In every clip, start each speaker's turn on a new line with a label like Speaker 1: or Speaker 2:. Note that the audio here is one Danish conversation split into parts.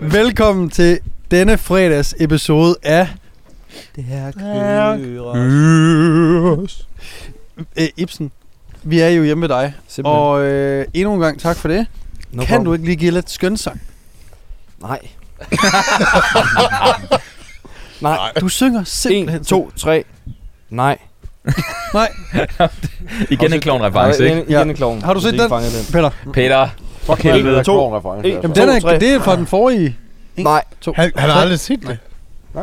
Speaker 1: Velkommen til denne fredags episode af
Speaker 2: Det her
Speaker 1: øh, Ibsen. Vi er jo hjemme ved dig,
Speaker 2: Simpelthen.
Speaker 1: og øh, endnu en gang tak for det.
Speaker 2: no
Speaker 1: kan du ikke lige give lidt skønsang?
Speaker 2: Nej. Nej.
Speaker 1: Du synger simpelthen...
Speaker 2: 1, 2, 3. Nej.
Speaker 1: Nej,
Speaker 3: Igen en clown reference, ikke?
Speaker 2: Nej, igen,
Speaker 1: Ja.
Speaker 2: igen en klovn.
Speaker 1: Har du set den?
Speaker 2: Fanget den.
Speaker 1: Peter.
Speaker 3: Peter, for helvede.
Speaker 2: To.
Speaker 1: Jamen,
Speaker 2: To,
Speaker 1: den er,
Speaker 2: tre.
Speaker 1: det er fra den forrige. En,
Speaker 2: Nej.
Speaker 1: To.
Speaker 4: Han, han har aldrig set det.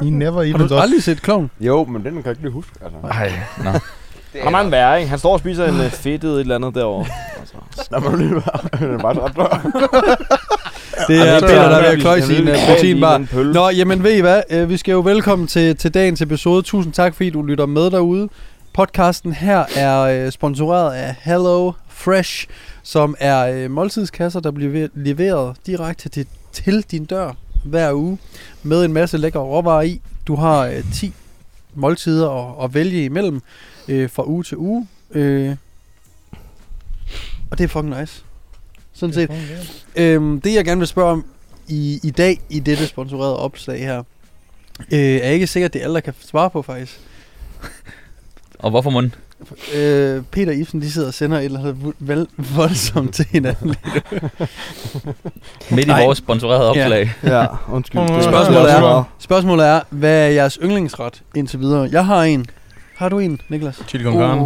Speaker 4: He never
Speaker 1: Har
Speaker 4: even
Speaker 1: du
Speaker 4: done.
Speaker 1: aldrig set Klovn?
Speaker 5: Jo, men den kan jeg ikke lige huske. Altså.
Speaker 3: Ej, nå.
Speaker 2: Han er en værre, ikke? Han står og spiser en øh, fedtet et eller andet derovre.
Speaker 5: Der må lige være. Den er bare ret dør.
Speaker 1: Det
Speaker 2: Ej,
Speaker 1: er
Speaker 2: det er
Speaker 1: Peter, der er ved
Speaker 2: virkelig-
Speaker 1: at kløje
Speaker 2: jeg ved
Speaker 1: sin øh,
Speaker 2: ikke, hvad
Speaker 1: proteinbar.
Speaker 2: lige den pølle.
Speaker 1: Nå, jamen ved I hvad? Øh, Vi skal jo velkommen til, til dagens episode. Tusind tak, fordi du lytter med derude. Podcasten her er øh, sponsoreret af Hello Fresh, som er øh, måltidskasser, der bliver ve- leveret direkte til, til din dør hver uge med en masse lækre råvarer i. Du har øh, 10 måltider at, at vælge imellem øh, fra uge til uge. Øh, og det er fucking nice. Sådan set. Øhm, det jeg gerne vil spørge om i, i dag, i dette sponsorerede opslag her, øh, er ikke sikkert, det er alle, der kan svare på faktisk.
Speaker 3: Og hvorfor munden?
Speaker 1: Øh, Peter og Ibsen, de sidder og sender et eller andet vo- vel, voldsomt til hinanden.
Speaker 3: Midt i
Speaker 1: Nej.
Speaker 3: vores sponsorerede opslag.
Speaker 2: Ja, undskyld.
Speaker 4: Mm.
Speaker 2: Det er-
Speaker 1: Spørgsmålet er-
Speaker 2: det meget-
Speaker 1: Spørgsmålet er, hvad er jeres yndlingsret indtil videre? Jeg har en. Har du en, Niklas?
Speaker 4: Chili con carne.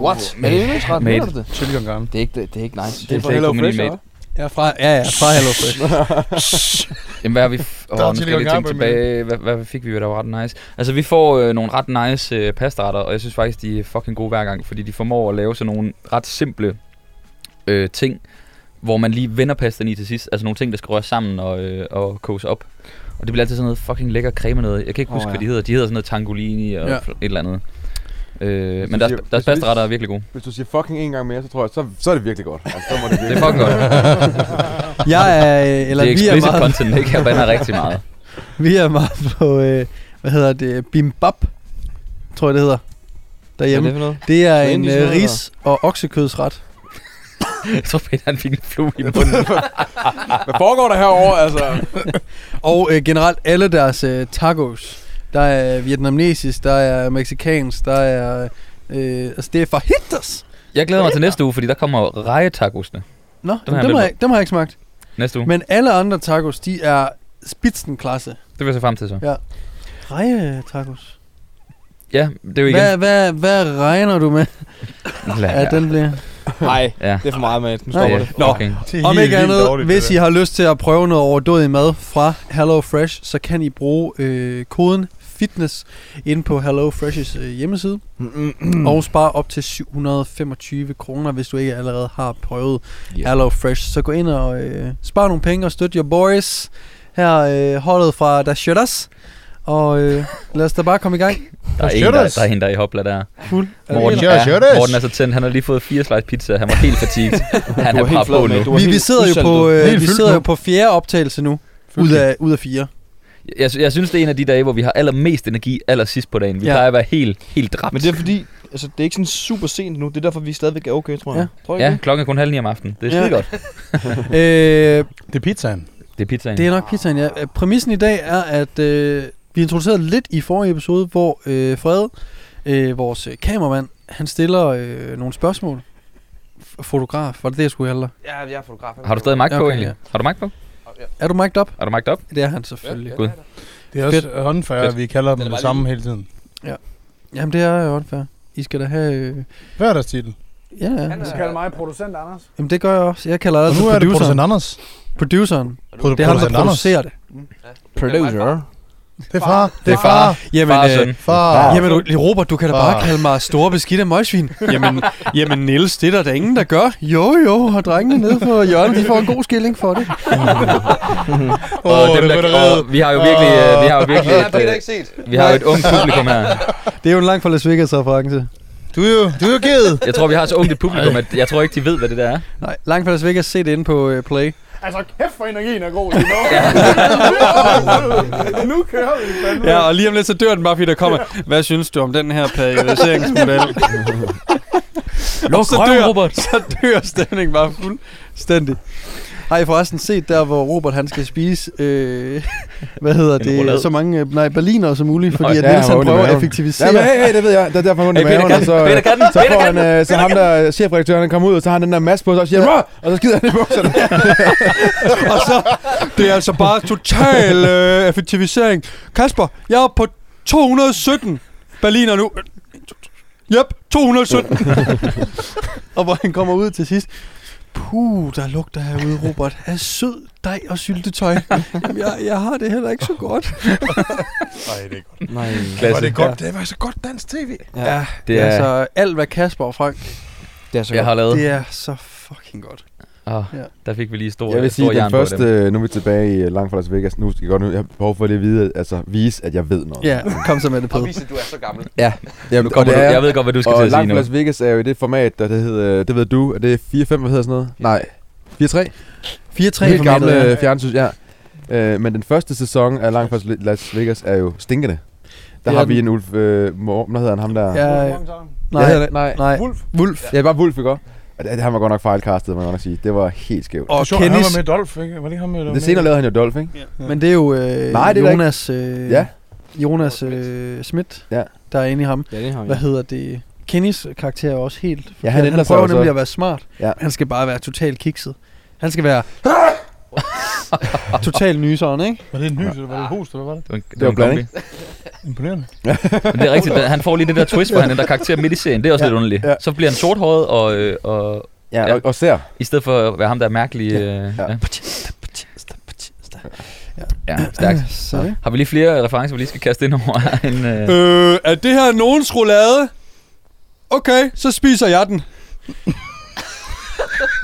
Speaker 2: What? Er det yndlingsret?
Speaker 3: Mate.
Speaker 2: Mener du det?
Speaker 4: Chili con carne.
Speaker 2: Det er ikke, det, det er ikke nice.
Speaker 3: Det er ikke community mate.
Speaker 1: Jeg er fra, ja, ja, fra Hello Fresh.
Speaker 3: Jamen, hvad har vi... F-
Speaker 4: Der er
Speaker 3: oh, nu skal jeg lige
Speaker 4: Telegram
Speaker 3: tænke
Speaker 4: på min.
Speaker 3: tilbage. Hvad, hvad fik vi, der var ret nice? Altså, vi får øh, nogle ret nice øh, pastaretter, og jeg synes faktisk, de er fucking gode hver gang, fordi de formår at lave sådan nogle ret simple øh, ting, hvor man lige vender pastaen i til sidst. Altså nogle ting, der skal røres sammen og, øh, og koges op. Og det bliver altid sådan noget fucking lækker creme noget. Jeg kan ikke
Speaker 2: Åh,
Speaker 3: huske, oh, ja.
Speaker 2: ja.
Speaker 3: hvad de hedder. De hedder sådan noget tangolini og
Speaker 1: Ja.
Speaker 3: ja. et eller andet. Øh, men
Speaker 5: du
Speaker 3: deres,
Speaker 5: siger-
Speaker 3: deres
Speaker 5: hvis du lige-
Speaker 3: pastaretter er virkelig gode.
Speaker 5: Hvis du siger fucking en gang mere, så tror jeg, så, så er det virkelig godt. Altså, så må det,
Speaker 3: Det
Speaker 5: virkelig.
Speaker 3: er fucking godt.
Speaker 1: Jeg er, øh, eller
Speaker 3: Eller det er
Speaker 1: vi er
Speaker 3: explicit
Speaker 1: meget,
Speaker 3: content, ikke? Jeg bander rigtig meget.
Speaker 1: vi er meget på, øh, hvad hedder det, bimbap, tror jeg det hedder,
Speaker 2: Hvad er
Speaker 1: derhjemme.
Speaker 2: det for noget?
Speaker 1: Det er
Speaker 2: Hvad er
Speaker 1: en
Speaker 2: det, de
Speaker 1: øh,
Speaker 2: hedder?
Speaker 1: ris- og oksekødsret.
Speaker 3: Jeg tror, Peter han fik en flue i munden.
Speaker 5: Hvad foregår der herovre? Altså?
Speaker 1: Og øh, generelt alle deres øh, tacos. Der er vietnamesisk, der er mexikansk, der er... Øh, altså det er fajitas.
Speaker 3: Jeg glæder mig til næste uge, fordi der kommer rejetacosene
Speaker 1: Nå,
Speaker 3: Den
Speaker 1: dem,
Speaker 3: har jeg
Speaker 1: har
Speaker 3: lidt Mm.
Speaker 1: jeg, dem har jeg ikke smagt.
Speaker 3: næste uge. Men,
Speaker 1: Men alle andre tacos, de er spitsenklasse.
Speaker 3: det vil jeg se frem til så.
Speaker 1: Reje tacos.
Speaker 3: Ja, det er jo igen.
Speaker 1: Hvad, hvad, hvad regner du med,
Speaker 3: Lad
Speaker 1: at den bliver?
Speaker 2: Nej,
Speaker 3: Ja.
Speaker 2: det er for meget, mate. Nu
Speaker 1: Nej.
Speaker 2: stopper det.
Speaker 3: Ja, Nå. Okay.
Speaker 1: Om ikke andet, hvis I har lyst til at prøve noget overdådig mad fra Hello Fresh, så kan I bruge øh, koden FITNESS inde på Hello Fresh's øh, hjemmeside. Og spar op til 725 kroner, hvis du ikke allerede har prøvet yeah.
Speaker 3: Yeah.
Speaker 1: Hello Fresh. Så gå ind og øh, spar nogle penge og støt your boys. Her øh, holdet fra Der Shutters. Og øh, lad os da bare komme i gang.
Speaker 3: Der er, en, der, der er en, der er i hopla der.
Speaker 1: Fuld.
Speaker 3: Morten,
Speaker 4: Yes,
Speaker 3: er,
Speaker 4: yes.
Speaker 3: Morten er så tændt. Han har lige fået fire slice pizza. Han var helt fatiguet. Han
Speaker 2: Du
Speaker 3: er
Speaker 2: er
Speaker 3: bare
Speaker 2: helt flad,
Speaker 3: på nu.
Speaker 2: mate. Du er
Speaker 1: Vi, vi
Speaker 2: helt
Speaker 1: sidder jo
Speaker 2: usaltet.
Speaker 1: på, øh,
Speaker 4: Helt
Speaker 1: vi
Speaker 4: fyldt
Speaker 1: sidder
Speaker 4: nu.
Speaker 1: jo på fjerde optagelse nu. Ud af, ud af fire.
Speaker 3: Jeg, jeg synes, det er en af de dage, hvor vi har allermest energi allersidst på dagen. Vi
Speaker 1: Ja.
Speaker 3: plejer at være helt, helt dræbt.
Speaker 2: Men det er fordi, altså, det er ikke sådan super sent nu. Det er derfor, vi stadigvæk er okay, tror jeg. Tror jeg
Speaker 3: Ja, klokken er kun halv ni om aftenen. Det er
Speaker 1: Ja.
Speaker 3: skide godt.
Speaker 1: Øh,
Speaker 4: Det er pizzaen.
Speaker 3: Det er pizzaen.
Speaker 1: Det er nok pizzaen, ja. Øh, Præmissen i dag er, at øh, vi introducerede lidt i forrige episode, hvor øh, Fred, øh, vores øh, kameramand, han stiller øh, nogle spørgsmål. F- fotograf, var det det, jeg skulle kalde dig?
Speaker 6: Ja, jeg er fotograf.
Speaker 3: Har du stadig mic på
Speaker 1: Okay,
Speaker 3: egentlig? Har du mic på?
Speaker 1: Er du mic'd op?
Speaker 3: Er du mic op?
Speaker 1: Det er han selvfølgelig.
Speaker 3: Gud.
Speaker 4: Det er også håndfærd,
Speaker 3: Fedt.
Speaker 4: vi kalder dem
Speaker 6: Den er
Speaker 4: det
Speaker 6: bare
Speaker 4: samme hele tiden.
Speaker 1: Jamen, det er jo unfair. I skal da have... Øh,
Speaker 4: Hverdagstitel.
Speaker 1: ja, ja.
Speaker 6: Du kalder mig producent, Anders.
Speaker 1: Jamen, det gør jeg også. Jeg kalder
Speaker 4: Og
Speaker 1: altså
Speaker 4: nu er det
Speaker 1: produceren.
Speaker 4: producent Anders.
Speaker 1: Produceren. Det er
Speaker 4: Produ-
Speaker 1: ham, der
Speaker 4: producent Anders.
Speaker 1: producerer det.
Speaker 2: Producer.
Speaker 4: Det er far. Det er far.
Speaker 3: far.
Speaker 1: Jamen,
Speaker 3: Far og
Speaker 1: øh,
Speaker 3: søn.
Speaker 4: Far.
Speaker 1: Jamen, du, Robert, du kan da bare
Speaker 4: Ah.
Speaker 1: kalde mig store beskidte møgsvin. Jamen, jamen Niels, det er der da ingen, der gør. Jo, jo, og drengene nede på hjørnet, de får en god skilling for det.
Speaker 4: Åh,
Speaker 3: Og
Speaker 4: det
Speaker 3: dem,
Speaker 4: blev
Speaker 3: der-
Speaker 4: det reddet.
Speaker 3: og vi har jo virkelig, øh, vi har jo virkelig
Speaker 6: Det har
Speaker 3: et,
Speaker 6: Peter
Speaker 3: øh,
Speaker 6: ikke set.
Speaker 3: vi har jo et ungt publikum her.
Speaker 1: Det er jo en lang fra Las Vegas reference.
Speaker 4: Du er jo, du er jo givet.
Speaker 3: Jeg tror, vi har så ungt et publikum, at jeg tror ikke, de ved, hvad det der er.
Speaker 1: Nej, langt fra Vegas se det inde på øh, Play.
Speaker 6: Altså, kæft for energien er god. Lige nu. nu kører vi fandme.
Speaker 1: Ja, og lige om lidt så dør den bare, fordi der kommer, hvad synes du om den her periodiseringsmodel?
Speaker 3: Luk
Speaker 1: så
Speaker 3: røven,
Speaker 1: dør-
Speaker 3: Robert.
Speaker 1: så dør stemningen bare fuldstændig. Har I forresten set der, hvor Robert han skal spise, øh, hvad hedder
Speaker 3: En rullade.
Speaker 1: det, så mange øh, nej, berliner som muligt, fordi at
Speaker 5: ja,
Speaker 1: Niels
Speaker 5: jeg har
Speaker 1: han
Speaker 5: ondt i
Speaker 1: prøver at
Speaker 5: maven.
Speaker 1: effektivisere.
Speaker 5: Ja, men hey, hey, det ved jeg. Det er derfor, hun er
Speaker 3: Hey, Peter
Speaker 5: maven, og
Speaker 3: Katten,
Speaker 5: så...
Speaker 3: Peter Katten,
Speaker 5: Så
Speaker 3: Peter
Speaker 5: får han,
Speaker 3: Katten.
Speaker 5: øh, så ham der chefredaktøren, han kommer ud, og så har han den der maske på, og så siger han, "Rah!" og så skider han i bukserne.
Speaker 1: Og så, det er altså bare total øh, effektivisering. Kasper, jeg er på 217 berliner nu. Jep, 217. og hvor han kommer ud til sidst. Puh, der lugter herude, Robert. Af sød dej og syltetøj. Jamen, jeg, jeg har det heller ikke så godt.
Speaker 4: Nej, det er godt. Øh,
Speaker 2: Nej.
Speaker 4: Var
Speaker 3: Klasse.
Speaker 4: det, godt. det var så godt dansk tv.
Speaker 2: Ja.
Speaker 3: Det er,
Speaker 1: altså alt, hvad Kasper og Frank,
Speaker 2: Det er så
Speaker 3: jeg
Speaker 2: godt.
Speaker 3: har lavet.
Speaker 1: det er så fucking godt.
Speaker 3: Ah,
Speaker 1: Ja.
Speaker 3: der fik vi lige stor,
Speaker 5: Jeg vil sige,
Speaker 3: stor
Speaker 5: den
Speaker 3: jern på dem.
Speaker 5: første, nu er vi tilbage i øh, langt fra Las Vegas, nu skal jeg godt nu, jeg har behov for lige at vide, altså vise, at jeg ved noget.
Speaker 1: Ja, kom så med det,
Speaker 6: Og
Speaker 1: Peder.
Speaker 6: vise, at du er så gammel.
Speaker 5: Jamen,
Speaker 3: Nu kommer
Speaker 5: og
Speaker 3: du,
Speaker 5: det er,
Speaker 3: jeg ved godt, hvad du skal til
Speaker 5: og
Speaker 3: at sige
Speaker 5: langt
Speaker 3: nu.
Speaker 5: fra Las Vegas er jo i det format, der det hedder, øh, det ved du, er det 4-5, hvad hedder sådan noget? Nej, 4-3?
Speaker 1: 4-3
Speaker 5: Helt gamle
Speaker 1: formatet, ja.
Speaker 5: ja. fjernsyn, ja. Øh, men den første sæson af Langt fra Las Vegas er jo stinkende. Der
Speaker 1: Det er
Speaker 5: har vi
Speaker 1: den.
Speaker 5: en Ulf, øh, Mor- hvad hedder han, ham der?
Speaker 1: Ja,
Speaker 6: Hvor mange så?
Speaker 5: Hvad hedder
Speaker 1: nej,
Speaker 5: det? Nej.
Speaker 1: nej.
Speaker 6: Wolf.
Speaker 1: Wolf.
Speaker 5: Ja, bare Wolf, ikke også? Og det, det har man godt nok fejlkastet, må jeg godt nok sige. Det var helt skævt.
Speaker 1: Og
Speaker 4: Og Kennis. Han var
Speaker 1: Kennys,
Speaker 4: med Dolph, ikke? Var det ikke ham, der var
Speaker 5: Det senere lavede han jo Dolph, ikke?
Speaker 1: men det er jo øh,
Speaker 5: Nej, det er der ikke.
Speaker 1: Jonas, øh,
Speaker 5: Ja.
Speaker 1: Jonas øh, Schmidt,
Speaker 5: Ja.
Speaker 1: der er inde i ham.
Speaker 2: Ja, det har
Speaker 1: Hvad hedder det? Kennys karakter er også helt...
Speaker 5: Ja, han ændrer
Speaker 1: han
Speaker 5: sig
Speaker 1: prøver
Speaker 5: også.
Speaker 1: nemlig at være smart.
Speaker 5: Ja.
Speaker 1: Han skal bare være totalt kikset. Han skal være... Total nyseren, ikke?
Speaker 4: Var det en nys, eller var det et host, eller hvad var det?
Speaker 3: Det var, en-
Speaker 5: var
Speaker 3: en
Speaker 5: blanding.
Speaker 3: kombi.
Speaker 4: Imponerende.
Speaker 3: Men det er rigtigt, da- han får lige det der twist, hvor han ændrer karakter midt i serien. Det er også lidt underligt.
Speaker 5: ja.
Speaker 3: Så bliver han sorthåret, og, øh, og
Speaker 5: Ja,
Speaker 3: Ja.
Speaker 5: og, og ser.
Speaker 3: i stedet for at være ham, der er mærkelig... Øh, ja. Ja. ja, stærkt.
Speaker 1: Så, ikke?
Speaker 3: Har vi lige flere referencer, vi lige skal kaste ind over? en, øh,
Speaker 1: Øh, er det her nogens roulade? Okay, så spiser jeg den.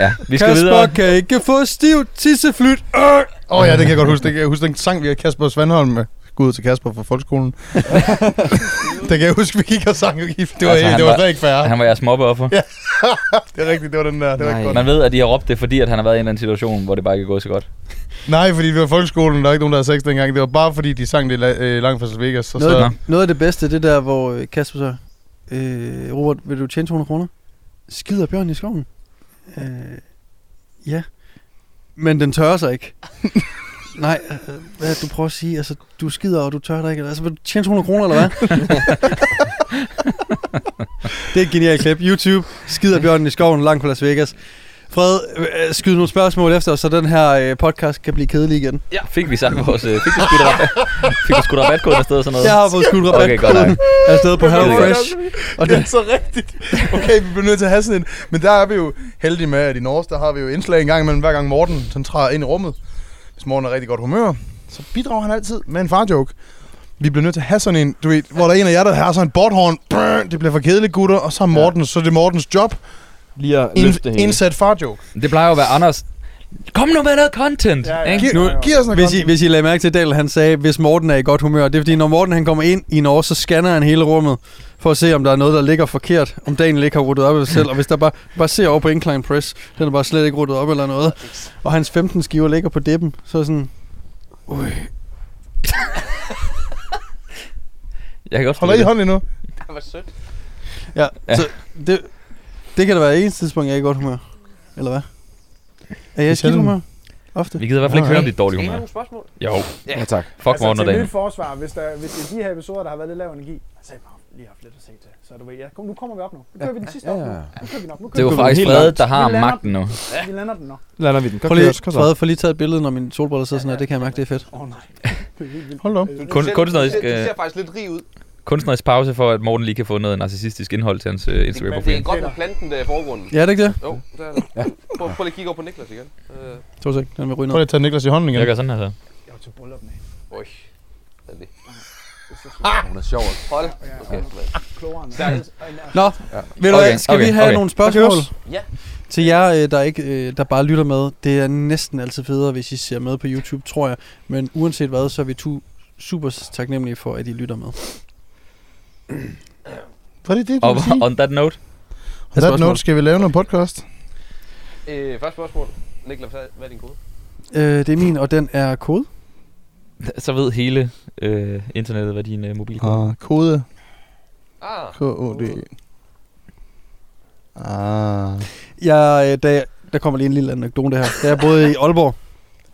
Speaker 3: ja, vi skal
Speaker 1: Kasper
Speaker 3: videre.
Speaker 1: kan ikke få stivt tisseflyt. Øh!
Speaker 4: Åh oh, ja, det kan jeg godt huske. Det kan jeg huske den sang, vi havde Kasper Svandholm med. Gud til Kasper fra folkeskolen. det kan jeg huske, vi gik og sang. Det var,
Speaker 3: Altså,
Speaker 4: altså,
Speaker 3: han
Speaker 4: det var
Speaker 3: var-
Speaker 4: slet ikke fair.
Speaker 3: Han var jeres mobbeoffer. Ja.
Speaker 4: Det er rigtigt, det var den der. Det var ikke
Speaker 2: Nej.
Speaker 4: godt.
Speaker 3: Man ved, at de har råbt det, fordi at han har været i en eller anden situation, hvor det bare ikke er gået så godt.
Speaker 4: Nej, fordi det var folkeskolen, der var ikke nogen, der havde sex dengang. Det var bare fordi, de sang det la- øh, langt fra Las Vegas. Og
Speaker 1: Noget,
Speaker 4: så,
Speaker 1: af, noget af det bedste, det der, hvor øh, Kasper så... Øh, Robert, vil du tjene 200 kroner? Skider bjørn i skoven? Øh, ja. Men den tørrer sig ikke. Nej, øh, hvad er det, du prøver at sige? Altså, du skider, og du tør dig ikke. Altså, vil du tjene 200 kroner, eller hvad? det er et genialt klip. YouTube, skider bjørnen i skoven, langt fra Las Vegas. Fred, øh, skyd nogle spørgsmål efter, os, så den her øh, podcast kan blive kedelig igen.
Speaker 3: Ja. Fik vi sagt vores... Øh, fik vi skudt rabat, fik vi skudt rabatkoden afsted og sådan noget?
Speaker 1: Jeg har fået skudt rabat.
Speaker 3: Okay, godt nok.
Speaker 1: Afsted på Hello Fresh.
Speaker 4: Og det er så rigtigt. Okay, vi bliver nødt til at have sådan en. Men der er vi jo heldige med, at i Norge, der har vi jo indslag en gang imellem, hver gang Morten sådan træder ind i rummet. Hvis Morten er rigtig godt humør, så bidrager han altid med en farjoke. Vi bliver nødt til at have sådan en, du ved, hvor der er en af jer, der har sådan en bordhorn. Brrr, Det bliver for kedeligt, gutter. Og så er, Morten, så er det Mortens job.
Speaker 2: Lige at løfte
Speaker 4: Ind,
Speaker 2: hele.
Speaker 4: indsat farjoke.
Speaker 3: Det plejer jo at være Anders. Kom nu med noget content!
Speaker 6: Ja, ja.
Speaker 3: ikke?
Speaker 4: Giv,
Speaker 1: Nu-
Speaker 4: giv os noget
Speaker 1: Hvis I,
Speaker 4: godt.
Speaker 1: hvis I lagde mærke til, at Daniel han sagde, hvis Morten er i godt humør, det er fordi, når Morten han kommer ind i Norge, så scanner han hele rummet for at se, om der er noget, der ligger forkert, om Daniel ikke har ruttet op af sig selv, og hvis der bare, bare ser over på Incline Press, den er bare slet ikke ruttet op eller noget, og hans 15 skiver ligger på dippen, så er sådan, Ui.
Speaker 3: Jeg kan godt
Speaker 4: Hold da i
Speaker 3: spille det.
Speaker 4: hånden endnu.
Speaker 6: Det var sødt.
Speaker 1: Ja,
Speaker 3: Ja.
Speaker 1: ja. Så det, det kan da være eneste tidspunkt, jeg er i godt humør. Eller hvad? Er jeg i skidt
Speaker 4: sjældent.
Speaker 1: humør? Ofte.
Speaker 3: Vi gider i hvert fald ikke
Speaker 4: Okay.
Speaker 3: høre om dit dårlige
Speaker 6: Skal I
Speaker 3: humør.
Speaker 6: have nogle spørgsmål?
Speaker 3: Jo,
Speaker 5: Ja, tak.
Speaker 3: fuck Morten og
Speaker 6: Altså, til nyt
Speaker 3: Daniel.
Speaker 6: forsvar, hvis, der, hvis det er de her episoder, der har været lidt lav energi, så har jeg bare lige haft lidt at se til. Så du ved, ja, kom, nu kommer vi op nu. Nu kører vi den sidste
Speaker 5: Ja,
Speaker 6: op nu.
Speaker 5: ja.
Speaker 6: Nu kører vi den op. Nu
Speaker 3: Det
Speaker 6: kører
Speaker 3: var
Speaker 6: vi
Speaker 3: faktisk
Speaker 5: helt
Speaker 3: Frede,
Speaker 5: langt.
Speaker 3: der har
Speaker 6: Vi lander
Speaker 3: magten nu.
Speaker 6: den. Vi lander den nu.
Speaker 2: Lander vi den. Kom,
Speaker 1: Prøv lige,
Speaker 2: kører, kom så.
Speaker 1: Frede, får lige taget et billede, når mine solbriller sidder sådan her. Det kan jeg mærke, det er fedt.
Speaker 6: Åh oh, nej. Det er helt vildt.
Speaker 4: Hold da op.
Speaker 3: Kun, kunstnerisk,
Speaker 7: Øh, Det
Speaker 3: øh,
Speaker 7: ser faktisk lidt rig ud.
Speaker 3: kunstnerisk pause for, at Morten lige kan få noget narcissistisk indhold til hans øh,
Speaker 7: Men det er
Speaker 3: Instagram-profil.
Speaker 7: godt med planten der i forgrunden.
Speaker 1: Ja, er det ikke det?
Speaker 7: Jo, der er det. Prøv, prøv lige at kigge over på Niklas igen. Øh,
Speaker 1: To sek, den vil ryge
Speaker 4: Prøv
Speaker 1: ned.
Speaker 4: lige at tage Niklas i hånden igen.
Speaker 3: Jeg gør sådan her så.
Speaker 6: Jeg var til bryllup med.
Speaker 7: Øj. Den er det.
Speaker 5: Hun er sjov.
Speaker 7: Hold.
Speaker 6: Ja,
Speaker 7: Ah! Okay.
Speaker 6: klogere end altså,
Speaker 1: Nå, ved du
Speaker 3: Okay,
Speaker 1: hvad, skal
Speaker 3: okay,
Speaker 1: vi have
Speaker 3: okay.
Speaker 1: nogle spørgsmål?
Speaker 7: Ja.
Speaker 1: Til jer, øh, der, ikke, øh, der bare lytter med, det er næsten altid federe, hvis I ser med på YouTube, tror jeg. Men uanset hvad, så er vi to super taknemmelige for, at I lytter med.
Speaker 4: Var det det, du
Speaker 3: Og
Speaker 4: ville sige? Og,
Speaker 3: on that note,
Speaker 4: og,
Speaker 1: spørgsmål.
Speaker 4: that note skal vi lave noget podcast.
Speaker 7: Øh, første spørgsmål. Niklas, hvad hvad er din kode?
Speaker 1: Øh, det er min, og den er kode.
Speaker 3: så ved hele øh, internettet, hvad din øh, mobilkode er.
Speaker 4: Og kode
Speaker 7: Ah,
Speaker 4: k o d -E. Ah.
Speaker 1: Jeg, øh, da jeg, der kommer lige en lille anekdote her. Da jeg boede i Aalborg,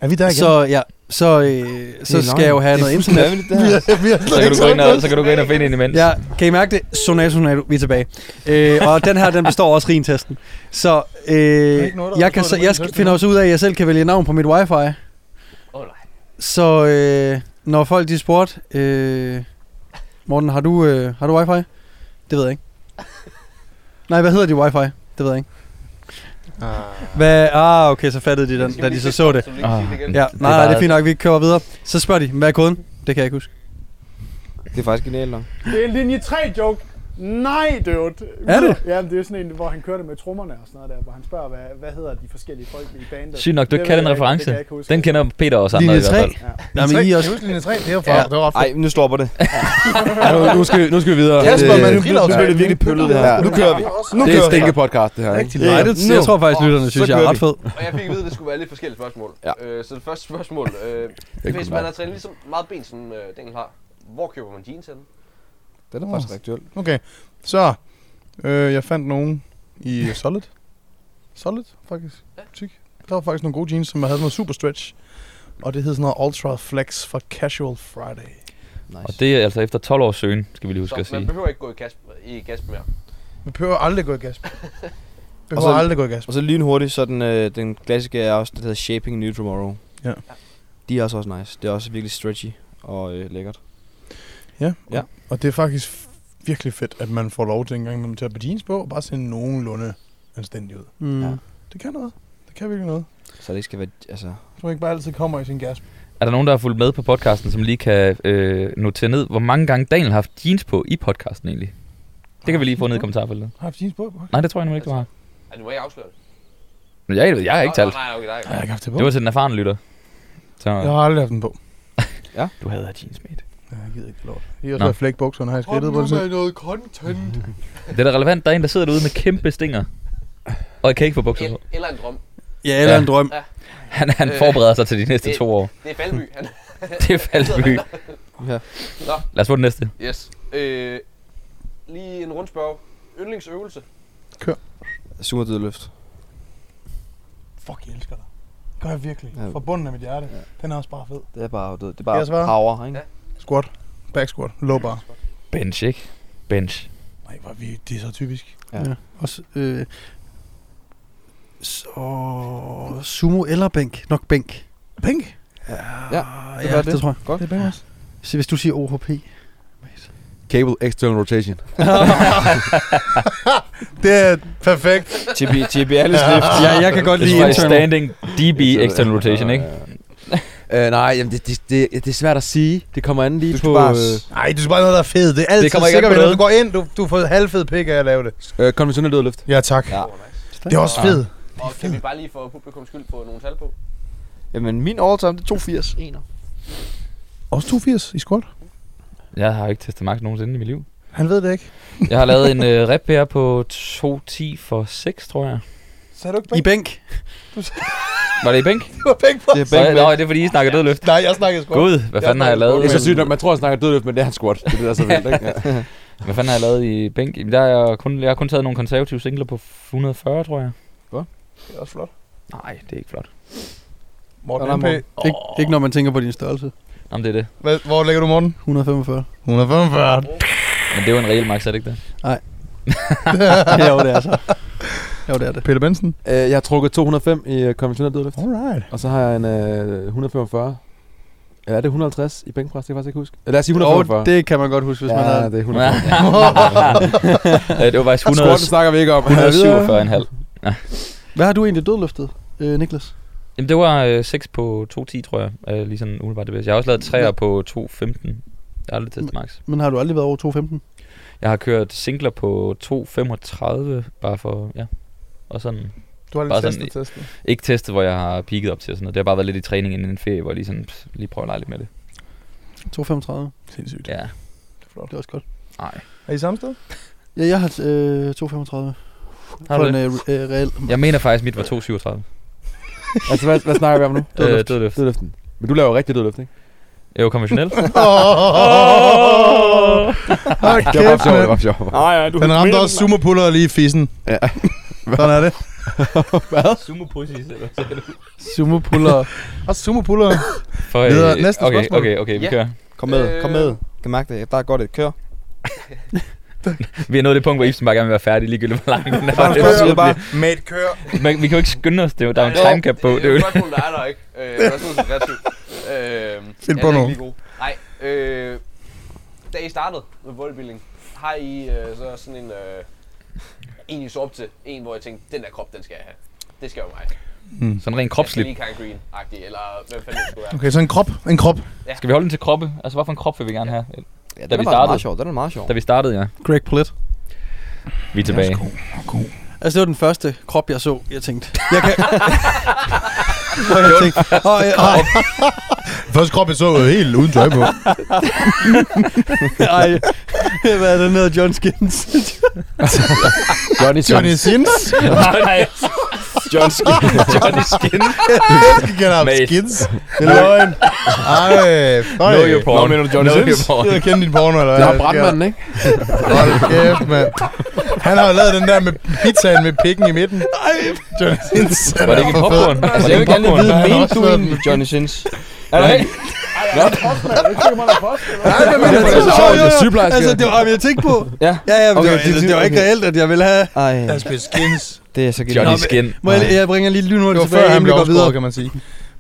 Speaker 4: Er vi der igen?
Speaker 1: så, ja, så, øh, så skal jeg jo have noget internet.
Speaker 5: Hvad er det der?
Speaker 4: vi har
Speaker 3: Så
Speaker 4: slet
Speaker 3: kan,
Speaker 4: ikke
Speaker 3: du gå ind og,
Speaker 4: sagt
Speaker 3: så kan du gå ind og finde en imens.
Speaker 1: Ja, kan I mærke det? Sonato, sonato, vi er tilbage. Øh, og den her, den består også rintesten. Så øh,
Speaker 4: ikke noget, der
Speaker 1: jeg, kan,
Speaker 4: består
Speaker 1: så,
Speaker 4: af
Speaker 1: jeg
Speaker 4: urintesten.
Speaker 1: finder også ud af, at jeg selv kan vælge navn på mit wifi. Åh oh, nej. Så øh, når folk de spurgte, øh, Morten, har du, øh, har du wifi? Det ved jeg ikke. Nej, hvad hedder de wifi? Det ved jeg ikke. Hvad? Ah, okay, så fattede de den, da de så så det.
Speaker 7: Så du ikke
Speaker 3: Ah.
Speaker 7: sige det igen.
Speaker 1: Ja,
Speaker 3: Det er
Speaker 1: nej, nej, det er
Speaker 3: bare-
Speaker 1: fint nok, vi kører videre. Så spørger de, hvad er koden? Det kan jeg ikke huske.
Speaker 5: Det er faktisk genialt nok.
Speaker 6: Det er en linje 3-joke. Nej, dude.
Speaker 1: Er det?
Speaker 6: Ja, men det er sådan en, hvor han kørte med trommerne og sådan noget der, hvor han spørger, hvad, hvad hedder de forskellige folk i bandet?
Speaker 3: Sygt nok, du
Speaker 6: Det
Speaker 3: ikke kan
Speaker 6: ved
Speaker 3: den
Speaker 6: jeg ikke,
Speaker 3: reference.
Speaker 6: det kan jeg ikke huske.
Speaker 3: Den kender Peter også andre
Speaker 1: Linje
Speaker 3: i hvert
Speaker 1: 3.
Speaker 3: fald.
Speaker 1: Nej, men I er også
Speaker 4: linje 3, det var,
Speaker 1: Ja.
Speaker 4: ja. det var ret
Speaker 5: Ej, nu stopper det. Ej, nu, nu, skal, nu skal vi videre.
Speaker 4: Kasper,
Speaker 5: Det-
Speaker 4: man,
Speaker 5: nu,
Speaker 4: nu bliver-
Speaker 5: nu bliver det virkelig pøllet det her.
Speaker 4: Ja.
Speaker 5: Nu kører vi.
Speaker 4: Nu
Speaker 5: Det er
Speaker 4: kører vi.
Speaker 5: et stinkepodcast, det her. Ikke?
Speaker 1: Nej, det,
Speaker 5: nu.
Speaker 1: jeg tror faktisk,
Speaker 7: Åh,
Speaker 1: lytterne
Speaker 5: så
Speaker 1: synes, jeg er
Speaker 5: kører
Speaker 1: ret
Speaker 5: vi.
Speaker 1: fed.
Speaker 7: Og jeg fik at vide, at det skulle være lidt forskellige spørgsmål.
Speaker 5: Ja.
Speaker 7: Øh, så det første spørgsmål. Øh,
Speaker 5: kunne
Speaker 7: hvis
Speaker 5: være.
Speaker 7: man har trænet ligesom meget ben, som øh, Daniel har, hvor køber man jeans henne?
Speaker 5: Den er faktisk rigtig død.
Speaker 4: Okay, så øh, jeg fandt nogen i Solid. Solid, faktisk. Butik. Der var faktisk nogle gode jeans, som havde noget super stretch. Og det hed sådan noget Ultra Flex fra Casual Friday.
Speaker 3: Og det er altså efter 12 års søgen, skal vi lige huske at
Speaker 7: Så man
Speaker 3: sige.
Speaker 7: behøver ikke gå i gas, i gas mere.
Speaker 4: Vi behøver aldrig gå i gas. Vi behøver
Speaker 5: Og så-
Speaker 4: aldrig gå i gas.
Speaker 5: Og så lynhurtigt, så den, øh, den klassiske er også, den hedder Shaping New Tomorrow.
Speaker 4: Ja.
Speaker 5: De er også også nice. Det er også virkelig stretchy og øh, lækkert.
Speaker 4: Ja.
Speaker 5: Ja.
Speaker 4: ja. Og det er faktisk f- virkelig fedt, at man får lov til en gang imellem til at have jeans på, og bare se nogenlunde anstændig ud.
Speaker 1: Mm.
Speaker 5: Ja.
Speaker 4: Det kan noget. Det kan virkelig noget.
Speaker 5: Så det ikke skal være, altså...
Speaker 4: Så man ikke bare altid kommer i sin gas.
Speaker 3: Er der nogen, der har fulgt med på podcasten, som lige kan øh, notere ned, hvor mange gange Daniel har haft jeans på i podcasten egentlig? Det kan vi lige få ned i kommentarfeltet.
Speaker 4: Har jeg haft jeans på? Nej,
Speaker 3: Nej, det tror jeg nu ikke, du har.
Speaker 7: Ja, nu må jeg ikke afsløre det.
Speaker 3: Men Jeg, jeg har ikke
Speaker 7: Nå,
Speaker 3: talt.
Speaker 7: Nej, nej, okay, nej.
Speaker 4: jeg har ikke haft det på.
Speaker 3: Det var til den erfarne lytter. Så
Speaker 4: Jeg har aldrig haft den på.
Speaker 3: du havde af jeans med.
Speaker 4: Ja, jeg gider ikke lort. I har
Speaker 3: Nå.
Speaker 4: også været flæk bukserne, har jeg skridtet på det. selv?
Speaker 7: noget content.
Speaker 3: Det er da relevant, der er en, der sidder derude med kæmpe stinger. Og jeg kan ikke få bukser
Speaker 7: El,
Speaker 3: på.
Speaker 7: eller en drøm.
Speaker 1: Ja, eller
Speaker 3: Ja.
Speaker 1: en drøm.
Speaker 3: Han, han
Speaker 7: Øh,
Speaker 3: forbereder sig til de næste to år.
Speaker 7: Det er Falby. Han.
Speaker 3: Det er Falby.
Speaker 5: Ja.
Speaker 7: Nå.
Speaker 3: Lad os få den næste.
Speaker 7: Yes. Øh, lige en rundspørg. Yndlingsøvelse.
Speaker 5: Sumerdødløft.
Speaker 4: Fuck, jeg elsker dig. Gør jeg virkelig.
Speaker 5: Ja.
Speaker 4: Fra bunden af mit hjerte.
Speaker 5: Ja.
Speaker 4: Den er også bare fed.
Speaker 5: Det er bare, det er
Speaker 4: bare Jeg svarer.
Speaker 5: bare power, ikke?
Speaker 7: Ja.
Speaker 4: Squat. Back squat. Low bar.
Speaker 3: Bench, ikke? Bench.
Speaker 4: Nej, hvor er vi, det er så typisk.
Speaker 1: Og s- øh, så sumo eller bænk. Nok bænk.
Speaker 4: Pink.
Speaker 1: Ah,
Speaker 5: det
Speaker 1: ja,
Speaker 5: var
Speaker 1: det,
Speaker 5: det.
Speaker 1: det tror jeg.
Speaker 5: Godt.
Speaker 4: Det er pink også.
Speaker 1: Så hvis du siger OHP.
Speaker 5: Cable external rotation.
Speaker 4: Det er perfekt.
Speaker 5: Tibialis lift.
Speaker 1: Ja, jeg kan godt
Speaker 3: Det
Speaker 1: lide
Speaker 3: er
Speaker 1: internal.
Speaker 3: standing DB external rotation, ikke?
Speaker 5: Øh, nej, jamen det, det, det, det, er svært at sige. Det kommer an lige
Speaker 1: Du
Speaker 5: du
Speaker 1: skal
Speaker 5: på
Speaker 1: bare-
Speaker 5: bare...
Speaker 4: Nej, du skal bare noget, der er fedt. Det er altid
Speaker 3: kommer ikke
Speaker 4: sikkert,
Speaker 3: an på
Speaker 4: når du går ind, du, du får halvfed pik af at lave det.
Speaker 5: øh, konventionel dødløft.
Speaker 4: Ja, tak.
Speaker 5: Ja.
Speaker 4: Ja.
Speaker 7: Oh, nice.
Speaker 4: Det er også fedt.
Speaker 7: Og kan vi bare lige for publikums skyld få nogle tal på?
Speaker 5: Jamen min all-time, det er 280. Ener.
Speaker 4: Også 82 i squat.
Speaker 3: Jeg har ikke testet max nogensinde i mit liv.
Speaker 4: Han ved det ikke.
Speaker 3: Jeg har lavet en øh, rep her på 2.10 for 6, tror jeg.
Speaker 4: Sagde du ikke
Speaker 1: I
Speaker 4: pink?
Speaker 1: bænk.
Speaker 3: Var det i bænk?
Speaker 4: Du var pink på.
Speaker 5: Det er
Speaker 3: Så,
Speaker 5: bænk,
Speaker 3: nå, det er fordi, I snakkede dødløft.
Speaker 4: Nej, jeg snakkede squat.
Speaker 3: Gud, hvad fanden har jeg lavet?
Speaker 5: Det er så sygt, at man tror, at han snakker dødløft, men det er hans squat. Det er det, der er så vildt, ikke? Ja.
Speaker 3: Hvad fanden har jeg lavet i bænk? Jamen, Der er jeg, kun, jeg har kun taget nogle konservative singler på 140, tror jeg.
Speaker 4: Det er også flot.
Speaker 3: Nej, det er ikke flot.
Speaker 4: Morten
Speaker 5: Hvad er
Speaker 4: MP.
Speaker 5: der,
Speaker 1: Ikke, ikke når man tænker på din størrelse.
Speaker 3: Nå, men det er det.
Speaker 4: Hvad, hvor ligger du, Morten?
Speaker 1: 145.
Speaker 4: 145.
Speaker 3: Men det er jo en reel max, er det ikke det?
Speaker 1: Ja, jo, det er så. Jo, det er det.
Speaker 4: Peter Benson.
Speaker 5: Øh, jeg har trukket 205 i øh, konventionel dødløft.
Speaker 4: Alright.
Speaker 5: Og så har jeg en øh, 145. Eller er det 150 i bænkpres? Det kan jeg faktisk ikke huske. Lad os sige
Speaker 1: Og
Speaker 5: 145.
Speaker 1: det kan man godt huske, hvis man
Speaker 5: ja,
Speaker 1: har...
Speaker 5: det er 145.
Speaker 3: Ja, det var faktisk
Speaker 5: Squat
Speaker 3: 100,
Speaker 5: snakker vi ikke om.
Speaker 3: 147,5.
Speaker 1: Hvad har du egentlig dødløftet, øh, Niklas?
Speaker 3: Jamen, det var øh, 6 på 2.10, tror jeg. Øh, lige sådan umiddelbart det bedste. Jeg har også lavet 3'er på 2.15. Jeg har aldrig testet max.
Speaker 1: Men har du aldrig været over 215?
Speaker 3: Jeg har kørt singler på 2.35, bare for, ja. Og sådan,
Speaker 4: Du har
Speaker 3: Bare
Speaker 4: lidt
Speaker 3: sådan
Speaker 4: testet, testet.
Speaker 3: ikke testet, hvor jeg har peaked op til og sådan noget. Det har bare været lidt i træning inden en ferie, hvor jeg lige, sådan, pff, lige prøver at lege lidt med det.
Speaker 1: 235.
Speaker 4: Sindssygt.
Speaker 3: Ja,
Speaker 1: Det er også godt.
Speaker 3: nej.
Speaker 4: Er I samme sted?
Speaker 1: Ja, jeg har øh, 2,35.
Speaker 3: Har du
Speaker 1: For en
Speaker 3: det?
Speaker 1: øh, re- øh, reel.
Speaker 3: Jeg mener faktisk, mit var 2,37.
Speaker 5: Altså, hvad, hvad snakker vi om nu?
Speaker 3: Øh, dødløft.
Speaker 5: Dødløften. Men du laver jo rigtig dødløft, ikke?
Speaker 3: Jo, konventionel.
Speaker 4: Åh, Hold
Speaker 5: Det var bare
Speaker 4: kæft,
Speaker 5: sjovt, det
Speaker 4: mand.
Speaker 5: var sjovt.
Speaker 7: Nej, nej, du
Speaker 4: Den ramte også sumopuller lige i fissen.
Speaker 5: Ja.
Speaker 4: Sådan er det.
Speaker 3: Sumo pussies, eller
Speaker 1: Sumo puller.
Speaker 4: Og sumopuller.
Speaker 3: For, øh,
Speaker 4: Videre. Næste
Speaker 3: okay,
Speaker 4: spørgsmål.
Speaker 3: okay, okay, vi
Speaker 7: Ja.
Speaker 3: kører.
Speaker 2: Kom med, kom
Speaker 7: Øh.
Speaker 2: med. Kan mærke det. Der er godt et kør.
Speaker 3: Vi er nået det punkt, hvor Ibsen bare gerne vil være færdig, ligegyldigt hvor langt den er.
Speaker 4: Bare
Speaker 3: Det
Speaker 4: spørg,
Speaker 3: er
Speaker 2: bare-
Speaker 4: Mate, kør.
Speaker 3: Men vi kan jo ikke skynde os, det er jo, der er jo en timecap på. Det er jo,
Speaker 7: Det er et spørgsmål, der er der ikke. Øh, Rasmus er ret øh,
Speaker 4: Find
Speaker 7: ja,
Speaker 4: på
Speaker 7: den er
Speaker 4: noget.
Speaker 7: ikke lige god. Nej, øh, da I startede med bodybuilding, har I øh, så sådan en, øh, en I så op til? En, hvor jeg tænkte, den der krop, den skal jeg have. Det skal jo mig.
Speaker 3: sådan rent
Speaker 7: Jeg skal
Speaker 3: kropsligt.
Speaker 7: lige Karen Green-agtig, eller hvem fanden det skulle være.
Speaker 4: Okay, så en krop. En krop.
Speaker 3: Skal vi holde den til kroppe? Altså, hvad for en krop vil vi gerne have?
Speaker 2: Ja,
Speaker 3: Da
Speaker 2: den
Speaker 3: vi
Speaker 2: er faktisk
Speaker 3: startede.
Speaker 2: meget sjov. Den er meget sjov.
Speaker 3: Da vi startede, ja.
Speaker 1: Greg Plitt.
Speaker 3: Vi er tilbage.
Speaker 1: Altså, det var den første krop, jeg så, jeg tænkte. Jeg kan... Hvor jeg tænkte, åh, jeg, åh,
Speaker 4: Første krop, jeg så øh, helt uden tøj på.
Speaker 1: ej, hvad er det nede John Skins?
Speaker 5: Johnny
Speaker 4: Johnny
Speaker 5: Sins.
Speaker 4: Sins.
Speaker 3: Nej, John Skin. Johnny Skin.
Speaker 4: Vi kan have
Speaker 3: Mate.
Speaker 4: skins. Det er løgn. Ej, føj.
Speaker 3: Know your porn.
Speaker 5: Nå, mener du Johnny
Speaker 3: Know
Speaker 5: Sins?
Speaker 3: your porn.
Speaker 4: Jeg kender din porno, eller
Speaker 5: Det har
Speaker 4: hvad?
Speaker 5: brandmanden,
Speaker 2: Altså,
Speaker 5: ikke?
Speaker 4: Hold kæft, mand. Han har jo lavet den der med pizzaen med pikken i midten. Ej. Johnny Sins. han
Speaker 3: Var det
Speaker 4: er
Speaker 3: ikke
Speaker 4: for
Speaker 3: en
Speaker 4: fed.
Speaker 3: popcorn? Altså,
Speaker 2: Altså, jeg
Speaker 3: det er jo
Speaker 2: vil
Speaker 3: ikke
Speaker 2: gerne lige
Speaker 3: popcorn.
Speaker 2: vide,
Speaker 4: Han har
Speaker 2: mente
Speaker 4: også
Speaker 2: du
Speaker 4: lavet
Speaker 2: egentlig Johnny Sins? Er der ikke?
Speaker 6: Postmand, det kan man da postmand.
Speaker 4: Nej, men men
Speaker 5: Det
Speaker 4: altså,
Speaker 5: er
Speaker 4: så
Speaker 5: sjovt,
Speaker 4: er
Speaker 5: jeg
Speaker 4: det
Speaker 5: er sygeplejerske.
Speaker 1: altså, det var, jamen, jeg tænkte på.
Speaker 2: Ja.
Speaker 1: Ja, ja, men
Speaker 2: Okay,
Speaker 1: det, var, altså,
Speaker 2: det-
Speaker 1: det var ikke
Speaker 2: okay.
Speaker 1: reelt, at jeg ville have...
Speaker 2: Ej,
Speaker 4: Jeg spiller skins.
Speaker 2: det er så genialt.
Speaker 3: Johnny Skin.
Speaker 1: Må jeg, jeg bringer lige
Speaker 4: Det
Speaker 1: lynhurtigt
Speaker 4: var før
Speaker 1: tilbage, inden
Speaker 4: han
Speaker 1: vi
Speaker 4: blev
Speaker 1: går videre.
Speaker 4: opsporet, kan man sige.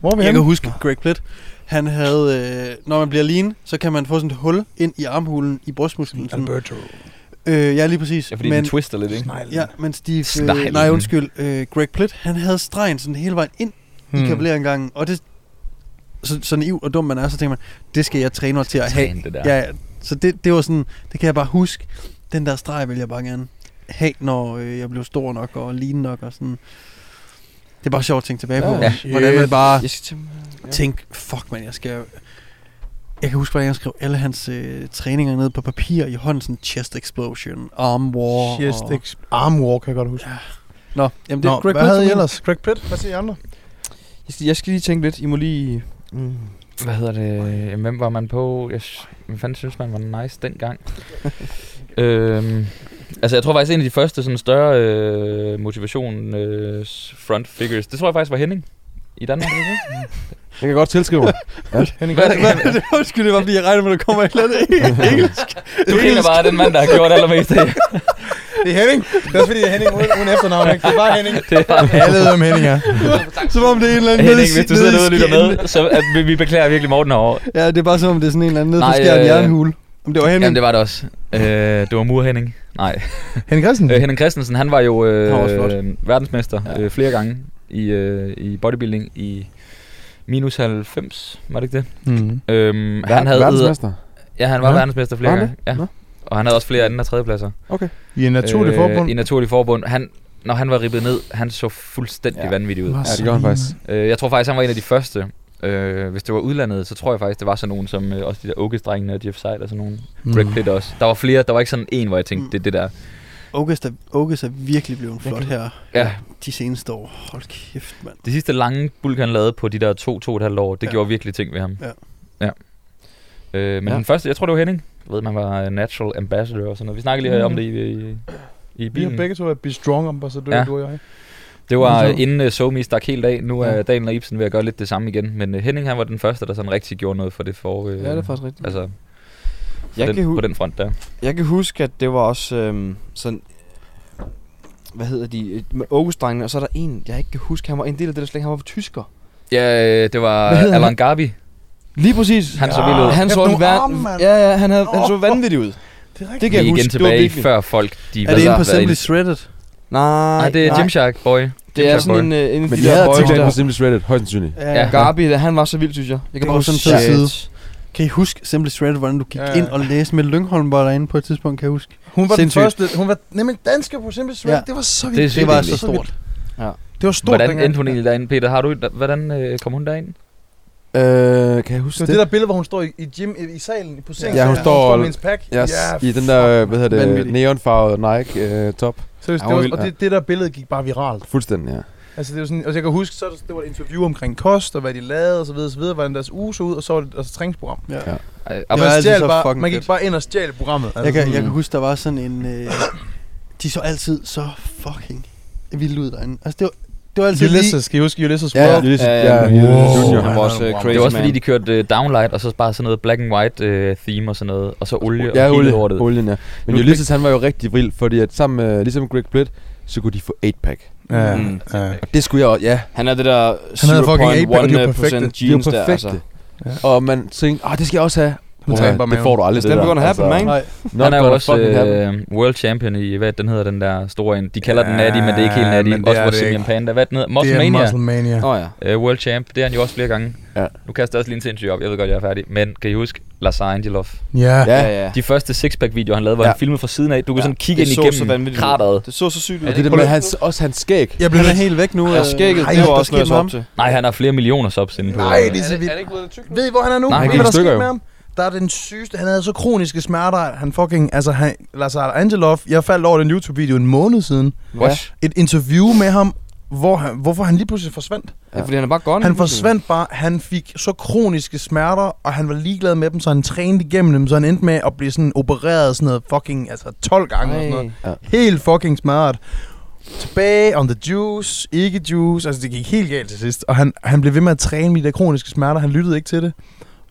Speaker 4: Hvor er vi
Speaker 1: Jeg
Speaker 4: henne?
Speaker 1: kan huske Greg Plitt. Han havde, øh, når man bliver lean, så kan man få sådan et hul ind i armhulen i brystmusklen. Sådan.
Speaker 4: Alberto.
Speaker 1: Øh, ja, lige præcis.
Speaker 3: Ja, fordi
Speaker 1: men,
Speaker 3: den twister lidt, ikke?
Speaker 1: ja, men Steve, øh,
Speaker 3: Sneglen.
Speaker 1: nej undskyld, øh, Greg Plitt, han havde stregen sådan hele vejen ind hmm. i kavaleriangangen, og det, så, så naiv og dum man er, så tænker man, det skal jeg træne mig til at have.
Speaker 3: Træn det der.
Speaker 1: Ja, ja. så det, det var sådan, det kan jeg bare huske, den der streg vil jeg bare gerne have, når øh, jeg blev stor nok og lean nok og sådan. Det er bare sjovt at tænke tilbage på,
Speaker 5: Ja,
Speaker 1: ja. hvordan man
Speaker 4: shit.
Speaker 1: bare
Speaker 2: Jeg skal til...
Speaker 1: tænkte, fuck man, jeg skal... Jeg kan huske, hvordan jeg skrev alle hans øh, træninger ned på papir i hånden, sådan chest explosion, arm war.
Speaker 4: Chest
Speaker 1: og...
Speaker 4: ex- arm war, kan jeg godt huske.
Speaker 1: Nå, jamen det
Speaker 4: Nå,
Speaker 1: er Greg
Speaker 4: hvad havde I
Speaker 1: Plitt,
Speaker 4: ellers? Greg Pitt? Hvad siger I andre?
Speaker 2: Jeg skal, jeg skal lige tænke lidt. I må lige... Mm.
Speaker 3: Hvad hedder det? Jamen, Hvem var man på? Jeg s- Hvem fanden synes man var nice dengang? øhm, altså, jeg tror faktisk, en af de første sådan større øh, motivation øh, s- front figures, det tror jeg faktisk var Henning i Danmark. ikke?
Speaker 5: Jeg kan godt tilskrive mig.
Speaker 4: Henning
Speaker 3: Hvad er
Speaker 4: Christensen?
Speaker 1: Hvad- det var Undskyld, det var fordi, jeg regnede med, at der kommer et eller andet engelsk.
Speaker 3: du kender bare den mand, der har gjort allermest af det.
Speaker 4: Det er Henning. Det er også fordi, det er Henning uden, uden efternavn, ikke? Det er bare Henning.
Speaker 3: er bare-
Speaker 4: Alle ved, hvem Henning er.
Speaker 1: Som om det er en eller anden
Speaker 3: Henning,
Speaker 1: nede i-
Speaker 3: hvis du sidder
Speaker 1: nede i
Speaker 3: derude og lytter
Speaker 1: skjern.
Speaker 3: med, så at vi, vi beklager virkelig Morten herovre.
Speaker 1: Ja, det er bare som om, det er sådan en eller anden nede på
Speaker 3: Nej,
Speaker 1: skjern
Speaker 3: øh,
Speaker 1: jernhule. Om det var Henning.
Speaker 3: Jamen, det var det også. Øh, det var Mur Henning. Nej.
Speaker 4: Henning Christensen?
Speaker 3: Øh, Henning Christensen, han var jo
Speaker 1: Han var også flot.
Speaker 3: øh, øh, verdensmester ja. øh, flere gange i, øh, i bodybuilding i minus 90, var det ikke det?
Speaker 4: Mm.
Speaker 3: Øhm, han havde
Speaker 5: Verdensmester.
Speaker 3: Ja, han var
Speaker 4: Ja.
Speaker 3: ja. verdensmester flere
Speaker 5: Var han
Speaker 3: gange. Ja.
Speaker 5: Nå.
Speaker 3: Og han havde også flere anden- og tredjepladser.
Speaker 4: I en naturlig øh, forbund.
Speaker 3: I naturlig forbund. Han, når han var ribbet ned, han så fuldstændig
Speaker 5: Ja.
Speaker 3: ja. vanvittig ud.
Speaker 5: Ja, det gjorde han faktisk.
Speaker 4: Mm.
Speaker 3: Øh, jeg tror faktisk, han var en af de første. Øh, hvis det var udlandet, så tror jeg faktisk, det var sådan nogen som øh, også de der Oakes-drengene og Jeff Seid og sådan nogen. Mm. Greg Pitt også. Der var flere. Der var ikke sådan en, hvor jeg tænkte,
Speaker 1: Mm.
Speaker 3: mm. det er det der.
Speaker 1: August er, August er virkelig blevet flot her
Speaker 3: Ja,
Speaker 1: de seneste år. Hold kæft, mand.
Speaker 3: det sidste lange bulk, han lavede på de der to, to og et halvt år, det
Speaker 1: Ja.
Speaker 3: ja. gjorde virkelig ting ved ham.
Speaker 1: Ja.
Speaker 3: ja. Øh, men
Speaker 5: Ja.
Speaker 3: ja. den første, jeg tror, det var Henning. Jeg ved, man var øh, natural ambassador og sådan noget. Vi snakkede lige mm. om det i, i, i
Speaker 4: Vi har
Speaker 3: bilen.
Speaker 4: begge to været Be Strong Ambassadør, ja.
Speaker 3: Ja.
Speaker 4: du og jeg.
Speaker 3: Det var
Speaker 4: Altså.
Speaker 3: uh, inden uh, Somi stak helt af. Nu er
Speaker 5: Ja.
Speaker 3: ja. Daniel og Ibsen ved at gøre lidt det samme igen. Men uh, Henning han var den første, der sådan rigtig gjorde noget for det for... Uh,
Speaker 5: Ja, det er faktisk rigtigt.
Speaker 3: Altså,
Speaker 2: Jeg
Speaker 3: den,
Speaker 2: kan hu-
Speaker 3: på den front der.
Speaker 2: Jeg kan huske, at det var også øhm, sådan... Hvad hedder de? Et- Med Aarhus-drengene, og så er der en, jeg ikke kan huske, han var en del af det der slæng, han var tysker.
Speaker 3: Ja, øh, det var
Speaker 2: Hvad hedder
Speaker 3: Alan Garbi.
Speaker 2: Lige præcis.
Speaker 3: Han så vild ud.
Speaker 2: Han så,
Speaker 4: Kæft,
Speaker 2: en
Speaker 4: nogle
Speaker 2: vær-
Speaker 4: arme, mand.
Speaker 2: ja, ja, han, havde, han så vanvittig ud.
Speaker 4: Det er rigtigt.
Speaker 2: Det
Speaker 3: Vi
Speaker 2: kan
Speaker 3: er
Speaker 2: jeg
Speaker 3: igen
Speaker 2: huske.
Speaker 3: tilbage
Speaker 2: det var virkelig-
Speaker 3: før folk... De
Speaker 1: Er det inde på
Speaker 3: været
Speaker 1: Simply
Speaker 3: inde-
Speaker 1: Shredded?
Speaker 2: Nej,
Speaker 3: Nej, det er
Speaker 2: nej.
Speaker 3: Gymshark Boy.
Speaker 2: Det er
Speaker 3: Jim
Speaker 2: sådan en, øh, en af
Speaker 5: Men
Speaker 2: de
Speaker 5: de havde
Speaker 2: der
Speaker 5: tænkt
Speaker 2: boys
Speaker 5: det
Speaker 2: der.
Speaker 5: på Simply Shredded, højst sandsynligt.
Speaker 3: Ja.
Speaker 2: Garbi, da han var så vild, synes jeg. Jeg
Speaker 1: Det
Speaker 2: kan
Speaker 1: var
Speaker 2: bare
Speaker 1: sådan
Speaker 2: huske,
Speaker 1: en tid side.
Speaker 2: shit.
Speaker 1: Kan I huske Simply Shredded, hvordan du gik
Speaker 4: Ja,
Speaker 1: ja,
Speaker 4: ja.
Speaker 1: ja. ind og læste med Lyngholm, var derinde på et tidspunkt, kan jeg huske?
Speaker 4: Hun var
Speaker 1: Sindssygt.
Speaker 4: den første. Hun var nemlig dansker på Simple Shred.
Speaker 1: Ja.
Speaker 4: Det var så
Speaker 3: Det er
Speaker 4: vildt.
Speaker 1: Det var
Speaker 3: sygt
Speaker 1: så
Speaker 3: egentlig.
Speaker 1: stort.
Speaker 4: Det var stort
Speaker 3: Hvordan
Speaker 4: dengang.
Speaker 3: endte hun egentlig derinde, Peter? Har du, et- hvordan øh, kom hun derind?
Speaker 5: Øh, kan jeg huske
Speaker 4: Så det, det der billede, hvor hun står i, i gym, i, i salen, på sengen.
Speaker 5: Ja, hun
Speaker 4: så
Speaker 5: står-
Speaker 4: med hendes pack.
Speaker 5: Yes,
Speaker 4: Ja,
Speaker 5: i den der, hvad hedder det,
Speaker 1: vanvittigt.
Speaker 5: neonfarvede Nike øh, top.
Speaker 4: Seriøst,
Speaker 5: Ja,
Speaker 4: det
Speaker 5: hun
Speaker 4: var,
Speaker 5: er vild,
Speaker 4: og
Speaker 5: ja.
Speaker 4: det, det der billede gik bare viralt.
Speaker 5: Fuldstændig, ja.
Speaker 4: Altså, det var sådan, altså jeg kan huske, så det var et interview omkring kost, og hvad de lavede, og så videre, så videre, hvordan deres uge så ud, og så var det altså, træningsprogram.
Speaker 3: Ej,
Speaker 4: Og
Speaker 1: Det
Speaker 4: man,
Speaker 1: var
Speaker 4: stjal
Speaker 1: altid så
Speaker 4: bare,
Speaker 1: fucking
Speaker 4: man gik
Speaker 1: fedt.
Speaker 4: bare ind og stjal programmet. Altså,
Speaker 1: Jeg kan, jeg
Speaker 4: sådan-
Speaker 1: kan huske, der var sådan en... Øh, de så altid så fucking vildt ud derinde. Altså, det var, det var altid lige...
Speaker 4: Ulysses, kan I huske Ulysses
Speaker 1: Ja, Mm. ja.
Speaker 4: World?
Speaker 5: Ulysses,
Speaker 2: Ja,
Speaker 5: ligesom- ja,
Speaker 2: ja,
Speaker 5: Ulysses
Speaker 4: Wow.
Speaker 5: Junior.
Speaker 2: Han var også øh, crazy
Speaker 3: det var også
Speaker 2: man.
Speaker 3: fordi, de kørte øh, downlight, og så bare sådan noget black and white øh, theme og sådan noget. Og så olie og
Speaker 5: Ja,
Speaker 3: hele
Speaker 5: olie,
Speaker 3: lortet.
Speaker 5: olien, ja. Men
Speaker 3: Nu-
Speaker 5: Ulysses, han var jo rigtig vild, fordi at sammen med, ligesom Greg Plitt, så kunne de få 8-pack.
Speaker 4: Ja,
Speaker 2: Mm.
Speaker 4: ja.
Speaker 5: Og det skulle jeg også, ja.
Speaker 2: Han er det der
Speaker 4: havde fucking 8-pack, og de var
Speaker 2: 0.1%
Speaker 4: perfekte.
Speaker 5: De er jo
Speaker 2: jeans der, altså.
Speaker 5: perfekte. Og man tænkte, ah, det skal jeg også have.
Speaker 4: Nu tager
Speaker 5: Uha,
Speaker 4: han bare
Speaker 5: det Altså,
Speaker 4: maven.
Speaker 5: får du aldrig.
Speaker 2: It's never gonna happen, man.
Speaker 1: Nej,
Speaker 5: Not
Speaker 3: han er jo
Speaker 5: gonna
Speaker 3: også
Speaker 5: fucking happen.
Speaker 3: øh, world champion i, hvad den hedder, den der store en. De kalder ja, den
Speaker 4: Ja,
Speaker 3: Natty, men det er ikke helt Natty.
Speaker 4: men det
Speaker 3: Også
Speaker 4: er
Speaker 3: vores
Speaker 4: det
Speaker 3: Simeon
Speaker 4: ikke.
Speaker 3: Panda. Hvad den hedder?
Speaker 4: Det er
Speaker 3: Muscle
Speaker 4: Muscle Mania.
Speaker 2: Nå ja.
Speaker 3: Øh, World Champ, det er han jo også flere gange.
Speaker 5: Ja.
Speaker 3: Nu kaster jeg også lige en sindssyg op, jeg ved godt, jeg er færdig. Men kan I huske Lars Angelov?
Speaker 4: Ja.
Speaker 2: Ja, ja.
Speaker 3: De første sixpack-videoer, han lavede, hvor
Speaker 5: Ja.
Speaker 3: han filmede fra siden af. Du kunne
Speaker 2: Ja.
Speaker 3: sådan kigge
Speaker 2: Det
Speaker 3: ind
Speaker 2: så så
Speaker 3: igennem
Speaker 2: vanvittigt ud.
Speaker 3: krateret.
Speaker 2: Det så så sygt ud.
Speaker 5: Og det der med hans, også hans skæg.
Speaker 4: Jeg blev
Speaker 1: han er
Speaker 4: helt...
Speaker 1: helt væk nu.
Speaker 2: Ja,
Speaker 1: øh.
Speaker 2: skægget,
Speaker 1: Ej,
Speaker 2: det var
Speaker 1: der
Speaker 2: også noget,
Speaker 1: skete
Speaker 2: jeg
Speaker 1: med
Speaker 2: så
Speaker 1: ham.
Speaker 2: op til.
Speaker 3: Nej, han har flere millioner subs inden på.
Speaker 4: Nej, det er
Speaker 7: Er
Speaker 4: så
Speaker 7: det, er
Speaker 4: vildt.
Speaker 7: det ikke blevet lidt tyk nu?
Speaker 4: Ved I, hvor han er nu?
Speaker 3: Nej,
Speaker 4: Ved
Speaker 3: han
Speaker 4: I,
Speaker 5: gik
Speaker 4: hvad
Speaker 5: i
Speaker 4: der
Speaker 5: stykker,
Speaker 4: skete
Speaker 5: jo.
Speaker 4: med ham? Der er den sygeste, han havde så kroniske smerter, han fucking, altså han, Lars Angelov, jeg faldt over den YouTube-video en måned siden.
Speaker 2: What?
Speaker 4: Et interview med ham, hvor han, hvorfor han lige pludselig forsvandt.
Speaker 2: Ja, fordi han er bare gone.
Speaker 4: Han forsvandt bare, han fik så kroniske smerter, og han var ligeglad med dem, så han trænede igennem dem, så han endte med at blive sådan opereret sådan noget fucking, altså 12 gange og sådan noget. Helt fucking smart. Tilbage on the juice, ikke juice. Altså, det gik helt galt til sidst. Og han, han blev ved med at træne med de der kroniske smerter. Han lyttede ikke til det.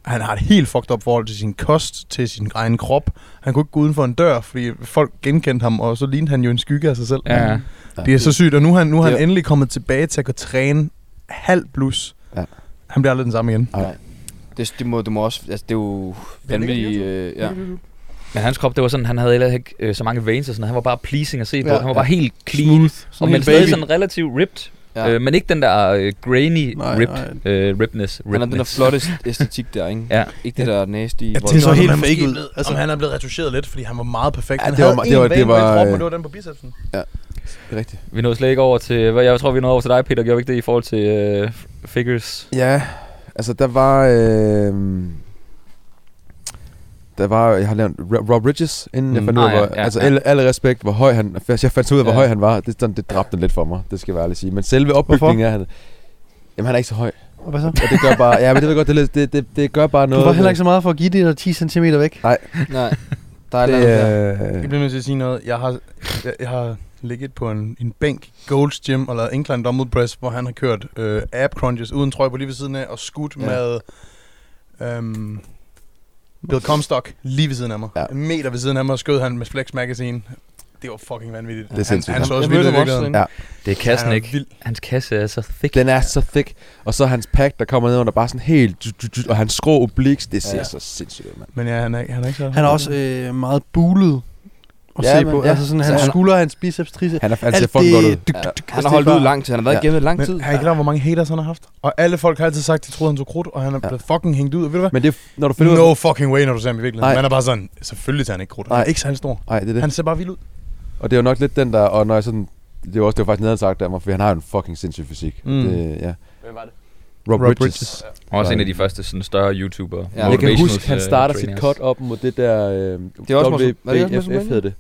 Speaker 4: Han har et helt fucked up forhold til sin kost, til sin egen krop. Han kunne ikke gå uden for en dør, fordi folk genkendte ham, og så lignede han jo en skygge af sig selv.
Speaker 3: Ja.
Speaker 4: Det er så sygt, og nu er han, nu er han
Speaker 5: Ja.
Speaker 4: endelig kommet tilbage til at kunne træne halv plus.
Speaker 5: Ja.
Speaker 4: Han bliver aldrig den samme igen.
Speaker 2: Det, det, må, det må også... Altså, det er jo vanvittigt... Øh, ja.
Speaker 3: Men hans krop, det var sådan, han havde heller ikke øh, så mange veins og sådan noget. Han var bare pleasing at se på.
Speaker 1: Ja.
Speaker 3: Han var bare helt clean. og men
Speaker 1: helt
Speaker 3: stadig
Speaker 1: baby.
Speaker 3: sådan relativt ripped.
Speaker 2: Ja.
Speaker 3: Øh, men ikke den der øh, grainy
Speaker 1: Nej,
Speaker 3: ripped, øh, ripness.
Speaker 2: Han har den der
Speaker 3: ripness.
Speaker 2: flotte æstetik der, ikke?
Speaker 3: Ja.
Speaker 2: Ikke det der nasty...
Speaker 4: Ja,
Speaker 2: hvor-
Speaker 4: det er så
Speaker 1: noget,
Speaker 4: helt
Speaker 1: man måske
Speaker 4: fake ud.
Speaker 1: ved.
Speaker 4: Altså,
Speaker 1: Altså-
Speaker 4: om han er blevet retuscheret lidt, fordi han var meget perfekt.
Speaker 5: Ja,
Speaker 4: han
Speaker 5: det var
Speaker 4: havde
Speaker 5: me-
Speaker 4: én
Speaker 5: det var-
Speaker 4: vane
Speaker 5: det
Speaker 4: på hele
Speaker 5: var,
Speaker 4: kroppen, og
Speaker 5: øh,
Speaker 4: det var den på bicepsen.
Speaker 5: Det er rigtigt.
Speaker 3: Vi nåede slet ikke over til... hvad- Jeg tror, vi nåede over til dig, Peter. Gjorde vi ikke det i forhold til øh, f- figures?
Speaker 5: Ja, altså der var... Øh, der var, jeg har nævnt Ro- Rob Bridges, inden mm. jeg
Speaker 2: Mm.
Speaker 5: fandt ud af,
Speaker 3: Ah, ja,
Speaker 5: hvor,
Speaker 3: ja,
Speaker 5: altså
Speaker 3: ja.
Speaker 5: alle, alle respekt, hvor høj han, altså jeg fandt ud af, hvor
Speaker 2: Ja.
Speaker 5: høj han var, det, sådan, det dræbte den lidt for mig, det skal jeg være ærlig sige. Men selve opbygningen af han, jamen han er ikke så høj,
Speaker 1: Og Hvad så?
Speaker 5: og det gør bare, ja, men det ved jeg godt, det, er lidt- det, det, det gør bare noget.
Speaker 1: Du var heller ikke så meget for at give det der 10 cm væk.
Speaker 2: Nej. Der er et eller andet der.
Speaker 5: det, øh,
Speaker 4: Jeg bliver nødt til at sige noget. Jeg har, jeg, jeg har ligget på en, en bænk i Gold's Gym og lavet incline dumbbell press, hvor han har kørt øh, ab crunches uden trøje på lige ved siden af og skudt ja.
Speaker 5: Ja.
Speaker 4: med øhm, Bill Comstock lige ved siden af mig.
Speaker 5: Ja.
Speaker 4: Ja. En meter ved siden af mig skød han med Flex Magazine. Det var fucking vanvittigt.
Speaker 5: er sindssygt.
Speaker 4: Han, han så også
Speaker 2: Jeg
Speaker 4: vildt
Speaker 2: mødte
Speaker 4: ud i
Speaker 2: ham også
Speaker 4: virkeligheden.
Speaker 2: derinde.
Speaker 3: Det er kassen
Speaker 4: Han er
Speaker 3: ikke.
Speaker 4: vild.
Speaker 3: Hans kasse er så thick.
Speaker 5: Den er så thick. Og så hans pack, der kommer ned under, bare sådan helt... dyt, dyt, dyt, Og hans skrå obliks, det ser
Speaker 2: Ja.
Speaker 5: ja. så sindssygt ud, mand.
Speaker 4: Men ja, han er, han er ikke så...
Speaker 1: Han er også øh, meget bulet at
Speaker 5: Ja,
Speaker 1: se
Speaker 5: men-
Speaker 1: på.
Speaker 5: ja.
Speaker 1: Altså sådan,
Speaker 5: Så
Speaker 1: hans
Speaker 5: han-
Speaker 1: skulder, hans biceps, triceps.
Speaker 5: Han, er, han ser
Speaker 1: Alt
Speaker 5: fucking godt ud.
Speaker 1: det... dyk,
Speaker 2: Ja.
Speaker 1: dyk, dyk,
Speaker 2: Han
Speaker 1: altså,
Speaker 2: har
Speaker 1: det er
Speaker 2: holdt ud
Speaker 1: bare-
Speaker 2: lang tid. Han har været
Speaker 5: Ja.
Speaker 2: igennem det lang tid.
Speaker 4: Men har I ikke klar, hvor mange haters han har haft? Og alle folk har altid sagt, at de troede, han så krudt, og han er
Speaker 5: Ja.
Speaker 4: blevet fucking hængt ud. Og ved du hvad?
Speaker 5: Men det, er- når du finder ud
Speaker 4: No
Speaker 5: af...
Speaker 4: fucking way, når du ser ham i virkeligheden.
Speaker 5: Nej.
Speaker 4: Man er bare sådan, selvfølgelig tager han ikke krudt. Han er
Speaker 5: Nej.
Speaker 4: ikke særlig stor.
Speaker 5: Nej, det er det.
Speaker 4: Han ser bare vild ud.
Speaker 5: Og det er jo nok lidt den der... Og når jeg sådan... Det var også det var faktisk nederen sagt af mig, for han har jo en fucking sindssyg fysik.
Speaker 4: Mm.
Speaker 5: Det, ja.
Speaker 7: Hvem var det?
Speaker 4: Rob
Speaker 5: Rob, Rob Bridges.
Speaker 4: Bridges.
Speaker 3: Og også
Speaker 5: Sådan.
Speaker 3: en af de første sådan, større YouTubere.
Speaker 2: Ja.
Speaker 5: Jeg kan
Speaker 3: motivational,
Speaker 5: huske, han
Speaker 3: øh,
Speaker 5: starter sit
Speaker 3: trainers.
Speaker 5: cut op mod det der... Øh,
Speaker 2: Det er også Morten- var det ikke også Morten
Speaker 5: WBFF hed det.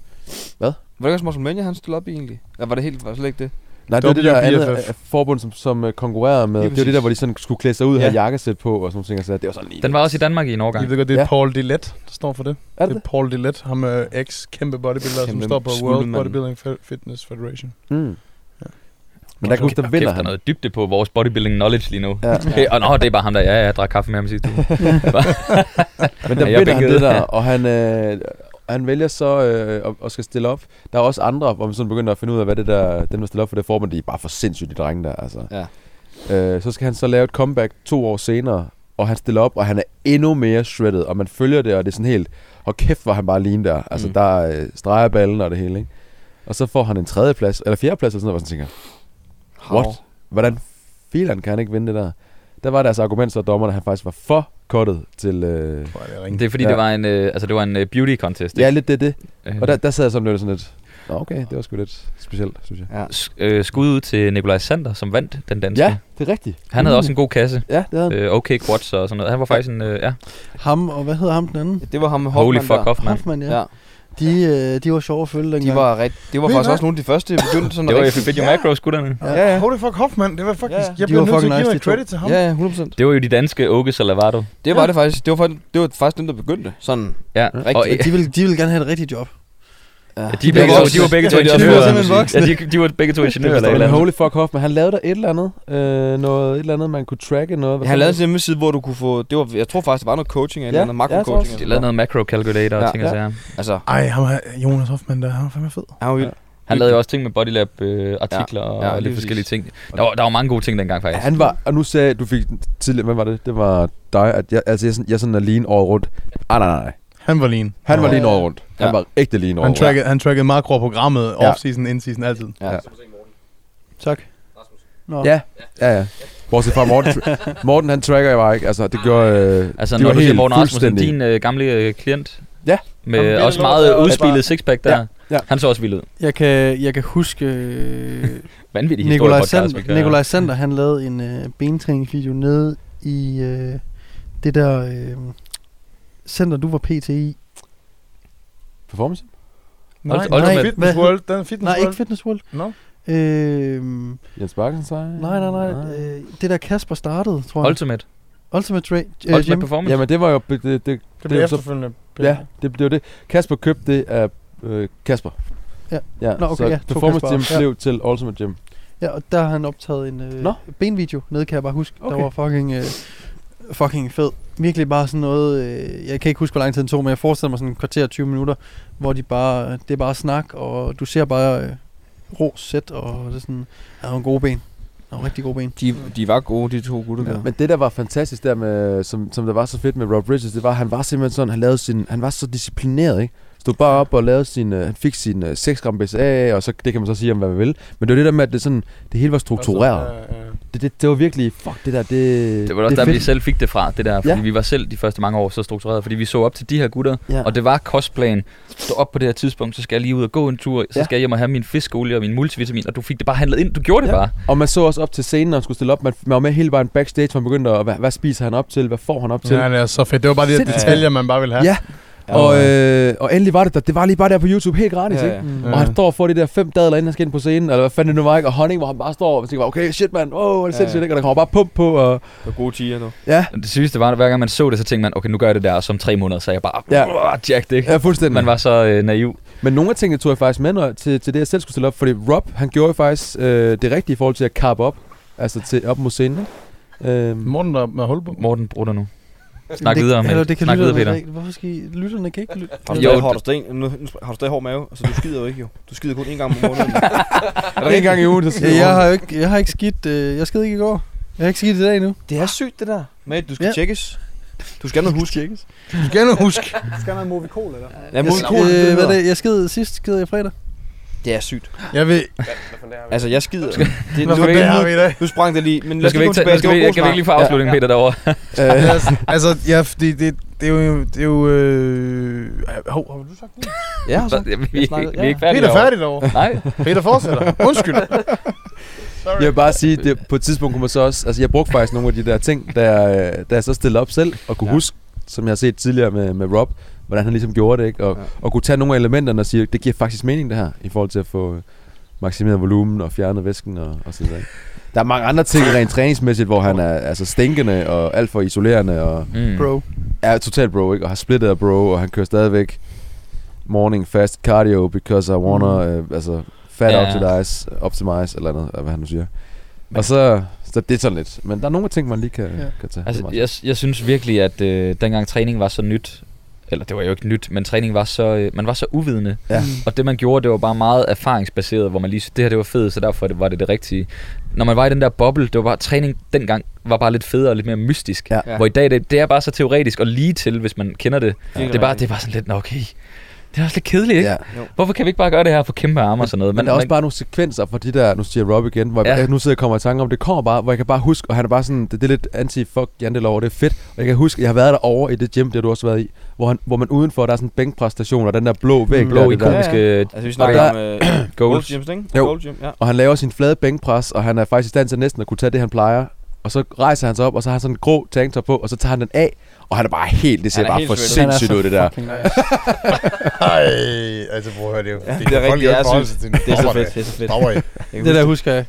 Speaker 2: Var det ikke også Morten Mønje, han stillede op i egentlig? Eller var det helt... Var det slet ikke det?
Speaker 5: Nej, det var det der andet
Speaker 4: WBFF.
Speaker 5: øh, forbund, som, som øh, konkurrerede med.
Speaker 2: Lige
Speaker 5: Det var det der,
Speaker 2: præcis.
Speaker 5: hvor de sådan skulle klæde sig ud og have
Speaker 2: Ja.
Speaker 5: jakkesæt på og sådan nogle ting. Og så, det var sådan lige...
Speaker 3: Den var også i Danmark i en
Speaker 4: I
Speaker 3: årgang.
Speaker 4: ved godt, det er
Speaker 5: Ja.
Speaker 4: Paul Dillette, der står for det.
Speaker 5: Er
Speaker 4: det
Speaker 5: det
Speaker 4: er Paul Dillette, ham er ex kæmpe bodybuilder, som
Speaker 2: Kæmpe
Speaker 4: står på
Speaker 2: smuttet
Speaker 4: World
Speaker 2: mand.
Speaker 4: Bodybuilding Fe- Fitness Federation.
Speaker 5: det? Mm. Men der kan jeg huske, der
Speaker 3: Kæft,
Speaker 5: vinder
Speaker 3: der er
Speaker 5: han.
Speaker 3: noget dybde på vores bodybuilding knowledge lige nu.
Speaker 5: Ja.
Speaker 3: Ja. Og nå, det er bare ham der. Ja, ja, jeg drak kaffe med ham sidste uge.
Speaker 5: Men der
Speaker 3: Ja, jeg
Speaker 5: vinder han
Speaker 3: bænkede.
Speaker 5: det der, og han, øh, han vælger så øh, at- at skal stille op. Der er også andre, hvor man sådan begynder at finde ud af, hvad det der, dem der stiller op for det forbund, de er bare for sindssygt, de drenge der, altså.
Speaker 2: Ja.
Speaker 5: Øh, så skal han så lave et comeback to år senere, og han stiller op, og han er endnu mere shredded, og man følger det, og det er sådan helt, og kæft, hvor han bare lean der. Altså,
Speaker 2: Mm.
Speaker 5: mm. der er øh, stregerballen og det hele, ikke? Og så får han en tredje plads, eller fjerde plads, eller sådan noget, hvor man tænker, what? Hvordan filan kan han ikke vinde det der? Der var deres argument så, at dommerne, han faktisk var for kottet til... Øh,
Speaker 4: Hvor er det
Speaker 3: Det
Speaker 4: ringe.
Speaker 3: er fordi,
Speaker 5: Ja.
Speaker 3: det var en, øh, altså, det var en øh, beauty contest.
Speaker 5: ja, lidt det, det.
Speaker 3: Øh,
Speaker 5: Og der, der sad jeg sådan lidt sådan lidt, Nå, okay, det var sgu lidt specielt, synes jeg.
Speaker 2: Ja.
Speaker 3: S- øh, skud ud til Nikolaj Sander, som vandt den danske.
Speaker 5: Ja, det er rigtigt.
Speaker 3: Han havde også en god kasse.
Speaker 5: Ja, det havde han.
Speaker 3: Øh, okay quads og sådan noget. Han var faktisk en... Øh, ja.
Speaker 1: Ham, og hvad hedder ham den anden?
Speaker 2: Det var ham med
Speaker 3: Holy
Speaker 2: Hoffmann
Speaker 3: fuck
Speaker 2: der.
Speaker 3: off, mand.
Speaker 1: Hoffmann, ja.
Speaker 2: Ja.
Speaker 1: ja. De, øh, de var sjove at følge dengang.
Speaker 2: De var, rigt, det var
Speaker 4: Ved I
Speaker 2: faktisk
Speaker 4: hvad?
Speaker 2: også nogle af de første, der begyndte sådan
Speaker 3: Det var jo
Speaker 2: rigtig-
Speaker 3: Fit Your Macros, gutterne.
Speaker 2: Ja, ja.
Speaker 4: Holy fuck Hoffman, det var faktisk...
Speaker 2: Ja, ja.
Speaker 4: Jeg
Speaker 1: De var
Speaker 4: bliver nødt til
Speaker 1: fucking
Speaker 4: at give
Speaker 1: nice, de
Speaker 4: noget
Speaker 1: to.
Speaker 4: credit til ham.
Speaker 2: Ja, ja, 100%.
Speaker 3: Det var jo de danske Oge Salavato.
Speaker 2: Det var det faktisk. Det var, faktisk, det var faktisk dem, der begyndte. Sådan
Speaker 3: Ja, og, øh,
Speaker 2: rigtig.
Speaker 1: de, ville, de ville gerne have et rigtigt job.
Speaker 2: Ja,
Speaker 3: de, er begge,
Speaker 2: var
Speaker 3: to,
Speaker 2: også-
Speaker 3: de var begge to
Speaker 2: Ja, de var
Speaker 3: ingeniører.
Speaker 2: simpelthen
Speaker 3: Ja, de, de var begge to ingeniører eller et eller
Speaker 5: Men
Speaker 3: andet.
Speaker 5: holy fuck Hoffman, han lavede der et eller andet, øh, noget, et eller andet, man kunne tracke noget. Hvad
Speaker 2: Han lavede en
Speaker 5: fanden-
Speaker 2: hjemmeside, hvor du kunne få... Det var, jeg tror faktisk, der var noget coaching eller
Speaker 5: Ja,
Speaker 2: ja, noget
Speaker 5: ja, jeg tror
Speaker 2: makro-coaching.
Speaker 5: også.
Speaker 3: De lavede noget macro calculator og
Speaker 5: Ja,
Speaker 3: ting og
Speaker 5: ja.
Speaker 3: sager.
Speaker 2: Altså,
Speaker 4: Ej, ham her, Jonas Hoffman der, han var fandme fed.
Speaker 2: han var vild.
Speaker 3: Han lavede jo også ting med bodylab øh, artikler
Speaker 2: Ja,
Speaker 3: og
Speaker 2: lige
Speaker 3: lidt
Speaker 2: præcis.
Speaker 3: forskellige ting. Der var, der var mange gode ting dengang faktisk.
Speaker 5: Han var, og nu sagde jeg, du fik tidligere, hvad var det? Det var dig, at jeg, altså jeg, er sådan- jeg er sådan er lean året rundt. Ah, nej, nej, nej.
Speaker 4: Han var lean.
Speaker 5: Han var
Speaker 1: Nå.
Speaker 5: lean året rundt. Han
Speaker 2: Ja.
Speaker 5: var ægte lean året
Speaker 4: Han
Speaker 5: rundt.
Speaker 4: trackede, han trackede makro programmet
Speaker 5: Ja.
Speaker 4: off-season, in-season, altid.
Speaker 2: Ja.
Speaker 1: Tak. Nå.
Speaker 5: Ja, ja, ja. Bortset fra Morten. tra- Morten, han tracker jeg bare ikke. Altså, det gjorde... Øh,
Speaker 3: Altså,
Speaker 5: de
Speaker 3: når
Speaker 5: var
Speaker 3: du siger
Speaker 5: helt
Speaker 3: Morten Rasmussen,
Speaker 5: fuldstændig-
Speaker 3: din øh, gamle øh, klient.
Speaker 5: Ja.
Speaker 3: Med
Speaker 7: Ham
Speaker 3: øh,
Speaker 7: vild
Speaker 3: også
Speaker 7: ud,
Speaker 3: meget
Speaker 7: og
Speaker 3: øh,
Speaker 7: bare-
Speaker 3: udspillet sixpack der.
Speaker 5: ja.
Speaker 3: Han så også vild ud.
Speaker 1: Jeg kan, jeg kan huske, øh,
Speaker 3: Vanvittig historie
Speaker 1: Nikolaj
Speaker 3: podcast.
Speaker 1: Sander, Nikolaj Sander, han lavede en øh, bentræningsvideo nede i øh, det der øh, center, du var PTI.
Speaker 5: Performance?
Speaker 3: Nej, Ultimate.
Speaker 4: Fitness
Speaker 1: Hvad?
Speaker 4: World, den er Fitness
Speaker 1: Nej, ikke
Speaker 4: World.
Speaker 1: Fitness World.
Speaker 4: Nå.
Speaker 1: Øh,
Speaker 5: Jens Bakken sej?
Speaker 1: nej, nej, nej. Øh, det der Kasper startede, tror jeg.
Speaker 3: Ultimate.
Speaker 1: Ultimate, Ra- øh,
Speaker 3: Ultimate
Speaker 1: Gym.
Speaker 3: Performance.
Speaker 5: Jamen, det var jo... Det, det, det,
Speaker 4: Det
Speaker 5: er
Speaker 4: blev
Speaker 5: jo så-
Speaker 4: efterfølgende.
Speaker 5: ja, det, det var det. Kasper købte det af øh, Kasper.
Speaker 1: Ja.
Speaker 5: ja
Speaker 1: Nå, okay,
Speaker 5: så
Speaker 1: ja, to
Speaker 5: Performance
Speaker 1: Kasper.
Speaker 5: Gym
Speaker 1: Ja.
Speaker 5: blev til Ultimate Gym.
Speaker 1: Ja, og der har han optaget en øh,
Speaker 5: Nå.
Speaker 1: benvideo nede, kan jeg bare huske. Okay.
Speaker 5: Okay.
Speaker 1: Der var fucking, øh, fucking fed. Virkelig bare sådan noget, øh, jeg kan ikke huske, hvor lang tid den tog, men jeg forestiller mig sådan en kvarter og 20 minutter, hvor de bare, det er bare snak, og du ser bare øh, rå sæt, og det er sådan, han har nogle gode ben. Han har rigtig gode ben.
Speaker 2: De, de var gode, de to gutter
Speaker 1: Ja.
Speaker 2: ja.
Speaker 5: Men det, der var fantastisk der med, som, som der var så fedt med Rob Bridges, det var, at han var simpelthen sådan, han, lavede sin, han var så disciplineret, ikke? Stod bare op og lavede sin, øh, han fik sin øh, 6 gram BCA, og så, det kan man så sige om, hvad man vil. Men det var det der med, at det, sådan, det hele var struktureret. Det, det, det var virkelig, fuck det der, det
Speaker 3: Det var også
Speaker 5: det er
Speaker 3: der, vi
Speaker 5: fedt.
Speaker 3: selv fik det fra, det der. Fordi
Speaker 5: Ja.
Speaker 3: vi var selv de første mange år så struktureret, fordi vi så op til de her gutter.
Speaker 5: Ja.
Speaker 3: Og det var kostplanen. Stå op på det her tidspunkt, så skal jeg lige ud og gå en tur. Så
Speaker 5: Ja.
Speaker 3: skal jeg hjem og have min fiskolie og min multivitamin. Og du fik det bare handlet ind. Du gjorde det
Speaker 5: Ja.
Speaker 3: bare.
Speaker 5: Og man så også op til scenen, når han skulle stille op. Man, man var med hele vejen backstage, hvor man begyndte at, hvad, hvad spiser han op til? Hvad får han op til?
Speaker 4: Ja, det er så fedt. Det var bare de der
Speaker 5: Sindssygt.
Speaker 4: detaljer, man bare ville have.
Speaker 5: Ja. Og, øh, og endelig var det der. Det var lige bare der på YouTube, helt gratis,
Speaker 2: Ja,
Speaker 5: ikke?
Speaker 2: ja.
Speaker 1: Mm.
Speaker 5: Og han står og får de der fem dadler, inden han skal ind på scenen, eller hvad fanden det nu var, ikke? Og honning, hvor han bare står og tænker, bare, okay, shit, mand, åh, oh, det er
Speaker 2: Ja,
Speaker 5: sindssygt,
Speaker 2: ja.
Speaker 5: ikke? Og der kommer bare pump på, og
Speaker 2: Og gode tiger nu.
Speaker 5: ja,
Speaker 3: Det sygeste var, at hver gang man så det, så tænkte man, okay, nu gør jeg det der. Og så om tre måneder, så er jeg bare,
Speaker 5: Ja.
Speaker 3: ja. jacked, ikke?
Speaker 5: ja fuldstændig.
Speaker 3: Man var så øh, naiv.
Speaker 5: Men nogle af tingene tog jeg faktisk med når, til, til det, jeg selv skulle stille op, fordi Rob, han gjorde jo faktisk øh, det rigtige i forhold til at kappe op, altså til, op mod scenen, ikke? Øhm,
Speaker 4: Morten der med hul på.
Speaker 3: Morten, brug dig nu. Snak videre,
Speaker 1: det,
Speaker 3: mand.
Speaker 1: eller det kan
Speaker 3: Snak videre,
Speaker 1: lytterne
Speaker 3: Peter.
Speaker 1: ikke. Hvorfor skal I, lytterne kan ikke lytte?
Speaker 2: Har du,
Speaker 3: Jo,
Speaker 2: stadig, har,
Speaker 3: det-
Speaker 2: du stadig, nu, nu har du stadig hård mave? Altså, du skider jo ikke jo. Du skider kun én gang om måneden.
Speaker 5: en gang i ugen, så
Speaker 1: Ja,
Speaker 5: siger
Speaker 1: jeg
Speaker 5: Rob,
Speaker 1: har jo ikke, jeg har ikke skidt, øh, jeg skid ikke i går. Jeg har ikke skidt i dag endnu.
Speaker 2: det er sygt, det der. Mate, du skal
Speaker 1: Ja.
Speaker 2: ja. tjekkes. Du skal have noget husk.
Speaker 1: Tjekkes.
Speaker 4: Du skal nu huske.
Speaker 6: Skal man have Movicol eller? Ja.
Speaker 2: Ja,
Speaker 1: Jeg,
Speaker 2: Movicol,
Speaker 1: sk-
Speaker 2: det,
Speaker 1: øh, hvad er
Speaker 2: hedder.
Speaker 1: det, jeg skid sidst, skid jeg fredag.
Speaker 2: det er sygt.
Speaker 4: Jeg ved,
Speaker 7: Hvad fanden det her?
Speaker 2: Altså, jeg skider. Det, nu,
Speaker 4: hvorfor det har
Speaker 2: nu,
Speaker 4: vi i dag.
Speaker 2: nu sprang det lige, men
Speaker 3: Nu
Speaker 2: lad os
Speaker 3: skal vi
Speaker 2: lige
Speaker 3: ikke,
Speaker 2: komme
Speaker 3: tage,
Speaker 2: tilbage.
Speaker 3: nu skal vi, jeg kan vi ikke lige få afslutningen, Peter, derovre.
Speaker 5: øh,
Speaker 4: Ja, sådan- altså, ja, fordi det, det er jo... Det er jo øh... Hov, har du sagt det?
Speaker 2: Ja, så.
Speaker 3: vi, vi,
Speaker 2: snakkede-
Speaker 3: vi er ikke
Speaker 2: ja.
Speaker 3: færdige
Speaker 4: Peter er
Speaker 3: derovre.
Speaker 4: færdig derovre.
Speaker 3: Nej,
Speaker 4: Peter fortsætter. Undskyld.
Speaker 5: Jeg vil bare sige, det, på et tidspunkt kunne man så også... Altså, jeg brugte faktisk nogle af de der ting, da jeg, øh, da jeg så stillede op selv, og kunne ja.
Speaker 2: Ja.
Speaker 5: huske, som jeg har set tidligere med, med Rob, hvordan han ligesom gjorde det, ikke? Og, ja.
Speaker 2: Ja.
Speaker 5: og kunne tage nogle af elementerne og sige, det giver faktisk mening, det her, i forhold til at få øh, maksimeret volumen og fjernet væsken og, og så videre. ikke? Der er mange andre ting rent træningsmæssigt, hvor han er altså stinkende og alt for isolerende og
Speaker 3: mm.
Speaker 1: Bro.
Speaker 5: er totalt bro, ikke? Og har splittet af bro, og han kører stadigvæk morning fast cardio, because I wanna, øh, altså, fat
Speaker 3: Mm. Ja.
Speaker 5: yeah. optimize, optimize, eller andet, eller hvad han nu siger. og så, så det er sådan lidt. Men der er nogle ting, man lige kan,
Speaker 1: Ja.
Speaker 5: ja. kan tage. Det er
Speaker 3: Altså,
Speaker 5: meget
Speaker 3: jeg, jeg synes virkelig, at øh, dengang træning var så nyt, eller det var jo ikke nyt, men træning var så, øh, man var så uvidende.
Speaker 5: Ja.
Speaker 3: Og det man gjorde, det var bare meget erfaringsbaseret, hvor man lige synes, det her det var fedt, så derfor det- var det det rigtige. Når man var i den der boble, det var bare, træning dengang var bare lidt federe og lidt mere mystisk.
Speaker 5: Ja.
Speaker 3: Hvor i dag, det, det er bare så teoretisk og lige til, hvis man kender det.
Speaker 2: Ja.
Speaker 3: Det er bare, det er bare sådan lidt, "Nå, okay, Det er også lidt kedeligt, ikke?
Speaker 5: Ja.
Speaker 3: Hvorfor kan vi ikke bare gøre det her og få kæmpe arme og sådan noget?
Speaker 5: Men, men der er også bare nogle sekvenser fra de der, nu siger Rob igen, hvor
Speaker 3: Ja.
Speaker 5: ja. jeg nu sidder og kommer i tanke om, det kommer bare, hvor jeg kan bare huske, og han er bare sådan, det, det er lidt anti-fuck jantelov, og det er fedt. Og jeg kan huske, jeg har været derovre i det gym, det har du også har været i, hvor, han, hvor man udenfor, der er sådan en bænkpræstation, og den der blå væg,
Speaker 3: Mm. blå
Speaker 5: der, det der,
Speaker 3: ikoniske ja,
Speaker 2: Altså, vi snakker
Speaker 5: der-
Speaker 2: om øh,
Speaker 3: goals.
Speaker 2: Gold Gyms, ikke?
Speaker 5: Jo.
Speaker 2: Gold Gym, ja.
Speaker 5: Og han laver sin flade bænkpres, og han er faktisk i stand til næsten at kunne tage det, han plejer. Og så rejser han sig op, og så har han sådan en grå tanktop på, og så tager han den af, og han er bare helt, det ser
Speaker 2: Han er
Speaker 5: bare
Speaker 2: helt
Speaker 5: for
Speaker 2: shredded.
Speaker 5: sindssygt ud, det der.
Speaker 4: Ej, altså prøv at høre, det er jo...
Speaker 2: Ja, det er rigtigt, jeg synes, det er så fedt, det er så fedt.
Speaker 4: Dogger det.
Speaker 2: Jeg kan
Speaker 1: Det der
Speaker 2: huske
Speaker 1: husker jeg.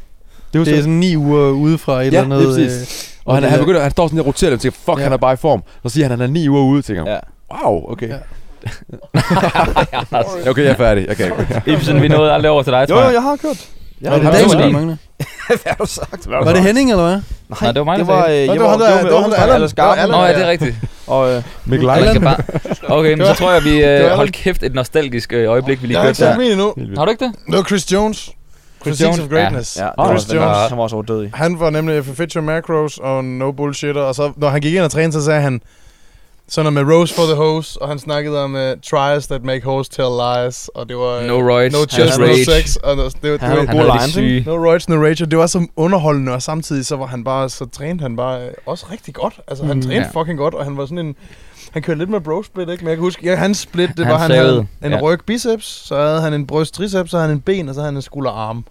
Speaker 5: Det
Speaker 1: Det er sådan ni uger ude fra et
Speaker 5: Ja,
Speaker 1: eller
Speaker 5: det er
Speaker 1: andet...
Speaker 5: præcis.
Speaker 1: Øh,
Speaker 5: Og han,
Speaker 1: det
Speaker 5: han,
Speaker 1: der-
Speaker 5: begynder, han står sådan og roterer dem og tænker, fuck,
Speaker 1: Ja.
Speaker 5: han er bare i form. Så siger han, at han er ni uger ude, tænker
Speaker 2: Ja.
Speaker 5: ja. wow, okay.
Speaker 1: Ja.
Speaker 5: Ja, Okay, jeg er færdig. Jeg kan ikke.
Speaker 3: Ibsen, vi nåede aldrig over til dig,
Speaker 2: Jo,
Speaker 3: tror
Speaker 2: jo,
Speaker 3: jeg.
Speaker 2: jeg har kørt. Jeg
Speaker 1: var det
Speaker 2: har
Speaker 1: David,
Speaker 2: kørt.
Speaker 1: der manglede?
Speaker 2: Hvad har du sagt? Hvad har du
Speaker 1: Var det
Speaker 2: sagt?
Speaker 1: Henning, eller hvad?
Speaker 3: Nej, det var mig, der
Speaker 2: det var, øh,
Speaker 3: sagde
Speaker 2: jeg
Speaker 4: Nå,
Speaker 2: var,
Speaker 4: det
Speaker 2: det
Speaker 4: var
Speaker 2: var
Speaker 4: ham, der-
Speaker 2: med
Speaker 4: det var ham, der-
Speaker 2: Aarhus og Allan Skarpen,
Speaker 4: Allan.
Speaker 3: Nå, ja,
Speaker 4: ja.
Speaker 3: det er rigtigt.
Speaker 2: og øh,
Speaker 5: Mikkel
Speaker 3: Man
Speaker 5: Ejland.
Speaker 3: kan bare... Okay, men så tror jeg, vi...
Speaker 4: Det
Speaker 3: Øh,
Speaker 4: var
Speaker 3: hold kæft, et nostalgisk øh, øjeblik, vi lige
Speaker 4: Jeg har ikke
Speaker 3: kørte der.
Speaker 4: sagt min endnu.
Speaker 3: Har du ikke det?
Speaker 4: Det var Chris Jones. Chris Jones of
Speaker 3: Jones, ja.
Speaker 4: Greatness.
Speaker 2: ja, det var,
Speaker 4: Chris
Speaker 2: den
Speaker 4: Jones.
Speaker 2: var, han var også overdødig.
Speaker 4: Han var nemlig for Fitcher Macros og no bullshitter, og så når han gik ind og trænede, så sagde han sådan noget med Rose for the Hose, og han snakkede om uh, tries that make hoes tell lies, og det var øh,
Speaker 3: No rights,
Speaker 4: no chest,
Speaker 3: no
Speaker 4: no
Speaker 3: rage.
Speaker 4: sex, og det, det, det,
Speaker 2: Han havde
Speaker 4: var
Speaker 3: Han
Speaker 2: gode
Speaker 3: havde de
Speaker 2: lines, ikke?
Speaker 3: syge.
Speaker 4: No rights, no rage, og det var så underholdende, og samtidig så var han bare, så trænede han bare øh, også rigtig godt. Altså han
Speaker 1: Mm.
Speaker 4: trænede
Speaker 3: Ja.
Speaker 4: fucking godt, og han var sådan en, han kørte lidt med bro split, ikke? Men jeg kan huske, ja, hans split, det
Speaker 3: Han
Speaker 4: var, han
Speaker 3: savede,
Speaker 4: havde en
Speaker 3: ja.
Speaker 4: ryg biceps, så havde han en bryst triceps, så havde han en ben, og så havde han en skulderarm.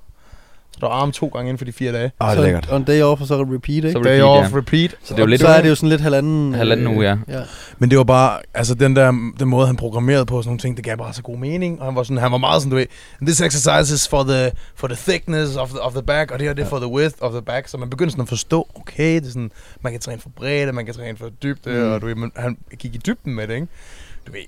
Speaker 4: Så der var arm to gange inden for de fire dage.
Speaker 5: Åh, det
Speaker 1: Så
Speaker 5: er lækkert.
Speaker 1: On day off, og så repeat, ikke?
Speaker 3: Så
Speaker 1: Så,
Speaker 4: Day
Speaker 3: repeat,
Speaker 4: off,
Speaker 3: ja.
Speaker 4: repeat.
Speaker 3: Så det er jo lidt...
Speaker 1: så er det jo sådan lidt halvanden... øh,
Speaker 3: Halvanden uge, ja.
Speaker 1: ja.
Speaker 4: Men det var bare, altså den der, den måde han programmerede på sådan nogle ting, det gav bare så god mening, og han var sådan, han var meget sådan, du ved, this exercise is for the, for the thickness of the, of the back, og det her det er for the width of the back, så man begyndte sådan at forstå, okay, det er sådan, man kan træne for bredde, man kan træne for dybde, mm. og du ved, men han gik i dybden med det, ikke? Du ved,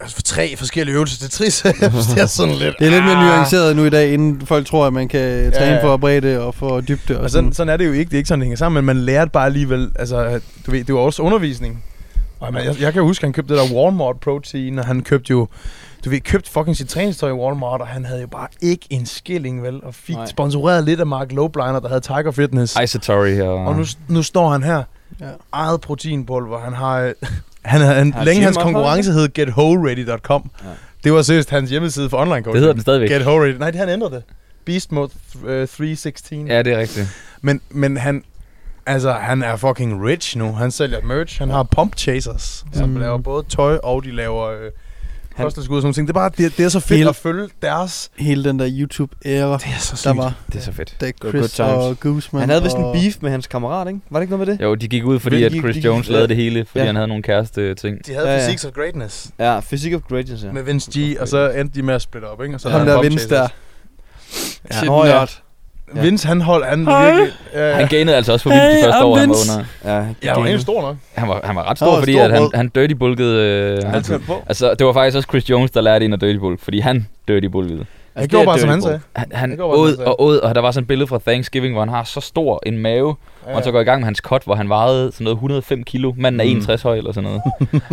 Speaker 4: altså for tre forskellige øvelser til triceps, det er sådan lidt,
Speaker 1: Det er lidt mere
Speaker 4: ah.
Speaker 1: nuanceret nu i dag, inden folk tror, at man kan træne
Speaker 4: ja.
Speaker 1: for bredde og for dybde. Og
Speaker 4: Og sådan,
Speaker 1: sådan.
Speaker 4: sådan er det jo ikke, det er ikke sådan, det hænger sammen, men man lærte bare alligevel, altså, du ved, det var også undervisning. Og man, jeg, jeg kan huske, han købte det der Walmart Protein, og han købte jo, du ved, købte fucking sit træningstøj i Walmart, og han havde jo bare ikke en skilling, vel, og fik
Speaker 2: Nej.
Speaker 4: Nej. sponsoreret lidt af Mark Lowbliner, der havde Tiger Fitness. Ej.
Speaker 3: Isotory her.
Speaker 4: Og nu, nu står han her,
Speaker 1: Ja.
Speaker 4: ja. eget proteinpulver, han har, øh, han, han, han
Speaker 2: Har
Speaker 4: længe hans
Speaker 2: gym også,
Speaker 4: konkurrence hed getwholeready.com.
Speaker 2: Ja.
Speaker 4: Ja. Det var seriøst hans hjemmeside for online coaching.
Speaker 3: Det hedder den stadigvæk.
Speaker 4: Get Whole Ready. Nej, det han ændrede det. Beast Mode øh, 316.
Speaker 3: Ja, det er rigtigt.
Speaker 4: Men, men han, altså, han er fucking rich nu. Han sælger merch. Han har Pump Chasers, ja. som
Speaker 1: Mm.
Speaker 4: laver både tøj og de laver øh,
Speaker 2: Han-
Speaker 4: kosttilskud og sådan nogle ting. Det er bare det, det er så fedt
Speaker 1: Hele-
Speaker 4: at følge deres.
Speaker 1: Hele den der YouTube-æra,
Speaker 4: Det er så sygt.
Speaker 1: der var,
Speaker 3: Det er så fedt.
Speaker 1: da
Speaker 2: var
Speaker 1: Chris
Speaker 2: good times.
Speaker 1: og Gooseman
Speaker 2: Han havde vist en
Speaker 1: og-
Speaker 2: beef med hans kammerat, ikke? Var det ikke noget med det?
Speaker 3: Jo, de gik ud, fordi
Speaker 2: Men
Speaker 3: at
Speaker 2: de-
Speaker 3: Chris
Speaker 2: de-
Speaker 3: Jones
Speaker 2: ja.
Speaker 3: lavede det hele, fordi
Speaker 2: Ja.
Speaker 3: han havde nogle kæreste øh, ting.
Speaker 4: De havde
Speaker 2: Ja,
Speaker 4: ja,
Speaker 2: ja.
Speaker 4: Physiques of Greatness
Speaker 2: Ja, Physique of Greatness, ja.
Speaker 4: med Vince G, og så endte de med at splitte op, ikke? Og så
Speaker 1: Ham
Speaker 4: havde han
Speaker 1: der
Speaker 4: Pump
Speaker 1: Vince
Speaker 4: Chasers.
Speaker 1: Shit,
Speaker 2: Nå, ja.
Speaker 1: nørd.
Speaker 4: Ja. Vince, han holdt han virkelig... Ja,
Speaker 3: Han gainede altså også for vildt de
Speaker 1: Hey,
Speaker 3: første
Speaker 1: I'm
Speaker 3: år, han var
Speaker 1: Vince.
Speaker 3: under.
Speaker 2: Ja,
Speaker 4: jeg var egentlig stor nok.
Speaker 3: Han var, han var ret
Speaker 1: Han
Speaker 3: stor,
Speaker 1: var
Speaker 3: fordi
Speaker 1: stor
Speaker 3: at han,
Speaker 1: brød.
Speaker 3: han dirty bulkede. Øh,
Speaker 2: Han
Speaker 3: altid.
Speaker 2: kørte på.
Speaker 3: altså, det var faktisk også Chris Jones, der lærte en at dirty bulk, fordi han dirty bulkede.
Speaker 4: Jeg gjorde bare, som han sagde.
Speaker 3: Han, han
Speaker 4: Det går godt,
Speaker 3: åd
Speaker 4: han sagde.
Speaker 3: og åd, og der var sådan et billede fra Thanksgiving, hvor han har så stor en mave, og han så går i gang med hans cut, hvor han vejede sådan noget 105 kilo. Manden er 61 høj eller sådan noget.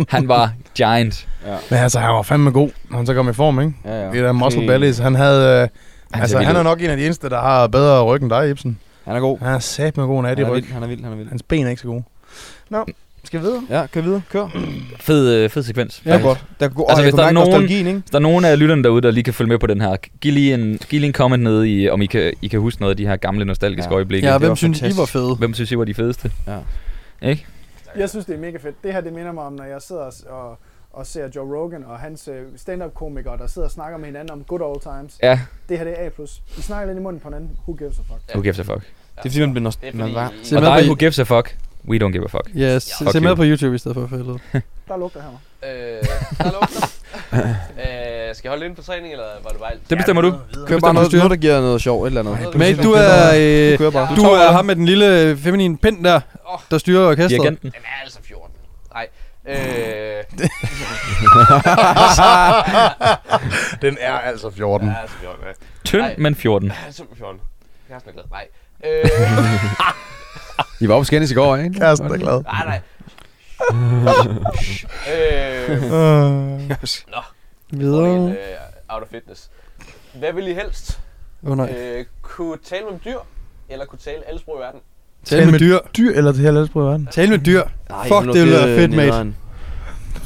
Speaker 3: han var giant.
Speaker 4: Men altså, han var fandme god, når han så kom i form, ikke?
Speaker 2: Ja, ja.
Speaker 4: Det der muscle bellies, han havde... Øh, altså,
Speaker 3: vild
Speaker 4: han
Speaker 3: ud.
Speaker 4: er nok en af de eneste, der har bedre ryg end dig, Ibsen.
Speaker 2: Han er god.
Speaker 4: Han er sat med god
Speaker 2: Han
Speaker 4: nat i
Speaker 2: er
Speaker 4: ryg.
Speaker 2: vild, han er vild, han er vild.
Speaker 4: Hans ben er ikke så gode. Nå, skal vi videre?
Speaker 2: Ja, kør videre. Kør.
Speaker 3: Fed, øh, fed sekvens.
Speaker 2: Ja, godt. Der kunne, altså,
Speaker 3: Altså, hvis
Speaker 2: jeg kunne
Speaker 3: der er
Speaker 2: mærke
Speaker 3: nogen-
Speaker 2: nostalgien, ikke?
Speaker 3: Hvis der er nogen af lytterne derude, der lige kan følge med på den her, giv lige en, giv lige en comment nede i, om I kan, I kan huske noget af de her gamle nostalgiske
Speaker 2: Ja.
Speaker 3: ja. øjeblikke.
Speaker 1: Ja,
Speaker 3: Ja.
Speaker 2: det var
Speaker 1: hvem synes, I var
Speaker 2: fantastisk.
Speaker 1: fede?
Speaker 3: Hvem synes I var de fedeste?
Speaker 6: Jeg synes, det er mega fedt. Det her, det minder mig om, når jeg sidder og, og, og ser Joe Rogan og hans øh, stand-up-komikere, der sidder og snakker med hinanden om good old times.
Speaker 3: Ja,
Speaker 6: Det her, det er A+. De snakker lidt i munden på hinanden. Who gives a fuck?
Speaker 3: who gives a fuck?
Speaker 2: Det er fordi, man bliver
Speaker 7: Det er
Speaker 2: nostalgisk. Man
Speaker 7: fordi...
Speaker 2: var...
Speaker 1: Se
Speaker 3: Og
Speaker 1: med på,
Speaker 3: dig, who
Speaker 1: I-
Speaker 3: gives a fuck? We don't give a fuck.
Speaker 1: Ja, se,
Speaker 3: Fuck
Speaker 1: se
Speaker 3: you.
Speaker 1: med på YouTube i stedet for for helvede.
Speaker 6: Der lugter her.
Speaker 7: Øh, der lugter. øh, skal jeg holde ind på træning, eller var det bare alt?
Speaker 3: Det bestemmer du.
Speaker 2: Kør bare noget, noget, der giver noget sjov, et eller andet.
Speaker 1: Men du er, øh,
Speaker 2: kører bare.
Speaker 1: du er ham med den lille øh, feminine pind der,
Speaker 7: Åh.
Speaker 1: der styrer orkestret.
Speaker 3: Dirigenten.
Speaker 7: Den er altså 14. Nej. Øh,
Speaker 4: Den er altså 14.
Speaker 7: den
Speaker 4: Ja.
Speaker 7: er altså 14. ja.
Speaker 3: Tynd,
Speaker 7: Nej.
Speaker 3: men 14.
Speaker 7: Den er altså 14. Jeg er sådan glad. Nej. Øh,
Speaker 5: I var på Skændis i går, ikke?
Speaker 4: Jeg er sådan glad.
Speaker 7: nej, nej. øh,
Speaker 1: Videre.
Speaker 7: øh, out of fitness. Hvad vil I helst?
Speaker 1: Åh oh, nej.
Speaker 7: Øh, kunne tale om dyr, eller kunne tale alle sprog i verden?
Speaker 1: Tal med dyr.
Speaker 4: Dyr eller det her landsbrug i verden?
Speaker 1: Tal med dyr. Fuck, det lyder fedt, mate.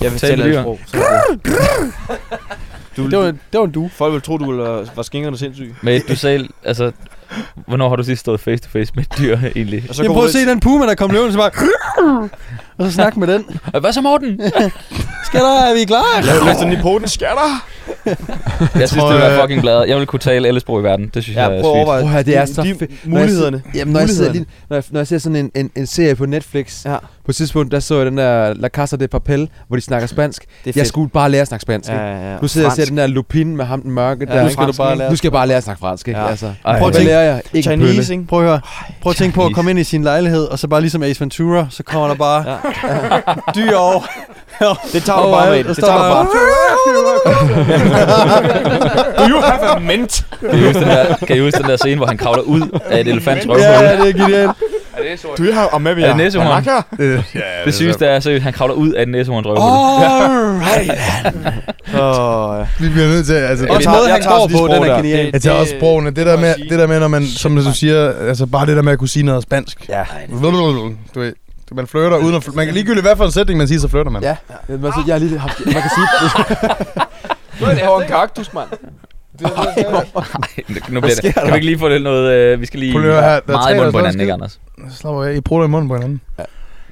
Speaker 2: Jeg vil
Speaker 3: Tal
Speaker 2: tale
Speaker 3: dyr.
Speaker 2: et sprog. så er det- Du,
Speaker 1: Det var, en- det var en due.
Speaker 2: Folk ville tro, du ville, øh, var skængerne sindssyg.
Speaker 3: Men du sagde, altså, hvornår har du sidst stået face to face med et dyr egentlig?
Speaker 2: Og
Speaker 1: Så Jamen prøv at se den puma, der kom løvende, så bare... og så snak med den.
Speaker 7: Altså-
Speaker 3: Hvad så Morten?
Speaker 1: Skal der, er vi klar?
Speaker 2: Lav løs den i poten, skatter!
Speaker 3: Jeg synes,
Speaker 4: tror,
Speaker 3: det ville være
Speaker 4: øh,
Speaker 3: fucking blad. Jeg ville kunne tale alle sprog i verden. Det synes
Speaker 2: Ja,
Speaker 3: jeg
Speaker 2: prøv
Speaker 3: er
Speaker 2: at
Speaker 3: sygt.
Speaker 2: overveje.
Speaker 5: Prøv at høre, det er
Speaker 2: de-
Speaker 5: så
Speaker 2: de-
Speaker 5: fedt.
Speaker 2: Mulighederne.
Speaker 5: Jamen, når jeg, sidder lige,
Speaker 2: Mulighederne.
Speaker 5: når, jeg, når jeg ser sådan en, en, en serie på Netflix,
Speaker 2: Ja,
Speaker 5: på et tidspunkt, der så jeg den der La Casa de Papel, hvor de snakker spansk.
Speaker 2: det er fedt.
Speaker 5: Jeg skulle bare lære at snakke spansk,
Speaker 2: ja,
Speaker 5: ikke?
Speaker 2: ja, ja.
Speaker 5: Nu sidder jeg og ser
Speaker 2: Fransk.
Speaker 5: den der Lupin med ham den mørke
Speaker 2: Ja,
Speaker 5: der,
Speaker 2: nu
Speaker 5: ikke?
Speaker 2: skal du bare lære-
Speaker 5: Nu skal jeg bare lære at snakke fransk, ikke?
Speaker 2: Ja.
Speaker 5: Altså,
Speaker 3: Ej,
Speaker 1: Prøv at
Speaker 5: hvad
Speaker 1: tænke-
Speaker 5: lærer jeg? Ikke en
Speaker 2: Chinese,
Speaker 5: pølle.
Speaker 2: ikke?
Speaker 1: Prøv at høre. Prøv at tænke på at komme ind i sin lejlighed, og så bare ligesom Ace Ventura, så kommer der bare
Speaker 2: Ja.
Speaker 1: dyr over.
Speaker 2: Det tager du bare med.
Speaker 1: Overalt, og
Speaker 2: Det
Speaker 1: så
Speaker 2: tager du
Speaker 1: er
Speaker 2: bare.
Speaker 1: der
Speaker 2: Do you have a mint?
Speaker 3: Kan I, huske den der, kan I huske den der scene, hvor han kravler ud af et elefants røvhul?
Speaker 1: Ja, ja, det er genialt.
Speaker 7: Er det sort?
Speaker 2: Do you have a maybe?
Speaker 3: Er det næsehorn?
Speaker 4: ja,
Speaker 3: Det sygeste er seriøst, han kravler ud af et næsehorns røvhul.
Speaker 1: Alright.
Speaker 2: Åh, ja.
Speaker 4: Vi bliver nødt til, altså...
Speaker 1: Også
Speaker 2: tager-
Speaker 1: måden,
Speaker 2: jeg
Speaker 1: han
Speaker 2: tager
Speaker 1: går
Speaker 2: også de
Speaker 1: på, den
Speaker 2: sprog
Speaker 1: er
Speaker 2: der.
Speaker 1: genial.
Speaker 4: Jeg tager også sprogene. Det der
Speaker 7: må
Speaker 4: med,
Speaker 7: jeg sige.
Speaker 4: det der med når man, som du siger, altså bare det der med at kunne sige noget spansk.
Speaker 2: Ja.
Speaker 4: Du ved, man flirter uden at... fl- Man kan ligegyldigt hvad for en sætning, man siger, så flirter man.
Speaker 5: Ja, men altså, jeg har lige haft... Man kan sige...
Speaker 2: Det var en kaktus, mand.
Speaker 3: Nu bliver det. Kan vi ikke lige få lidt noget... Øh, vi skal lige
Speaker 4: Prøv lige at høre her. Der er
Speaker 3: meget
Speaker 4: tre,
Speaker 3: i
Speaker 4: der
Speaker 3: munden
Speaker 4: står
Speaker 3: på hinanden,
Speaker 4: og
Speaker 3: ikke Anders?
Speaker 4: Slap af. I prutter i munden på hinanden.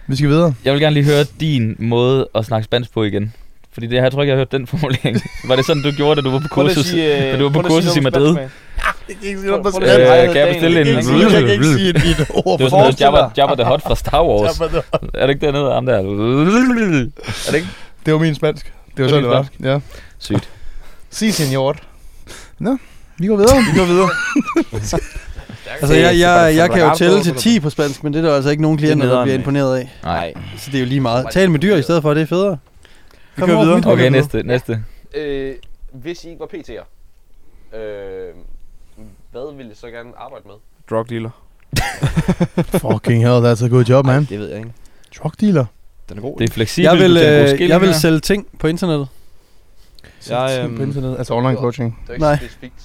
Speaker 4: Vi skal videre.
Speaker 3: Jeg vil gerne lige høre din måde at snakke spansk på igen. Fordi det, jeg tror ikke, jeg har hørt den formulering. Var det sådan, du gjorde, da du var på
Speaker 2: Prøv lige at
Speaker 3: kursus?
Speaker 2: sige, øh,
Speaker 3: da du var
Speaker 2: prøv
Speaker 3: på
Speaker 2: lige at
Speaker 3: kursus i
Speaker 2: sige noget
Speaker 3: Madrid?
Speaker 2: spansk,
Speaker 4: noget på
Speaker 2: mand. Prøv- prøv lige at sige noget
Speaker 3: Øh,
Speaker 2: spansk.
Speaker 3: kan jeg bestille en...
Speaker 2: Daniel.
Speaker 4: Jeg kan ikke sige et, et ord.
Speaker 3: Det var sådan noget Jabba, Jabba the Hutt fra Star Wars. Er det ikke dernede, ham der? Er det ikke?
Speaker 4: Det var min spansk. Det var
Speaker 3: Det er
Speaker 4: sådan, det
Speaker 3: din
Speaker 4: var. Ja.
Speaker 3: Sygt.
Speaker 4: Si, senor. Nå, vi går videre.
Speaker 2: Vi går videre.
Speaker 1: Altså, jeg, jeg, jeg kan jo tælle til 10 på spansk, men det er der altså ikke nogen klienter, der
Speaker 2: nederen,
Speaker 1: bliver
Speaker 2: mand.
Speaker 1: imponeret af.
Speaker 3: Nej.
Speaker 1: Så det er jo lige meget. Tal med dyr i stedet for, det er federe.
Speaker 5: Vi kører videre.
Speaker 3: Okay, næste. næste.
Speaker 7: Øh, hvis I ikke var PT'er, øh, hvad ville I så gerne arbejde med?
Speaker 2: Drug dealer.
Speaker 4: Fucking hell, that's a good job, man.
Speaker 2: Det ved jeg ikke.
Speaker 4: Drug dealer.
Speaker 2: Den er god.
Speaker 3: Det er fleksibelt.
Speaker 1: Jeg vil,
Speaker 3: du kan bruge
Speaker 1: øh, jeg vil
Speaker 3: skillinger.
Speaker 1: sælge ting på internettet.
Speaker 2: Jeg,
Speaker 4: Ting på
Speaker 2: øhm,
Speaker 4: internet. Altså online coaching.
Speaker 7: Det er ikke
Speaker 1: Nej.
Speaker 7: Nej. specifikt.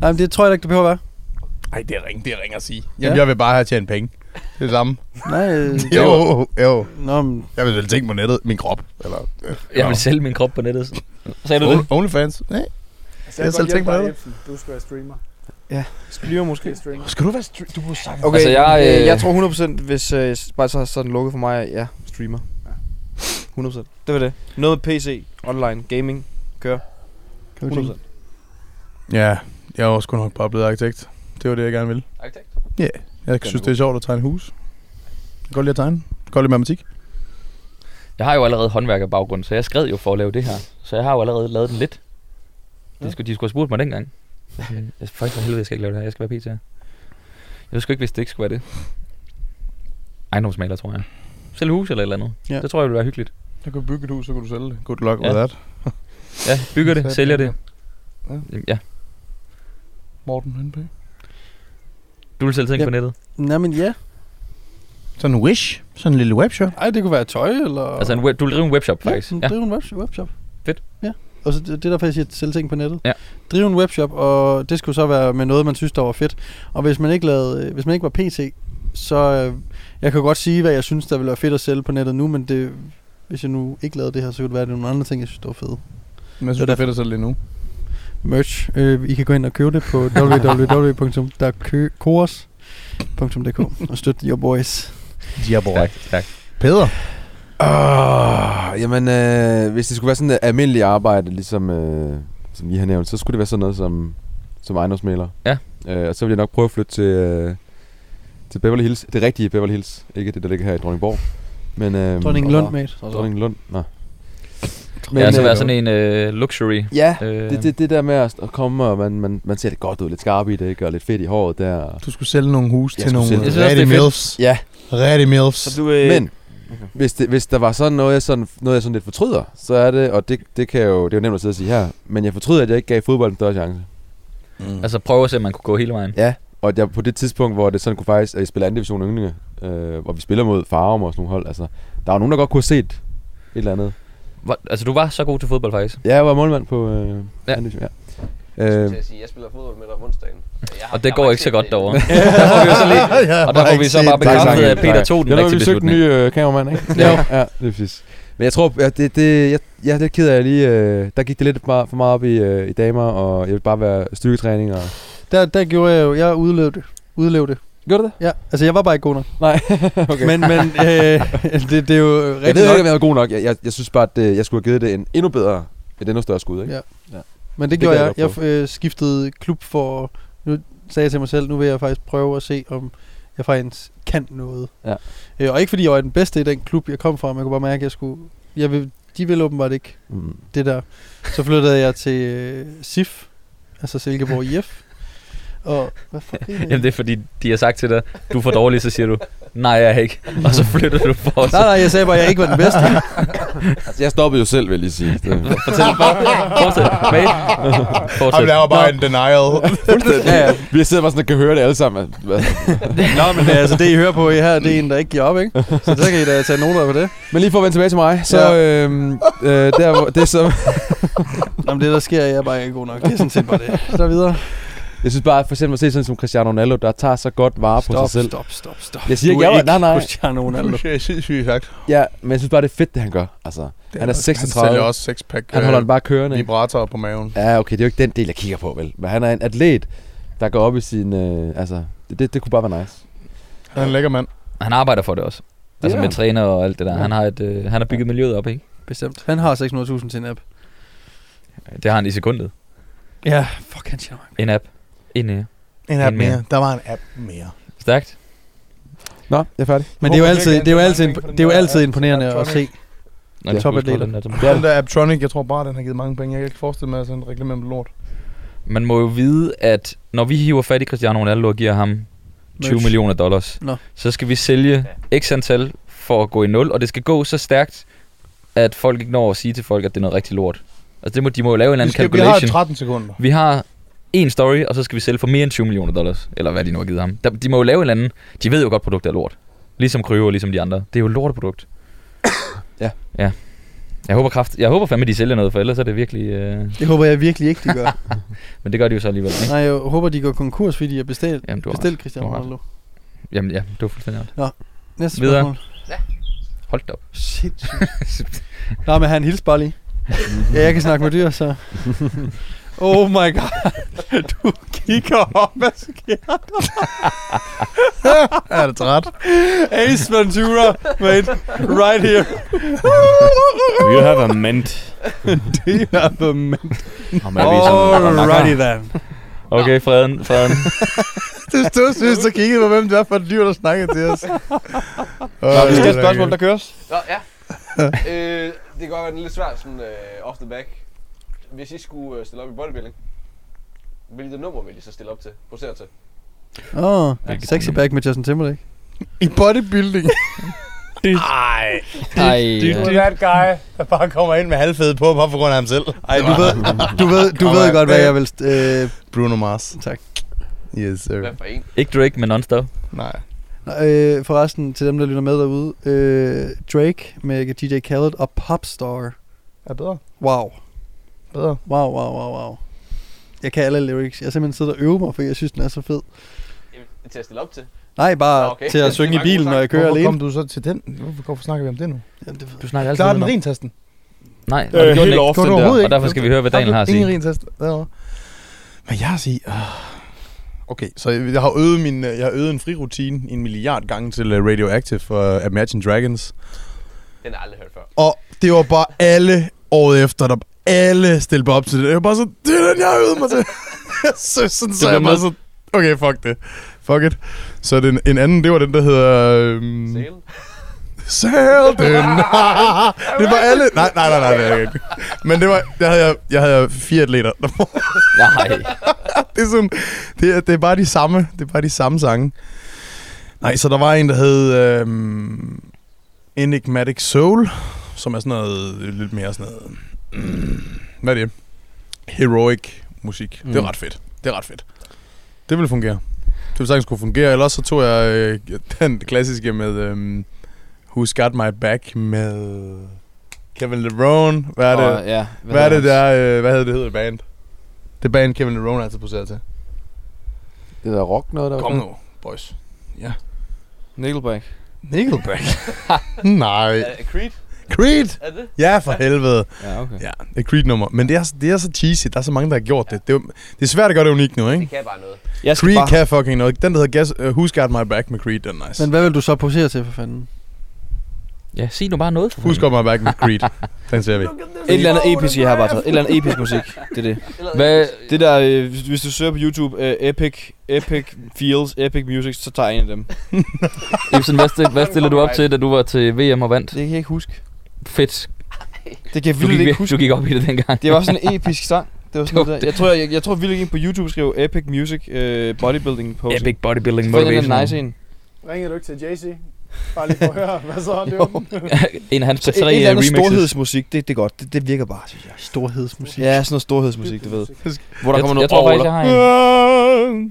Speaker 1: Nej, men det tror jeg da ikke, det behøver at være.
Speaker 4: Nej, det er ring, det er ring at sige.
Speaker 1: Ja.
Speaker 4: Jamen, jeg vil bare have tjent penge. Det er det samme.
Speaker 1: Nej, øh,
Speaker 4: Jo, jo, jo.
Speaker 1: Nå, men,
Speaker 4: Jeg vil vel tænke på nettet, min krop. Eller, øh,
Speaker 3: Jeg vil sælge min krop på nettet. Sagde du
Speaker 4: Only-
Speaker 3: det?
Speaker 4: Onlyfans. Nej.
Speaker 6: Altså,
Speaker 4: Jeg
Speaker 6: jeg,
Speaker 4: selv
Speaker 6: jeg selv
Speaker 4: tænkt
Speaker 6: tænkt
Speaker 4: på det.
Speaker 6: Du skal være streamer.
Speaker 2: Spliver måske.
Speaker 6: Du er streamer.
Speaker 4: Skal du være stri- Du kunne sagt...
Speaker 2: Okay,
Speaker 3: Altså,
Speaker 2: altså,
Speaker 3: jeg,
Speaker 2: jeg,
Speaker 3: øh,
Speaker 2: øh, jeg tror 100% hvis øh, s- bare så sådan lukket for mig, at jeg streamer. 100%. Det var det. Noget PC, online, gaming, kører. 100%.
Speaker 4: Ja, jeg er også kun nok bare blevet arkitekt. Det var det, jeg gerne ville.
Speaker 7: Arkitekt?
Speaker 4: Jeg
Speaker 2: er
Speaker 4: synes,
Speaker 2: god.
Speaker 4: det er sjovt at tegne hus. Jeg kan godt lide at tegne. Jeg kan godt lide matematik.
Speaker 3: Jeg har jo allerede håndværkerbaggrund, så jeg skred jo for at lave det her. Så jeg har jo allerede lavet den lidt. De skulle, de skulle have spurgt mig dengang. Jeg er faktisk for helvede, jeg skal ikke lave det her. Jeg skal være PT. Jeg ved sgu ikke, hvis det ikke skulle være det. Ejendomsmaler, tror jeg. Sælge hus eller et eller andet.
Speaker 1: Ja.
Speaker 3: Ja. Det tror jeg ville være hyggeligt.
Speaker 4: Jeg kunne bygge et hus, så kunne du sælge det. Good luck
Speaker 3: Ja.
Speaker 4: with that.
Speaker 3: Ja, bygger
Speaker 4: Så
Speaker 3: det,
Speaker 4: jeg
Speaker 3: sælger det.
Speaker 4: tænker-
Speaker 3: Jamen, Ja.
Speaker 4: Morten Henpe.
Speaker 3: Du vil sælge ting
Speaker 1: Ja.
Speaker 3: på nettet.
Speaker 1: nej, men ja.
Speaker 4: Sådan en wish. Sådan en lille webshop.
Speaker 1: Ej, det kunne være tøj, eller...
Speaker 3: Altså, en web, du vil drive en webshop,
Speaker 1: Ja,
Speaker 3: faktisk.
Speaker 1: ja.
Speaker 3: Ja.
Speaker 1: drive en webshop. webshop.
Speaker 3: Fedt.
Speaker 1: Ja. Og så det, det er derfor, jeg siger, sælge ting på nettet.
Speaker 3: Ja.
Speaker 1: Drive en webshop, og det skulle så være med noget, man synes, der var fedt. Og hvis man ikke, lavede, øh, hvis man ikke var PT, så... øh, Jeg kan godt sige, hvad jeg synes, der ville være fedt at sælge på nettet nu, men det, hvis jeg nu ikke lavede det her, så kunne det være, at det er nogle andre ting, jeg synes, der var fede.
Speaker 4: Men jeg synes,
Speaker 1: Det
Speaker 4: det
Speaker 1: er
Speaker 4: er fedt at sælge det nu.
Speaker 1: Merch. Øh, I kan gå ind og købe det på www.kores.dk og støtte your boys.
Speaker 4: Ja, boy.
Speaker 3: Stærkt, stærkt.
Speaker 4: Peder.
Speaker 5: Åh, jamen, øh, hvis det skulle være sådan et almindeligt arbejde, ligesom øh, som I har nævnt, så skulle det være sådan noget som, som ejendomsmaler.
Speaker 3: Ja.
Speaker 5: Øh, og så ville jeg nok prøve at flytte til, øh, til Beverly Hills. Det rigtige Beverly Hills. Ikke det, der ligger her i Dronningborg. Men,
Speaker 3: Øhm,
Speaker 5: øh,
Speaker 1: Dronning Lund, mate.
Speaker 5: Dronning Lund. Nå.
Speaker 3: Men, ja, så
Speaker 5: øh,
Speaker 3: være sådan en øh, luxury.
Speaker 5: Ja,
Speaker 3: Øh,
Speaker 5: det, det, det der med at at komme, og man, man, man ser det godt ud, lidt skarp i det, ikke? og lidt fedt i håret der. og-
Speaker 4: Du skulle sælge nogle hus
Speaker 5: Jeg
Speaker 4: til nogle
Speaker 5: skulle sælge-
Speaker 3: Jeg synes også,
Speaker 4: rigtig
Speaker 3: det er fedt.
Speaker 4: milfs.
Speaker 5: Ja.
Speaker 4: Rigtig milfs.
Speaker 2: Så du, øh,
Speaker 5: Men hvis, det, hvis der var sådan noget, jeg sådan, noget, jeg sådan lidt fortryder, så er det, og det, det, kan jo, det er jo nemt at sidde og sige her, men jeg fortryder, at jeg ikke gav fodbold en større chance.
Speaker 3: Altså, prøve at se, om man kunne gå hele vejen.
Speaker 5: Og at jeg på det tidspunkt, hvor det sådan kunne faktisk, at jeg spiller anden division af yndlinge, øh, hvor vi spiller mod Farum og sådan nogle hold, altså, der var nogen, der godt kunne have set et eller andet.
Speaker 3: Hvor, altså, du var så god til fodbold, faktisk.
Speaker 5: Ja, jeg var målmand på øh, anden division, ja.
Speaker 7: Øh.
Speaker 5: Øh,
Speaker 7: Til at sige, jeg spiller fodbold med dig om onsdagen. Jeg har-
Speaker 3: Og
Speaker 7: jeg
Speaker 3: det
Speaker 7: har
Speaker 3: går
Speaker 7: bare
Speaker 3: ikke så
Speaker 7: set
Speaker 3: godt
Speaker 7: det.
Speaker 3: derovre. der får vi jo så lige...
Speaker 4: ja,
Speaker 3: Og der får vi så bare
Speaker 5: tak,
Speaker 3: bekræftet,
Speaker 5: tak.
Speaker 3: at Peter tog den
Speaker 5: det var,
Speaker 3: rigtige
Speaker 5: vi søgte en
Speaker 3: beslutning.
Speaker 5: ny øh, kameramand, ikke?
Speaker 1: Jo.
Speaker 5: ja, det er præcis. Men jeg tror, jeg, det, det, jeg, jeg er lidt ked af, at jeg lige, øh, der gik det lidt meget, for meget op i, øh, i damer, og jeg vil bare være styrketræning. Og...
Speaker 1: Der, der gjorde jeg jo, jeg udlevede, udlevede.
Speaker 5: Gjorde du det?
Speaker 1: Ja, altså jeg var bare ikke god nok.
Speaker 5: Nej, okay.
Speaker 1: Men, men øh, det, det, er jo
Speaker 5: jeg
Speaker 1: rigtigt
Speaker 5: ved ikke,
Speaker 1: nok.
Speaker 5: om jeg var god nok. Jeg, jeg, jeg synes bare, at øh, jeg skulle have givet det en endnu bedre, et endnu større skud. Ikke?
Speaker 1: Ja.
Speaker 5: Ja.
Speaker 1: Men det
Speaker 5: det
Speaker 1: gjorde
Speaker 5: kan
Speaker 1: jeg.
Speaker 5: jeg
Speaker 1: Jeg
Speaker 5: godt
Speaker 1: øh, skiftede klub for... Nu sagde jeg til mig selv, nu vil jeg faktisk prøve at se, om jeg faktisk kan noget.
Speaker 5: Ja.
Speaker 1: Øh, og ikke fordi jeg var den bedste i den klub, jeg kom fra, men jeg kunne bare mærke, at jeg skulle... Jeg vil, de ville åbenbart ikke
Speaker 5: Mm.
Speaker 1: det der. Så flyttede jeg til øh, SIF, altså Silkeborg IF. Og hvad for
Speaker 3: Jamen det er fordi, de har sagt til dig, du er for dårlig, så siger du, nej jeg er ikke. Og så flytter du for os.
Speaker 1: Nej, nej, jeg sagde bare, at jeg ikke var den bedste.
Speaker 5: Altså, jeg stoppede jo selv, vil jeg lige sige. Det,
Speaker 3: Fortæl, for, fortsæt, bag.
Speaker 4: Han
Speaker 3: Fortsæt.
Speaker 4: laver bare en denial.
Speaker 5: ja, ja. Vi sidder bare sådan og kan høre det alle sammen. Hvad?
Speaker 1: Nå, men det, er altså, det I hører på I her, det er en, der ikke giver op, ikke? Så der kan I da tage noter på det.
Speaker 5: Men lige for at vende tilbage til mig, så ja. øhm, øh, der, hvor- det er så,
Speaker 1: Nå, men det der sker, jeg er bare ikke god nok. Det er sådan set bare det. Så videre.
Speaker 5: jeg synes bare, for eksempel at se sådan som Cristiano Ronaldo, der tager så godt vare på sig selv.
Speaker 1: stop, stop, stop.
Speaker 5: Jeg siger
Speaker 1: Du
Speaker 5: ikke,
Speaker 1: er
Speaker 5: jeg var- nej, nej.
Speaker 1: Cristiano Ronaldo.
Speaker 4: Det er sindssygt sagt.
Speaker 5: Ja, men jeg synes bare, det er fedt, det han gør. Altså, han er
Speaker 4: Han sælger
Speaker 5: 36.
Speaker 4: også øh, sexpack.
Speaker 5: Han holder den bare kørende. ikke?
Speaker 4: vibrator på maven.
Speaker 5: Ja, okay, det er jo ikke den del, jeg kigger på, vel? Men han er en atlet, der går op i sin... Øh, altså, det, det, det kunne bare være nice.
Speaker 4: Han er en lækker mand.
Speaker 3: Han arbejder for det også. Altså
Speaker 5: Ja.
Speaker 3: med træner og alt det der.
Speaker 5: Ja.
Speaker 3: Han har, et, øh, han har bygget miljøet op, ikke?
Speaker 1: Bestemt. Han har 600.000 til en app.
Speaker 3: Det har han i sekundet.
Speaker 1: Ja, fuck, han tjener
Speaker 3: En app. En øh,
Speaker 4: En
Speaker 3: app mere.
Speaker 4: Der var en app mere.
Speaker 3: stærkt.
Speaker 5: Nå, jeg er færdig.
Speaker 1: Men det er jo
Speaker 4: Hvorfor
Speaker 1: altid,
Speaker 4: ikke
Speaker 1: det er jo
Speaker 4: han
Speaker 1: altid,
Speaker 4: tjener penge på den
Speaker 1: det er jo
Speaker 4: der
Speaker 1: altid
Speaker 4: app,
Speaker 1: imponerende
Speaker 4: der er
Speaker 1: at se.
Speaker 3: Når de
Speaker 1: Ja.
Speaker 3: skulle scrolle
Speaker 1: Topatleter.
Speaker 3: den der, så-
Speaker 4: Den der Apptronic, jeg tror bare, den har givet mange penge. Jeg kan ikke forestille mig, at sådan en reklame med lort.
Speaker 3: Man må jo vide, at når vi hiver fat i Cristiano Ronaldo og giver ham 20
Speaker 1: Merch.
Speaker 3: millioner dollars,
Speaker 1: Nå.
Speaker 3: så skal vi sælge x antal for at gå i nul, og det skal gå så stærkt, at folk ikke når at sige til folk, at det er noget rigtig lort. Altså det må, de må jo lave en
Speaker 4: Vi,
Speaker 3: eller anden
Speaker 4: skal, vi har
Speaker 3: calculation.
Speaker 4: 13 sekunder.
Speaker 3: Vi har en story, og så skal vi sælge for mere end 20 millioner dollars, eller hvad de nu har givet ham. Der- De må jo lave en eller anden. De ved jo godt, produktet er lort. Ligesom Kryve og ligesom de andre. Det er jo et lorteprodukt.
Speaker 5: Ja.
Speaker 3: Ja. Jeg håber, kraft, jeg håber fandme, de sælger noget, for ellers er det virkelig... Øh,
Speaker 1: Det håber jeg virkelig ikke, de gør.
Speaker 3: men det gør de jo så alligevel, ikke?
Speaker 1: Nej, jeg håber, de går konkurs, fordi de har bestilt,
Speaker 3: Jamen, du har
Speaker 1: bestilt Cristiano
Speaker 3: Du har ret.
Speaker 1: Ronaldo.
Speaker 3: Jamen ja, det var fuldstændig ret.
Speaker 1: Næste
Speaker 3: Videre.
Speaker 1: spørgsmål.
Speaker 3: Hold da op.
Speaker 1: Sindssygt. Nå, men han hilste bare lige. ja, jeg kan snakke med dyr, så... Oh my god. Du kigger op, hvad sker der?
Speaker 4: Er det træt?
Speaker 1: Ace Ventura, mate. Right here.
Speaker 8: You have a mint.
Speaker 1: Det er the man.
Speaker 3: Jamen, jeg
Speaker 1: Alrighty then.
Speaker 3: Okay, freden, freden.
Speaker 4: Det stod synes, der kiggede på, hvem det var for et dyr, der snakkede til os.
Speaker 2: Nå, vi skal have et spørgsmål, der køres.
Speaker 7: Nå, ja. øh, det kan godt være den er lidt svært, sådan øh, off the back. Hvis I skulle øh, stille op i bodybuilding, hvilket nummer vil I så stille op til? Producere til?
Speaker 1: Åh, oh,
Speaker 3: Hvilket
Speaker 1: sexy
Speaker 3: nummer?
Speaker 1: back med Justin Timberlake.
Speaker 4: I bodybuilding.
Speaker 8: Ej.
Speaker 3: Ej,
Speaker 8: Du
Speaker 2: øh,
Speaker 3: ja.
Speaker 8: er that guy.
Speaker 4: Der bare kommer ind med halvfede på, bare på grund af ham selv.
Speaker 1: Ej, du ved, du ved, du ved godt, hvad jeg vil... st- Øh,
Speaker 4: Bruno Mars.
Speaker 1: Tak.
Speaker 4: Yes, sir.
Speaker 7: Hvad for en?
Speaker 3: ikke Drake, men non-stop.
Speaker 4: Nej.
Speaker 1: øh, forresten, til dem, der lytter med derude. Øh, Drake med DJ Khaled og Popstar.
Speaker 4: Er bedre.
Speaker 1: Wow.
Speaker 4: Bedre.
Speaker 1: Wow, wow, wow, wow. Jeg kan alle lyrics. Jeg har simpelthen siddet og øvet mig, for jeg synes, den er så fed.
Speaker 7: Jamen, Til at stille op til?
Speaker 1: Nej, bare
Speaker 7: Nå, okay.
Speaker 1: til
Speaker 7: Det er
Speaker 1: at synge i
Speaker 7: mange
Speaker 1: bilen,
Speaker 7: gode
Speaker 1: når jeg kører
Speaker 4: Hvorfor
Speaker 1: alene.
Speaker 4: kom du så til den? Hvorfor, hvorfor snakker vi om det nu?
Speaker 1: Jamen, det ved jeg.
Speaker 3: Du snakker altid
Speaker 4: Klarer den
Speaker 3: udenom.
Speaker 4: rintesten?
Speaker 3: Nej,
Speaker 8: Det er helt off,
Speaker 4: Går
Speaker 8: den
Speaker 4: du
Speaker 8: der.
Speaker 4: overhovedet
Speaker 3: og derfor skal vi høre, hvad Daniel har at sige.
Speaker 4: Ingen rentest. Derovre. Men jeg har sige... Øh. Okay, så jeg jeg har øvet min, øh, jeg har øvet en frirutine en milliard gange til øh, Radioactive og Imagine Dragons.
Speaker 7: Den har jeg aldrig hørt før.
Speaker 4: Og det var bare alle året efter, der alle stillede mig op til det. Jeg var bare så, det er den, jeg har øvet mig til. så sådan så
Speaker 8: blev
Speaker 4: jeg bare
Speaker 8: med.
Speaker 4: så, okay, fuck det. Fuck it. Så den, en anden, det var den, der hedder... Øhm,
Speaker 7: Sale?
Speaker 4: Sail den. det var alle... Nej, nej, nej, nej, nej, nej. Men det var... Jeg havde, jeg havde fire atleter.
Speaker 3: Nej.
Speaker 4: det, er sådan, det, er, det er bare de samme. Det er bare de samme sange. Nej, så der var en, der hed... Øhm, Enigmatic Soul, som er sådan noget... Lidt mere sådan noget... Mm, hvad er det? Heroic musik. Mm. Det er
Speaker 2: Mm.
Speaker 4: ret fedt. Det er ret fedt. Det ville fungere. Det ville sagtens kunne fungere. Ellers så tog jeg øh, den klassiske med... Øhm, Who's Got My Back med Kevin LeBron. Hvad er det,
Speaker 2: Og, ja,
Speaker 4: hvad, er det der, øh, hvad hedder det hedder band? Det band Kevin LeBron er altid poseret til.
Speaker 5: Det der rock noget, der var
Speaker 4: Kom nu, boys.
Speaker 2: Nickelback.
Speaker 4: Nickelback? Nej.
Speaker 7: Uh, Creed?
Speaker 4: Creed!
Speaker 7: Er det?
Speaker 4: Ja, for helvede.
Speaker 2: Ja, okay.
Speaker 4: Ja, det er Creed-nummer. Men det er, det er så cheesy. Der er så mange, der har gjort det. Det er, jo- det er svært at gøre det unikt nu,
Speaker 7: Det
Speaker 4: ikke?
Speaker 7: kan bare noget.
Speaker 2: Jeg skal
Speaker 4: Creed
Speaker 2: bare...
Speaker 4: kan fucking noget. Den, der hedder Guess, uh, Who's Got My Back med Creed, den er nice.
Speaker 1: Men hvad vil du så posere til for fanden?
Speaker 3: Ja, sig nu bare noget. for
Speaker 4: Who's Got My Back med Creed. Den ser vi.
Speaker 2: Et eller andet episk, jeg har bare taget. Et eller andet episk musik. Det er det.
Speaker 7: Eller,
Speaker 3: fanden. Hvad?
Speaker 2: Det der, øh, hvis- hvis du søger på YouTube, øh, Epic, Epic Feels, Epic Music, så tager jeg en af dem. Det
Speaker 3: Ibsen, hvad, stil, hvad stillede du op til, da du var til VM og vandt?
Speaker 2: kan jeg ikke huske.
Speaker 3: Fedt.
Speaker 2: Det kan jeg
Speaker 3: Du
Speaker 2: virkelig
Speaker 3: gik,
Speaker 2: ikke
Speaker 3: du
Speaker 2: huske.
Speaker 3: gik op i det dengang.
Speaker 2: Det var sådan en episk sang. Det var sådan
Speaker 3: Det var
Speaker 2: noget der. Jeg tror, jeg, jeg tror virkelig ikke på YouTube skrev Epic Music øh, Bodybuilding Pose.
Speaker 3: Epic bodybuilding
Speaker 2: Find den
Speaker 3: motivation.
Speaker 2: der nice en.
Speaker 6: Ringede du ikke til Jay-Z? Bare lige for at høre, hvad så er det?
Speaker 3: en af hans
Speaker 2: Så
Speaker 3: tre
Speaker 2: et, et eller andet
Speaker 3: øh, remixes.
Speaker 2: storhedsmusik, det, det er godt. Det, det virker bare, synes jeg.
Speaker 1: Storhedsmusik.
Speaker 2: Ja, sådan noget storhedsmusik, du ved. Hvor der
Speaker 3: Jeg-
Speaker 2: kommer
Speaker 3: jeg
Speaker 2: noget
Speaker 3: tror faktisk,
Speaker 2: orgel.
Speaker 3: jeg har
Speaker 7: Hvad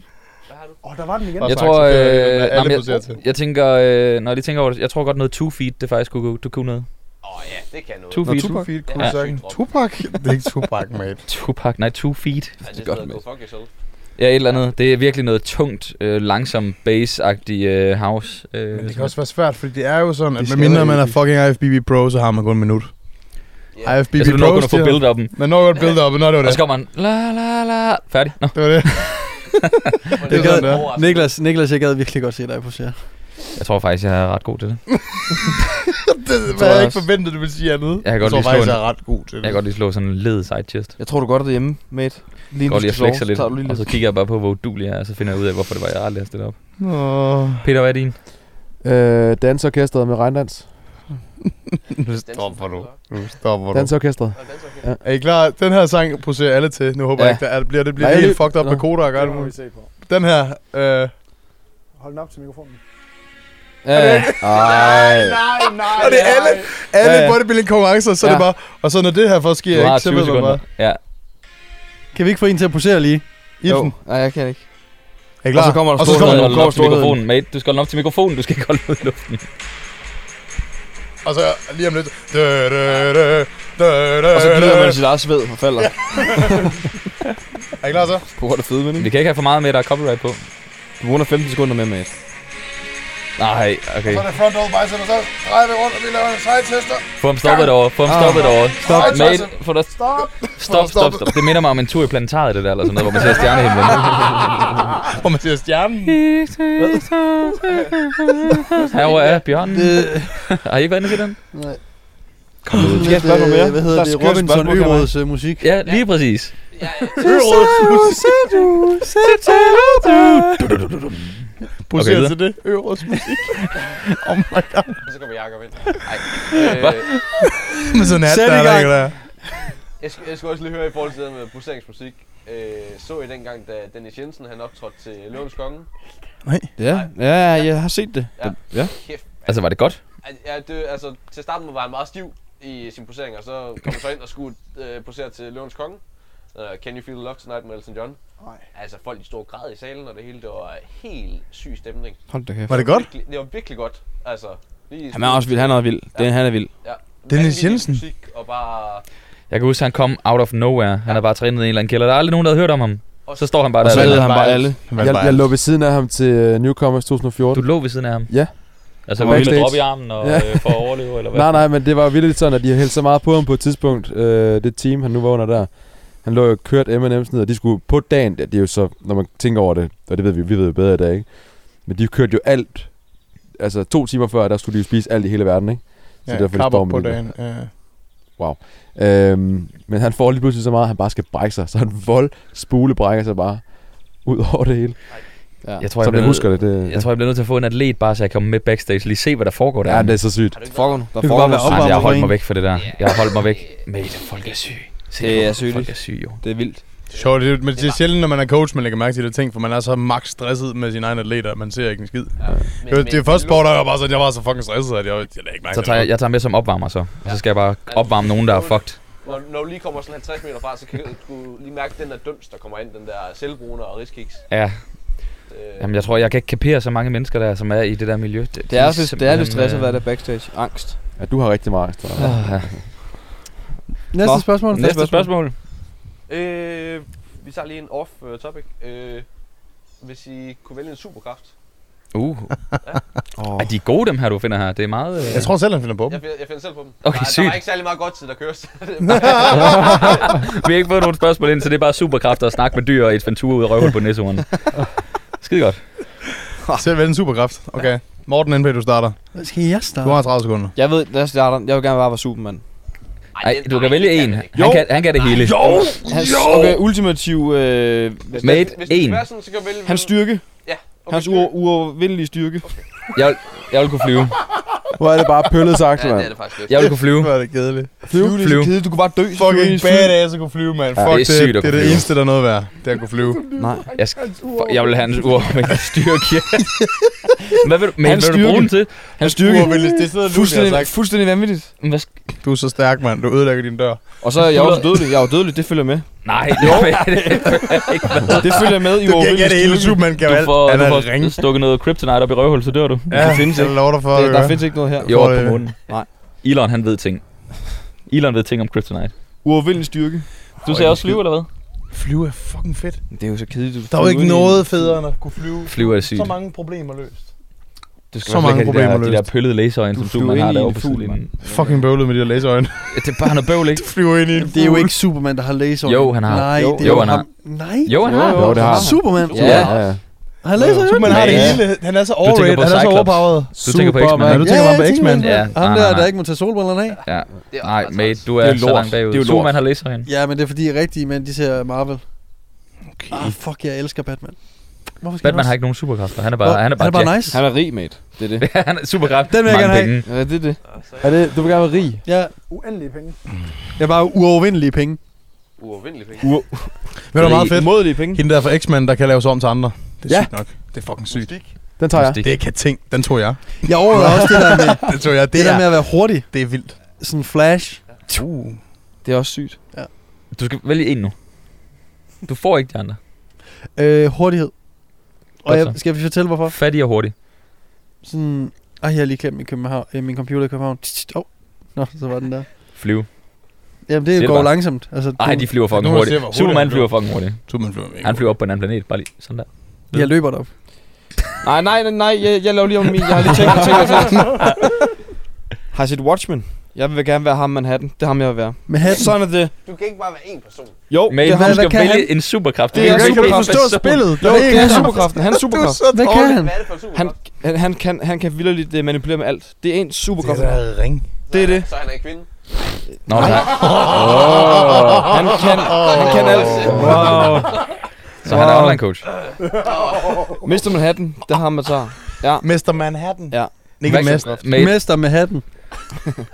Speaker 7: har du?
Speaker 6: Åh, der var den igen.
Speaker 3: Jeg
Speaker 4: Bare
Speaker 3: tror,
Speaker 4: sagt, så det er,
Speaker 3: øh,
Speaker 4: hvad alle
Speaker 3: nej, men
Speaker 4: poserer til.
Speaker 3: jeg, jeg tænker, øh, når jeg lige tænker over det, jeg tror godt noget two feet, det faktisk kunne, du kunne noget.
Speaker 7: Åh oh, ja, det kan noget.
Speaker 3: Two feet.
Speaker 4: Two feet,
Speaker 7: Ja.
Speaker 4: cool Sagen. Tupac? Det er ikke Tupac, mate.
Speaker 3: Tupac, nej, two feet.
Speaker 7: Ej,
Speaker 5: Det er
Speaker 7: det
Speaker 5: godt,
Speaker 7: er
Speaker 5: mate.
Speaker 7: godt, fuck yourself.
Speaker 3: Ja, et eller andet. Det er virkelig noget tungt, øh, langsom bass-agtig øh, house. Øh,
Speaker 4: Men det kan også være svært, fordi det er jo sådan, at
Speaker 5: skal
Speaker 4: medmindre
Speaker 5: være
Speaker 4: man er
Speaker 5: episk.
Speaker 4: fucking IFBB Pro, så har man kun en minut.
Speaker 7: Ja.
Speaker 4: IFBB
Speaker 3: altså, du når
Speaker 4: Pro,
Speaker 3: kun at få build up'en.
Speaker 4: Man når godt build up, og når det var
Speaker 3: Og så
Speaker 4: det.
Speaker 3: kommer man, la la la, færdig. Nå.
Speaker 4: Det var det.
Speaker 7: Det
Speaker 4: gad-
Speaker 7: sådan, er.
Speaker 1: Niklas, Niklas, jeg gad virkelig godt se dig posere.
Speaker 3: Jeg tror faktisk, jeg er ret god til det.
Speaker 4: det
Speaker 3: tror
Speaker 4: var jeg
Speaker 3: jeg
Speaker 4: ikke
Speaker 3: også.
Speaker 4: forventet, du ville sige andet.
Speaker 3: Jeg kan godt
Speaker 4: tror
Speaker 3: lige slå
Speaker 4: faktisk,
Speaker 3: en-
Speaker 4: jeg er ret god til det.
Speaker 3: Jeg kan godt lige slå sådan en led side chest.
Speaker 2: Jeg tror, du godt er derhjemme, mate. Lige
Speaker 3: Jeg
Speaker 2: nu
Speaker 3: går lige og
Speaker 2: skal
Speaker 3: flexer
Speaker 2: sove,
Speaker 3: lidt,
Speaker 2: tager du lige
Speaker 3: og så
Speaker 2: lidt.
Speaker 3: kigger jeg bare på, hvor udulig jeg er, og så finder jeg ud af, hvorfor det var, jeg aldrig har stillet op.
Speaker 4: Åh.
Speaker 3: Peter, hvad er din?
Speaker 5: Øh, dansorkestret med regndans.
Speaker 4: Nu stopper du. Nu stopper du.
Speaker 5: Dansorkestret.
Speaker 4: Er I klar? Den her sang poserer alle til. Nu håber
Speaker 2: Ja.
Speaker 4: jeg ikke, at det bliver, det bliver
Speaker 5: Nej,
Speaker 4: helt
Speaker 5: det-
Speaker 4: fucked up
Speaker 5: Nå.
Speaker 4: med koder og gør det
Speaker 6: det må vi
Speaker 4: muligt.
Speaker 6: se på.
Speaker 4: Den her, øh...
Speaker 6: Hold den op til mikrofonen.
Speaker 2: Ja, ja.
Speaker 5: Ej.
Speaker 6: Nej, nej,
Speaker 4: Og det er alle, alle
Speaker 2: Ja, ja.
Speaker 4: bodybuilding konkurrencer, så er det
Speaker 3: Ja.
Speaker 4: bare... Og så når det her først sker,
Speaker 3: Du har
Speaker 4: ikke, så
Speaker 3: 20
Speaker 4: ved man
Speaker 3: sekunder.
Speaker 4: bare...
Speaker 3: Ja.
Speaker 1: Kan vi ikke få en til at posere lige?
Speaker 2: Jo.
Speaker 4: Ibsen,
Speaker 2: Nej, jeg kan ikke.
Speaker 4: er I klar?
Speaker 2: Og så kommer der
Speaker 4: og så
Speaker 2: stor-
Speaker 4: kommer der,
Speaker 3: Hold den op til mikrofonen, mate. Du skal holde den op til mikrofonen, du skal ikke holde den ud i luften.
Speaker 4: og så lige om lidt... Dø, dø, dø, dø, dø,
Speaker 2: Og så glider
Speaker 4: dø.
Speaker 2: man sit eget sved og falder.
Speaker 4: Er I klar så?
Speaker 2: På grund af fedme,
Speaker 3: Vi
Speaker 2: ikke?
Speaker 3: kan ikke have for meget med, der er copyright på.
Speaker 2: Du runder 15 sekunder med, mate.
Speaker 3: Nej, okay.
Speaker 4: Så er det front over bicep, og så drejer vi rundt, og vi laver en side tester.
Speaker 3: Få ham stoppet over. Få ham stoppet over. Stop, mate. Få dig
Speaker 6: Stop!
Speaker 3: Stop, stop, stop. Det minder mig om en tur i planetariet, det der, eller sådan noget, hvor man ser stjernehimlen.
Speaker 4: Hvor man siger stjernen.
Speaker 3: Herovre er bjørnen. Har I ikke været inde til den?
Speaker 2: Skal jeg spørge noget mere?
Speaker 1: Hvad hedder
Speaker 2: Der
Speaker 1: det?
Speaker 2: skal jeg
Speaker 1: Robinson
Speaker 2: spørge noget mere.
Speaker 1: Ørods øh, musik.
Speaker 3: Ja, lige præcis.
Speaker 7: Ja, ja.
Speaker 4: Poserer
Speaker 3: videre.
Speaker 4: til det. Øros musik. oh my god.
Speaker 7: Og så kommer Jacob ind. Nej. Øh,
Speaker 4: Men sådan er
Speaker 1: Sæt i
Speaker 4: det, der
Speaker 1: gang.
Speaker 4: ikke der.
Speaker 7: jeg, skal, jeg skal også lige høre i forhold til det der med poseringsmusik. Øh, så I dengang, da Dennis Jensen han optrådte til Løvens Konge?
Speaker 2: Ja, ja, jeg har set det.
Speaker 7: Ja.
Speaker 2: Ja.
Speaker 7: Kæft.
Speaker 3: Altså, var det godt?
Speaker 7: Al- Ja, det, altså, til starten var han meget stiv i sin posering, og så kom han så ind og skulle øh, posere til Løvens Konge. Uh, Can You Feel the Love Tonight med Elton John.
Speaker 6: Nej.
Speaker 7: Altså folk i stor grad i salen, og det hele, det var helt syg stemning.
Speaker 2: Hold da kæft.
Speaker 4: Var det godt?
Speaker 7: Virkelig- Det var virkelig godt. Altså, lige
Speaker 2: Han er også vild, han er også vild. Den, han er vild.
Speaker 7: Ja,
Speaker 4: Dennis
Speaker 7: vanvittig
Speaker 4: Jensen.
Speaker 7: Musik, og bare...
Speaker 3: Jeg kan huske, han kom out of nowhere. Han havde bare trænet i en eller anden kælder. Der er aldrig nogen, der havde hørt om ham.
Speaker 7: Også,
Speaker 3: Så står han bare
Speaker 2: Og så
Speaker 3: der.
Speaker 2: leder han bare alle.
Speaker 5: Jeg, jeg lå ved siden af ham til øh, Newcomers 2014.
Speaker 3: Du lå ved siden af ham.
Speaker 5: Ja.
Speaker 3: Altså,
Speaker 5: Og
Speaker 3: var det
Speaker 5: backstage.
Speaker 3: drop i armen og
Speaker 5: Ja.
Speaker 3: øh, for at overleve, eller hvad?
Speaker 5: Nej, nej, men det var virkelig sådan, at de hældte så meget på ham på et tidspunkt, øh, det team, han nu var under der. Han lå jo kørt M&M's ned, og de skulle på dagen, det er jo så, når man tænker over det, og det ved vi, vi ved jo bedre i dag, ikke? Men de kørte jo alt, altså to timer før, der skulle de jo spise alt i hele verden, ikke? Så
Speaker 4: Ja,
Speaker 5: derfor de
Speaker 4: kapper
Speaker 5: står med
Speaker 4: på
Speaker 5: det der.
Speaker 4: dagen. Ja.
Speaker 5: Øhm, men han får lige pludselig så meget, at han bare skal brække sig, så han vold spule brækker sig bare ud over det hele.
Speaker 2: Ja.
Speaker 3: Jeg tror, jeg,
Speaker 5: Som
Speaker 3: bliver nødt,
Speaker 5: jeg husker det, det,
Speaker 3: jeg tror, jeg bliver nødt til at få en atlet, bare så jeg kommer med backstage. Lige se, hvad der foregår der.
Speaker 5: ja, det er så sygt.
Speaker 7: har du ikke
Speaker 2: Fuck, der
Speaker 1: kan
Speaker 2: foregår
Speaker 1: bare være
Speaker 2: noget
Speaker 1: opvarmet.
Speaker 3: Altså, jeg har holdt
Speaker 1: Opvarmning.
Speaker 3: mig væk fra det der. Jeg har holdt mig væk. Mate, folk er syge. Se,
Speaker 2: Det er
Speaker 3: folk-
Speaker 2: sygeligt.
Speaker 3: Folk er syge, jo.
Speaker 2: sygt. Det er vildt.
Speaker 4: Sjovt, det, er jo- men det er sjældent, når man er coach, man lægger mærke til de der ting, for man er så max stresset med sine egne atleter, at man ser ikke en skid.
Speaker 7: Ja. Men,
Speaker 4: Det, var-
Speaker 7: men-
Speaker 4: det er første sport, der var bare sådan, jeg var så fucking stresset, at jeg, jeg lagde ikke mærke
Speaker 3: Så
Speaker 4: til
Speaker 3: tager jeg,
Speaker 4: det.
Speaker 3: jeg tager med som opvarmer så. Og så skal jeg bare opvarme nogen, der er fucked.
Speaker 7: Når, når du lige kommer sådan 50 meter fra, så kan du lige mærke den der døms, der kommer ind, den der selvbruner og riskiks.
Speaker 3: Ja,
Speaker 7: Øh,
Speaker 3: jamen jeg tror, jeg kan ikke kapere så mange mennesker der, som er i det der miljø. Det,
Speaker 2: Det er, lidt, det er lidt stress at være der backstage. Angst.
Speaker 5: Ja, du har rigtig meget angst. tror jeg.
Speaker 3: Ja.
Speaker 1: Næste
Speaker 2: Nå,
Speaker 1: spørgsmål.
Speaker 3: øh, Næste spørgsmål.
Speaker 7: Øh, vi tager lige en Øh, off-topic. Øh, hvis I kunne vælge en superkraft,
Speaker 3: Uh, Oh. Ej, de er gode, dem her, du finder her. Det er meget... Øh...
Speaker 4: Jeg tror selv, han finder på dem.
Speaker 7: Jeg, finder- jeg finder selv på dem.
Speaker 3: Okay,
Speaker 7: der, der
Speaker 3: sygt.
Speaker 7: var ikke særlig meget godt tid, der køres.
Speaker 3: Vi har ikke fået nogen spørgsmål ind, så det er bare superkræfter at snakke med dyr og et ventur ud af røvhul på næsehorn. Skide godt.
Speaker 4: Selv vælge en superkraft. Okay. Morten NP, du starter.
Speaker 1: Hvad skal jeg
Speaker 4: Du
Speaker 1: starte?
Speaker 4: har 30 sekunder.
Speaker 2: Jeg ved, lad os starte. Jeg vil gerne bare være Superman.
Speaker 3: Ej, du kan vælge en. Han
Speaker 2: Jo.
Speaker 3: kan, han kan det hele. Jo!
Speaker 2: Hans, okay, ultimativ... Øh,
Speaker 3: Mate,
Speaker 7: Hvis det
Speaker 3: en.
Speaker 7: skal være sådan, så kan du vælge...
Speaker 2: hans styrke.
Speaker 7: Ja.
Speaker 2: Okay, hans uover- uovervindelige styrke.
Speaker 3: Jeg, vil- jeg vil kunne flyve.
Speaker 5: Hvor er det bare pøllet sagt,
Speaker 7: Ja, det er
Speaker 5: mand.
Speaker 7: det faktisk lidt.
Speaker 3: Jeg vil kunne flyve.
Speaker 4: Hvor er det kedeligt.
Speaker 2: Flyve, det er
Speaker 3: Flyve.
Speaker 2: så kedeligt. Du kan bare dø. hvis du
Speaker 4: Fucking
Speaker 2: ikke flyver.
Speaker 4: badass at kunne flyve, mand. Fuck
Speaker 3: det er
Speaker 4: det.
Speaker 3: sygt at
Speaker 4: Det er det
Speaker 3: kunne flyve.
Speaker 4: eneste, der er noget værd. Det er at kunne flyve.
Speaker 2: Nej.
Speaker 3: Jeg, skal, for, jeg vil have hans ur med styrke. Hvad vil du, men
Speaker 2: Hans
Speaker 3: vil du bruge
Speaker 2: styrke.
Speaker 3: den til?
Speaker 2: Hans styrke.
Speaker 4: Uovervindeligt. Det er sådan noget, Lucy har
Speaker 2: Fuldstændig,
Speaker 4: sagt.
Speaker 2: fuldstændig vanvittigt.
Speaker 3: Hvad sk-
Speaker 4: Du er så stærk, mand. Du ødelægger din dør.
Speaker 2: Og så er jeg også dødelig. Jeg er jo dødelig, det følger med.
Speaker 3: Nej, det er ikke med.
Speaker 2: Det følger med i
Speaker 4: Du kan ikke
Speaker 2: uovervindelig
Speaker 4: have det hele.
Speaker 2: styrke.
Speaker 4: Superman kan jo
Speaker 3: Du
Speaker 4: alt.
Speaker 3: får,
Speaker 4: Han
Speaker 3: du
Speaker 4: er en ring.
Speaker 3: får stukket noget kryptonite op i røvhul, så dør du.
Speaker 4: Ja, det findes ikke. Jeg lover dig for,
Speaker 2: Der,
Speaker 4: at
Speaker 2: der findes ikke noget her.
Speaker 3: Jo,
Speaker 4: får
Speaker 3: op på
Speaker 4: det-
Speaker 3: munden.
Speaker 2: Nej.
Speaker 3: Elon, han ved ting. Elon ved ting om kryptonite.
Speaker 2: Uovervindelig styrke.
Speaker 3: Du ser også flyve, eller hvad?
Speaker 4: Flyve er fucking fedt.
Speaker 2: Det er jo så kedeligt. Du
Speaker 4: Der er jo
Speaker 2: flyver
Speaker 4: ikke
Speaker 2: ud i-
Speaker 4: noget federe, end at kunne flyve.
Speaker 3: Flyver er sygt.
Speaker 4: Så mange problemer løst.
Speaker 3: Du skal
Speaker 4: så
Speaker 3: så
Speaker 4: mange
Speaker 3: mange have de
Speaker 4: problemer
Speaker 3: der, de der
Speaker 4: løst.
Speaker 3: pøllede laserøjne, som
Speaker 2: flyver
Speaker 3: Superman
Speaker 2: ind
Speaker 3: har
Speaker 2: i
Speaker 3: derovre
Speaker 2: en
Speaker 3: på
Speaker 2: fugl,
Speaker 3: sidelinjen.
Speaker 4: Fucking bøvlet med de der laserøjne.
Speaker 3: Det er bare noget bøvl, ikke?
Speaker 4: Du flyver ind i en
Speaker 1: Det er jo
Speaker 4: fugl.
Speaker 1: ikke Superman, der har laser.
Speaker 3: Jo, han har.
Speaker 1: Nej,
Speaker 2: Jo.
Speaker 1: det er
Speaker 3: Jo,
Speaker 1: jo
Speaker 3: han har.
Speaker 1: ham. Nej,
Speaker 3: Jo, han har.
Speaker 5: Jo, det har han.
Speaker 1: Superman.
Speaker 2: Ja.
Speaker 5: Ja, ja.
Speaker 1: Han laser jo.
Speaker 4: Superman har det
Speaker 3: Ja.
Speaker 4: hele. Han er så
Speaker 3: på
Speaker 4: overrated. Han er så
Speaker 3: Cyclops.
Speaker 4: overpowered.
Speaker 3: Du tænker på X-Men.
Speaker 5: Superman.
Speaker 4: Ja, du tænker
Speaker 1: Ja,
Speaker 4: bare på
Speaker 1: jeg tænker
Speaker 4: X-Men.
Speaker 1: på
Speaker 3: Ja,
Speaker 1: Ham
Speaker 3: nej,
Speaker 1: der,
Speaker 3: nej,
Speaker 1: der
Speaker 3: nej.
Speaker 1: ikke må tage solbrillerne af.
Speaker 3: Ja.
Speaker 7: Det er
Speaker 3: Nej,
Speaker 7: ret
Speaker 3: mate,
Speaker 7: træls.
Speaker 3: du
Speaker 2: Det
Speaker 3: er,
Speaker 2: er
Speaker 3: så
Speaker 2: lort.
Speaker 3: langt bagud.
Speaker 2: Det er jo lort.
Speaker 3: Superman har laserøjne.
Speaker 1: Ja, men det er fordi rigtige mænd, de ser Marvel. Okay. Ah, fuck, jeg elsker Batman. Hvorfor skal
Speaker 3: Batman
Speaker 1: han
Speaker 3: har ikke nogen superkræfter. Han er bare, han er bare,
Speaker 1: han er bare nice.
Speaker 2: Han er rig, mate. Det er det.
Speaker 3: Jack. han er superkræft.
Speaker 1: Den vil jeg
Speaker 3: Mange
Speaker 1: gerne have.
Speaker 3: penge.
Speaker 2: Ja, det er det.
Speaker 5: Er det, du vil gerne være rig?
Speaker 1: Ja,
Speaker 6: Uendelige penge.
Speaker 1: jeg er bare uovervindelige penge.
Speaker 7: Uovervindelig penge.
Speaker 4: Ved du, hvor meget fedt?
Speaker 2: Umodelige penge.
Speaker 4: Hende der fra X-Men, der kan laves om til andre. Det er
Speaker 5: Ja.
Speaker 4: sygt nok. Det er fucking sygt.
Speaker 5: Den tager jeg.
Speaker 3: Mystik.
Speaker 4: Det er kating. Den tog jeg.
Speaker 1: Jeg overvejede også det der med,
Speaker 4: Den tog jeg.
Speaker 1: det der med at være hurtig.
Speaker 4: det er vildt.
Speaker 1: Sådan flash.
Speaker 4: Uh.
Speaker 2: Det er også sygt.
Speaker 3: Du skal vælge en nu. Du får ikke de andre.
Speaker 1: Øh, hurtighed. Og
Speaker 3: Godt
Speaker 1: jeg,
Speaker 3: så.
Speaker 1: skal vi fortælle hvorfor?
Speaker 3: Fattig og hurtig.
Speaker 1: Sådan, ej, jeg har lige klemt min, København, øh, min computer i København. Tsk, tsk, Åh, nå, så var den der.
Speaker 3: Flyve.
Speaker 1: Jamen,
Speaker 3: Siger
Speaker 1: det
Speaker 3: det
Speaker 1: går
Speaker 3: bare.
Speaker 1: langsomt. Altså, du,
Speaker 3: Nej, de flyver
Speaker 4: Nu må jeg se,
Speaker 3: fucking hurtigt.
Speaker 4: hvor hurtigt han
Speaker 3: Superman
Speaker 4: flyver.
Speaker 3: flyver fucking hurtigt.
Speaker 4: Superman flyver mega
Speaker 3: Han flyver op på en anden planet. Bare lige sådan der.
Speaker 1: jeg løber derop.
Speaker 2: Nej, nej, nej, nej. Jeg, jeg laver lige om min. Jeg har lige tænkt, tænkt, tænkt. Har I set Watchmen? Jeg vil gerne være ham Manhattan. Det er ham, jeg vil være.
Speaker 1: Med hatten.
Speaker 2: Sådan er det.
Speaker 7: Du kan ikke bare være én person.
Speaker 2: Jo,
Speaker 3: Men
Speaker 2: det er
Speaker 3: du
Speaker 2: ham.
Speaker 1: hvad
Speaker 3: skal
Speaker 1: kan
Speaker 3: vælge
Speaker 1: han?
Speaker 3: en superkraft.
Speaker 2: Det
Speaker 3: Du
Speaker 2: er
Speaker 3: kan
Speaker 2: en
Speaker 3: ikke vælge
Speaker 2: superkraft.
Speaker 3: en person.
Speaker 4: spillet.
Speaker 2: Jo, det er superkraften. Han er superkraft.
Speaker 1: Hvad kan han?
Speaker 7: Hvad er det for en
Speaker 2: Han,
Speaker 7: superkraft?
Speaker 2: han, han, kan, han kan vildt uh, manipulere med alt. Det er en superkraft.
Speaker 4: Det er ring.
Speaker 2: det er det.
Speaker 7: Så han er en kvinde.
Speaker 3: Nå, nej.
Speaker 2: Han kan, han kan alt.
Speaker 3: Wow. Så han er online coach.
Speaker 2: Mr. Manhattan, det er ham, man tager.
Speaker 4: Mester Manhattan.
Speaker 2: Ja.
Speaker 4: Ikke
Speaker 3: Hvad-
Speaker 4: mester.
Speaker 3: Mate,
Speaker 1: Mester med hatten.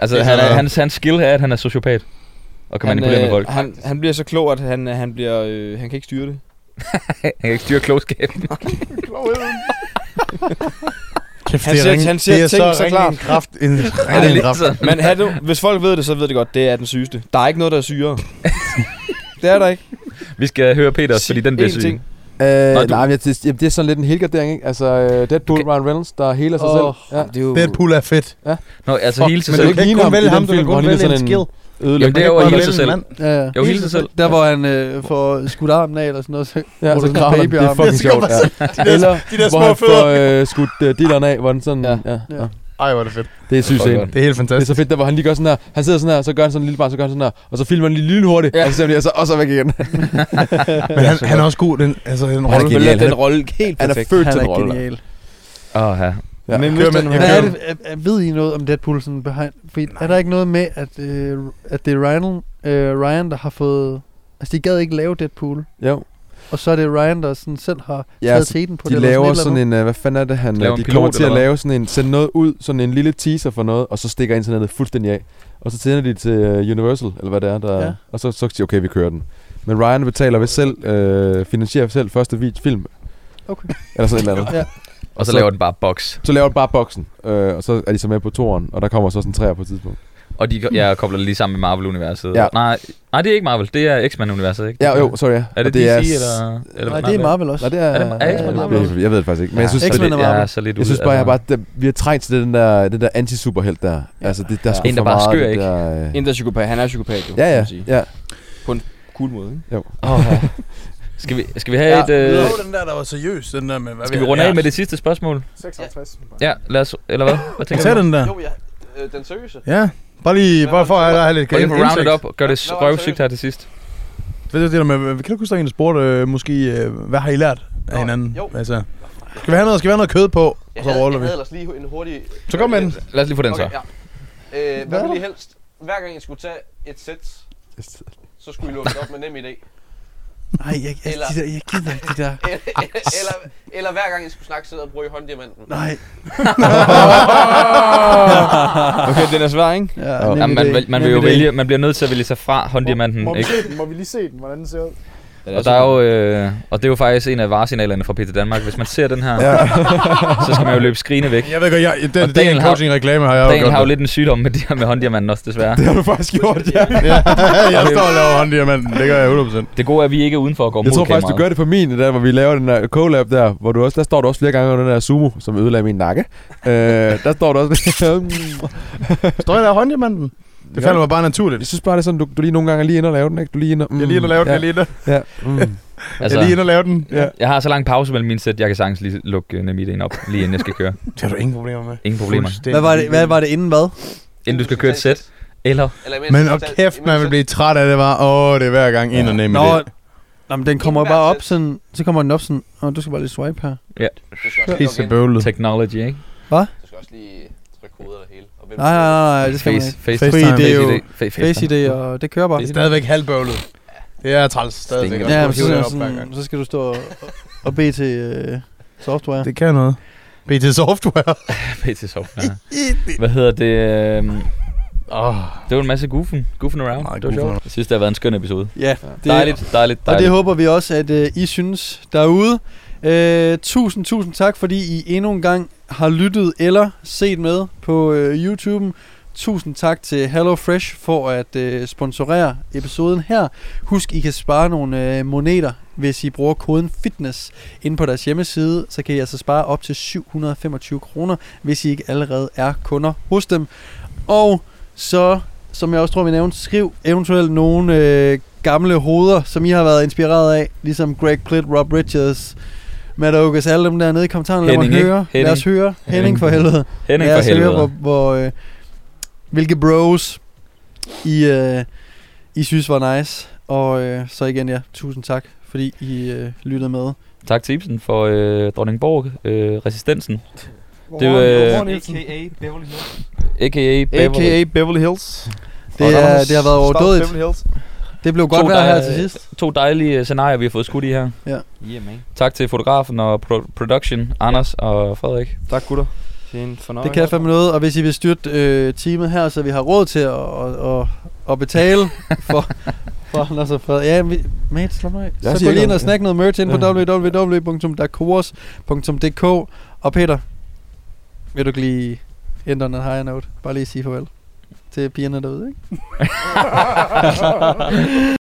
Speaker 3: altså, han, er- hans, hans skill her er, at han er sociopat. Og kan manipulere med folk.
Speaker 2: han, øh, han bliver så klog, at han, øh, han, bliver, øh, han kan ikke styre det.
Speaker 3: Han kan ikke styre klogskaben.
Speaker 4: Kæft,
Speaker 2: Han siger- han siger
Speaker 4: det er
Speaker 2: ting så
Speaker 4: så ringe
Speaker 2: klart.
Speaker 4: en kraft. En
Speaker 3: Er det
Speaker 4: ringe en
Speaker 3: lidt
Speaker 4: kraft.
Speaker 3: sådan?
Speaker 2: Men Manhattan, hvis folk ved det, så ved det godt, det er den sygeste. Der er ikke noget, der er sygere. det er der ikke.
Speaker 3: Vi skal høre Peter,
Speaker 2: Sig
Speaker 3: fordi den bliver
Speaker 2: én
Speaker 3: syg.
Speaker 2: ting.
Speaker 5: Øh,
Speaker 3: Nå,
Speaker 5: Nå,
Speaker 3: du-
Speaker 5: nej, men jeg, det, jamen, det er sådan lidt en helgardering, ikke? Altså, øh, Deadpool,
Speaker 3: Okay.
Speaker 5: Ryan Reynolds, der heler sig
Speaker 2: Åh,
Speaker 5: selv. Ja.
Speaker 2: Det er jo...
Speaker 4: Deadpool er fedt.
Speaker 3: Nå, altså
Speaker 4: Fuck,
Speaker 3: hele sig
Speaker 4: men
Speaker 5: Så
Speaker 3: selv.
Speaker 4: du kan ikke kun vælge ham, du kan kun vælge en skill.
Speaker 3: Jamen, det er jo at hele sig selv.
Speaker 1: Ja, ja.
Speaker 3: Jo, hele sig selv.
Speaker 1: Der, hvor han øh, får skudt armen af eller sådan noget. Så,
Speaker 5: Ja,
Speaker 1: hvor
Speaker 5: så
Speaker 1: der
Speaker 5: krammer han. Det er
Speaker 1: babyarm.
Speaker 5: fucking
Speaker 4: Jeg skal
Speaker 5: sjovt.
Speaker 4: bare
Speaker 5: Ja. Eller,
Speaker 4: De der
Speaker 5: hvor
Speaker 4: små
Speaker 5: han
Speaker 4: fødder.
Speaker 5: får øh, skudt øh, dilleren af, hvor den sådan...
Speaker 2: Ja.
Speaker 5: Ja. Ja.
Speaker 1: Ja.
Speaker 5: ja.
Speaker 4: Ej, hvor er det fedt.
Speaker 5: Det er sygt
Speaker 3: Fuck,
Speaker 5: scene.
Speaker 3: godt.
Speaker 4: Det er helt
Speaker 5: Det er så
Speaker 4: fantastisk.
Speaker 5: fedt, der hvor han lige gør sådan her. Han sidder sådan her, så gør han sådan en lille barn, så gør han sådan her. Og så filmer han lige lille hurtigt, ja. og så ser han lige, og så, og så væk igen.
Speaker 4: Men han, han er også god, den, altså den
Speaker 5: Han er
Speaker 4: rolle.
Speaker 5: genial.
Speaker 2: Genial. Den
Speaker 5: Han
Speaker 2: rolle helt
Speaker 5: Han er
Speaker 2: perfekt.
Speaker 5: født
Speaker 1: Han
Speaker 5: til
Speaker 1: er
Speaker 5: den rolle.
Speaker 1: genial.
Speaker 3: Åh, ja.
Speaker 5: Ja.
Speaker 2: Men
Speaker 4: Kører med-
Speaker 2: Mr.
Speaker 4: jeg
Speaker 1: Hvad er
Speaker 2: Manhattan...
Speaker 1: det, er- er, ved I noget om Deadpool? Sådan behind, fordi er der ikke noget med, at, øh, at det er Ryan, øh, Ryan, der har fået... Altså, de gad ikke lave Deadpool.
Speaker 5: Jo.
Speaker 1: Og så er det Ryan, der sådan selv har
Speaker 5: Ja,
Speaker 1: taget
Speaker 5: så
Speaker 1: teten på
Speaker 5: De
Speaker 1: det.
Speaker 5: laver sådan en, øh, hvad fanden er det, han...
Speaker 3: Laver en
Speaker 5: De
Speaker 3: pilot,
Speaker 5: kommer til at
Speaker 3: eller hvad?
Speaker 5: lave sådan en, sende noget ud, sådan en lille teaser for noget, og så stikker internettet fuldstændig af. Og så tænder de til øh, Universal, eller hvad det er, der...
Speaker 1: Ja.
Speaker 5: Og så, så siger de, okay, vi kører den. Men Ryan betaler ved selv, øh, finansierer selv første vid- film,
Speaker 1: Okay.
Speaker 5: eller sådan et eller andet.
Speaker 1: Ja.
Speaker 3: Og så laver den bare box.
Speaker 5: Så laver de bare boksen, øh, og så er de så med på toren, og der kommer så sådan en træer på et tidspunkt.
Speaker 3: Og de jeg kobler det lige sammen med Marvel-universet.
Speaker 5: Ja.
Speaker 3: Nej, nej, det er ikke Marvel. Det er X-Men-universet, ikke?
Speaker 5: Ja, jo, sorry. ja.
Speaker 3: Er det,
Speaker 5: Og
Speaker 3: DC,
Speaker 5: er s-
Speaker 3: eller, eller...
Speaker 1: Nej, det er Marvel også.
Speaker 5: Nej, det er...
Speaker 3: Er det- er X-Men
Speaker 5: jeg,
Speaker 1: Marvel?
Speaker 5: ved, jeg ved det faktisk ikke, men jeg synes,
Speaker 1: X-Men
Speaker 5: det,
Speaker 1: er
Speaker 3: jeg er
Speaker 1: Marvel.
Speaker 3: så lidt
Speaker 5: jeg
Speaker 3: ude,
Speaker 5: synes bare, jeg
Speaker 3: altså.
Speaker 5: bare der, vi har trængt til den der, den der anti-superhelt der. Altså, det, der er sgu
Speaker 3: En, der
Speaker 5: for
Speaker 3: bare
Speaker 5: meget,
Speaker 3: skør,
Speaker 5: det
Speaker 3: ikke?
Speaker 5: Der, øh,
Speaker 2: En, der er psykopat. Han er psykopat, jo.
Speaker 5: ja,
Speaker 2: kan
Speaker 5: ja,
Speaker 2: man sige.
Speaker 5: ja.
Speaker 2: Cool måde, ikke?
Speaker 5: Jo.
Speaker 2: Oh,
Speaker 3: Skal vi, skal vi have et...
Speaker 4: Øh...
Speaker 3: Øh,
Speaker 4: Det var den der, der var seriøs, den der med... Hvad
Speaker 3: skal vi runde af med det sidste spørgsmål?
Speaker 6: 56.
Speaker 3: Ja, lad os... Eller hvad?
Speaker 4: Kan
Speaker 3: Hvad tænker
Speaker 4: tage
Speaker 3: du?
Speaker 4: den der?
Speaker 7: Jo, ja. Øh, den seriøse.
Speaker 4: Ja. Bare lige,
Speaker 7: Hvad
Speaker 4: bare for
Speaker 7: var
Speaker 4: at
Speaker 7: det?
Speaker 4: der er lidt
Speaker 3: Prøv lige
Speaker 4: game
Speaker 3: at round
Speaker 4: indsigt.
Speaker 3: it up. Gør det
Speaker 7: Hvad var det
Speaker 3: røvsygt her til sidst.
Speaker 4: Ved du det der med, kan du huske, der er en, der spurgte, øh, måske, øh, hvad har I lært af
Speaker 7: Nå,
Speaker 4: hinanden?
Speaker 7: jo.
Speaker 4: Altså, skal vi have noget, skal vi have noget kød på,
Speaker 7: Jeg
Speaker 4: og så
Speaker 7: havde,
Speaker 4: ruller
Speaker 7: jeg
Speaker 4: vi.
Speaker 7: havde ellers lige en hurtig...
Speaker 4: Så kom med den.
Speaker 3: Lad os lige få den så.
Speaker 7: Okay, ja.
Speaker 4: Hvad
Speaker 7: Øh, hvad
Speaker 4: er
Speaker 7: ville I
Speaker 4: der?
Speaker 7: helst? Hver gang I skulle tage et sæt, så skulle I lukke det op med nem idé.
Speaker 1: Nej, jeg, jeg,
Speaker 7: Eller-
Speaker 1: de der, jeg gider ikke de der.
Speaker 7: eller, eller hver gang I skulle snakke, så og bruge hånddiamanten.
Speaker 1: Nej.
Speaker 2: Okay, den er svær, ikke?
Speaker 1: Ja,
Speaker 5: Nå.
Speaker 1: nem
Speaker 3: Jamen, man,
Speaker 1: idé.
Speaker 3: vel- man,
Speaker 1: Nem
Speaker 3: vil jo
Speaker 1: idé.
Speaker 3: vælge, man bliver nødt til at vælge sig fra hånddiamanten,
Speaker 6: må, må, vi
Speaker 3: ikke?
Speaker 6: se den? må vi lige se den, hvordan den ser ud?
Speaker 3: Og, der er jo, øh, og det er jo faktisk en af varesignalerne fra Peter Danmark. Hvis man ser den her, så skal man jo løbe skrigende væk.
Speaker 4: Jeg ved godt, jeg, den,
Speaker 3: Og
Speaker 4: den
Speaker 3: Daniel har-
Speaker 4: coaching-reklame har jeg
Speaker 3: Daniel
Speaker 4: godt
Speaker 3: har jo
Speaker 4: med.
Speaker 3: lidt en sygdom med det her med hånddiamanten også, desværre.
Speaker 5: Det har du faktisk gjort, ja.
Speaker 4: Ja, jeg står og laver hånddiamanten, det gør jeg 100%.
Speaker 3: Det gode er, at vi ikke er udenfor at gå mod
Speaker 5: Jeg tror faktisk, du
Speaker 3: kameraet.
Speaker 5: gør det på min, der hvor vi laver den der collab der, hvor du også, der står du også flere gange under den der sumo, som ødelagde min nakke. øh, der står du også...
Speaker 4: Står jeg der hånddiamanten? Det
Speaker 5: Ja.
Speaker 4: falder mig bare naturligt.
Speaker 5: Jeg synes bare, det er sådan, du, du lige nogle gange er lige inde og lave den, ikke? Du lige inde og... Mm,
Speaker 4: Jeg er lige inde og lave den,
Speaker 5: ja,
Speaker 4: jeg er lige inde og-
Speaker 5: Ja. Mm.
Speaker 1: Altså-
Speaker 4: jeg er lige inde og lave den. Ja.
Speaker 3: Altså, Jeg har så lang pause mellem mine sæt, jeg kan sagtens lige lukke øh, nemlig ind op, lige inden jeg skal køre.
Speaker 4: Det har du ingen problemer med.
Speaker 3: Ingen problemer.
Speaker 1: Hvad var det, hvad var det inden hvad?
Speaker 3: Inden du skal køre et sæt, eller...
Speaker 7: Eller
Speaker 4: Men og kæft, man vil blive træt af det var. Åh, det er hver gang en og nem
Speaker 1: Nå,
Speaker 4: idé.
Speaker 1: Nå, men den kommer
Speaker 7: Inden
Speaker 1: bare
Speaker 7: hver
Speaker 1: op sådan, så kommer den op sådan, og du skal bare lige swipe her.
Speaker 4: Pisse bøvlet.
Speaker 3: Technology, ikke?
Speaker 7: Du skal også lige trykke koder og det hele. Og hvem-
Speaker 1: Nej, nej, nej, nej det skal man
Speaker 3: Face,
Speaker 1: ikke.
Speaker 3: face,
Speaker 4: Face-
Speaker 1: Fordi
Speaker 3: face,
Speaker 1: det er jo
Speaker 3: ID, fa-
Speaker 1: face
Speaker 3: face,
Speaker 1: ID, og det kører bare.
Speaker 4: Det er stadigvæk halvbøvlet. Det er træls stadigvæk.
Speaker 3: Stinker.
Speaker 4: Jeg
Speaker 1: Ja,
Speaker 4: må
Speaker 1: men så,
Speaker 4: hive det op
Speaker 1: sådan,
Speaker 4: hver gang.
Speaker 1: sådan, så skal du stå og, og bede til øh, software.
Speaker 4: Det kan noget. BT Software.
Speaker 3: PC software. Hvad hedder det? øhm, Åh, det var en masse goofen. Goofen around.
Speaker 4: Meget
Speaker 3: det var
Speaker 4: goofen
Speaker 3: sjovt. Jeg synes, det har været en skøn episode.
Speaker 1: Ja,
Speaker 3: Det dejligt, dejligt,
Speaker 1: Og det
Speaker 3: dejligt.
Speaker 1: håber vi også, at øh, I synes derude. Øh, tusind, tusind tak, fordi I endnu en gang har lyttet eller set med på øh, YouTube'en. Tusind tak til HelloFresh for at øh, sponsorere episoden her. Husk, I kan spare nogle øh, moneter, hvis I bruger koden FITNESS inde på deres hjemmeside. Så kan I altså spare op til 725 kroner, hvis I ikke allerede er kunder hos dem. Og så, som jeg også tror, vi nævnte, skriv eventuelt nogle øh, gamle hoveder, som I har været inspireret af, ligesom Greg Plitt, Rob Richards, Matt Oakes, alle dem der nede i kommentarerne. Lad, mig
Speaker 3: Henning, ikke?
Speaker 1: høre. Lad
Speaker 3: Henning.
Speaker 1: os høre. Henning,
Speaker 3: Henning.
Speaker 1: for helvede.
Speaker 3: Henning
Speaker 1: Lad
Speaker 3: for
Speaker 1: os høre, hvor,
Speaker 3: helvede.
Speaker 1: hvor, øh, hvilke bros I, øh, I synes var nice. Og øh, så igen, ja, tusind tak, fordi I øh, lyttede med.
Speaker 3: Tak til Ibsen for øh, Dronningborg, øh, Resistensen,
Speaker 6: Hvor
Speaker 3: Det er
Speaker 6: var
Speaker 3: jo,
Speaker 6: den?
Speaker 3: øh,
Speaker 6: Hvor var den, Nielsen?
Speaker 3: a.k.a. Beverly.
Speaker 2: A.k.a. Beverly Hills.
Speaker 1: Det,
Speaker 2: Og
Speaker 1: er,
Speaker 2: Anders
Speaker 1: det har været
Speaker 2: Stav
Speaker 1: overdådigt.
Speaker 2: Beverly Hills.
Speaker 1: Det blev godt
Speaker 3: To,
Speaker 1: vejr
Speaker 3: der
Speaker 1: her
Speaker 3: er-
Speaker 1: til sidst.
Speaker 3: To dejlige øh, scenarier, vi har fået skudt i her.
Speaker 1: Ja.
Speaker 2: Yeah, man.
Speaker 3: Tak til fotografen og pro- production, Anders og Frederik.
Speaker 2: Tak, gutter. Det er en fornøjelse.
Speaker 1: Det kan fandme noget, og hvis I vil styrte øh, teamet her, så vi har råd til at, at, at, at betale for, for Anders og Fred. Ja, vi, mate, slå mig af.
Speaker 5: Jeg
Speaker 1: Så
Speaker 5: siger
Speaker 1: gå lige ind
Speaker 5: ikke
Speaker 1: og
Speaker 5: noget.
Speaker 1: snak noget merch ind på
Speaker 5: Ja.
Speaker 1: www.dakors.dk Og Peter, vil du ikke lige ændre en higher note? Bare lige sige farvel til pigerne derude, ikke?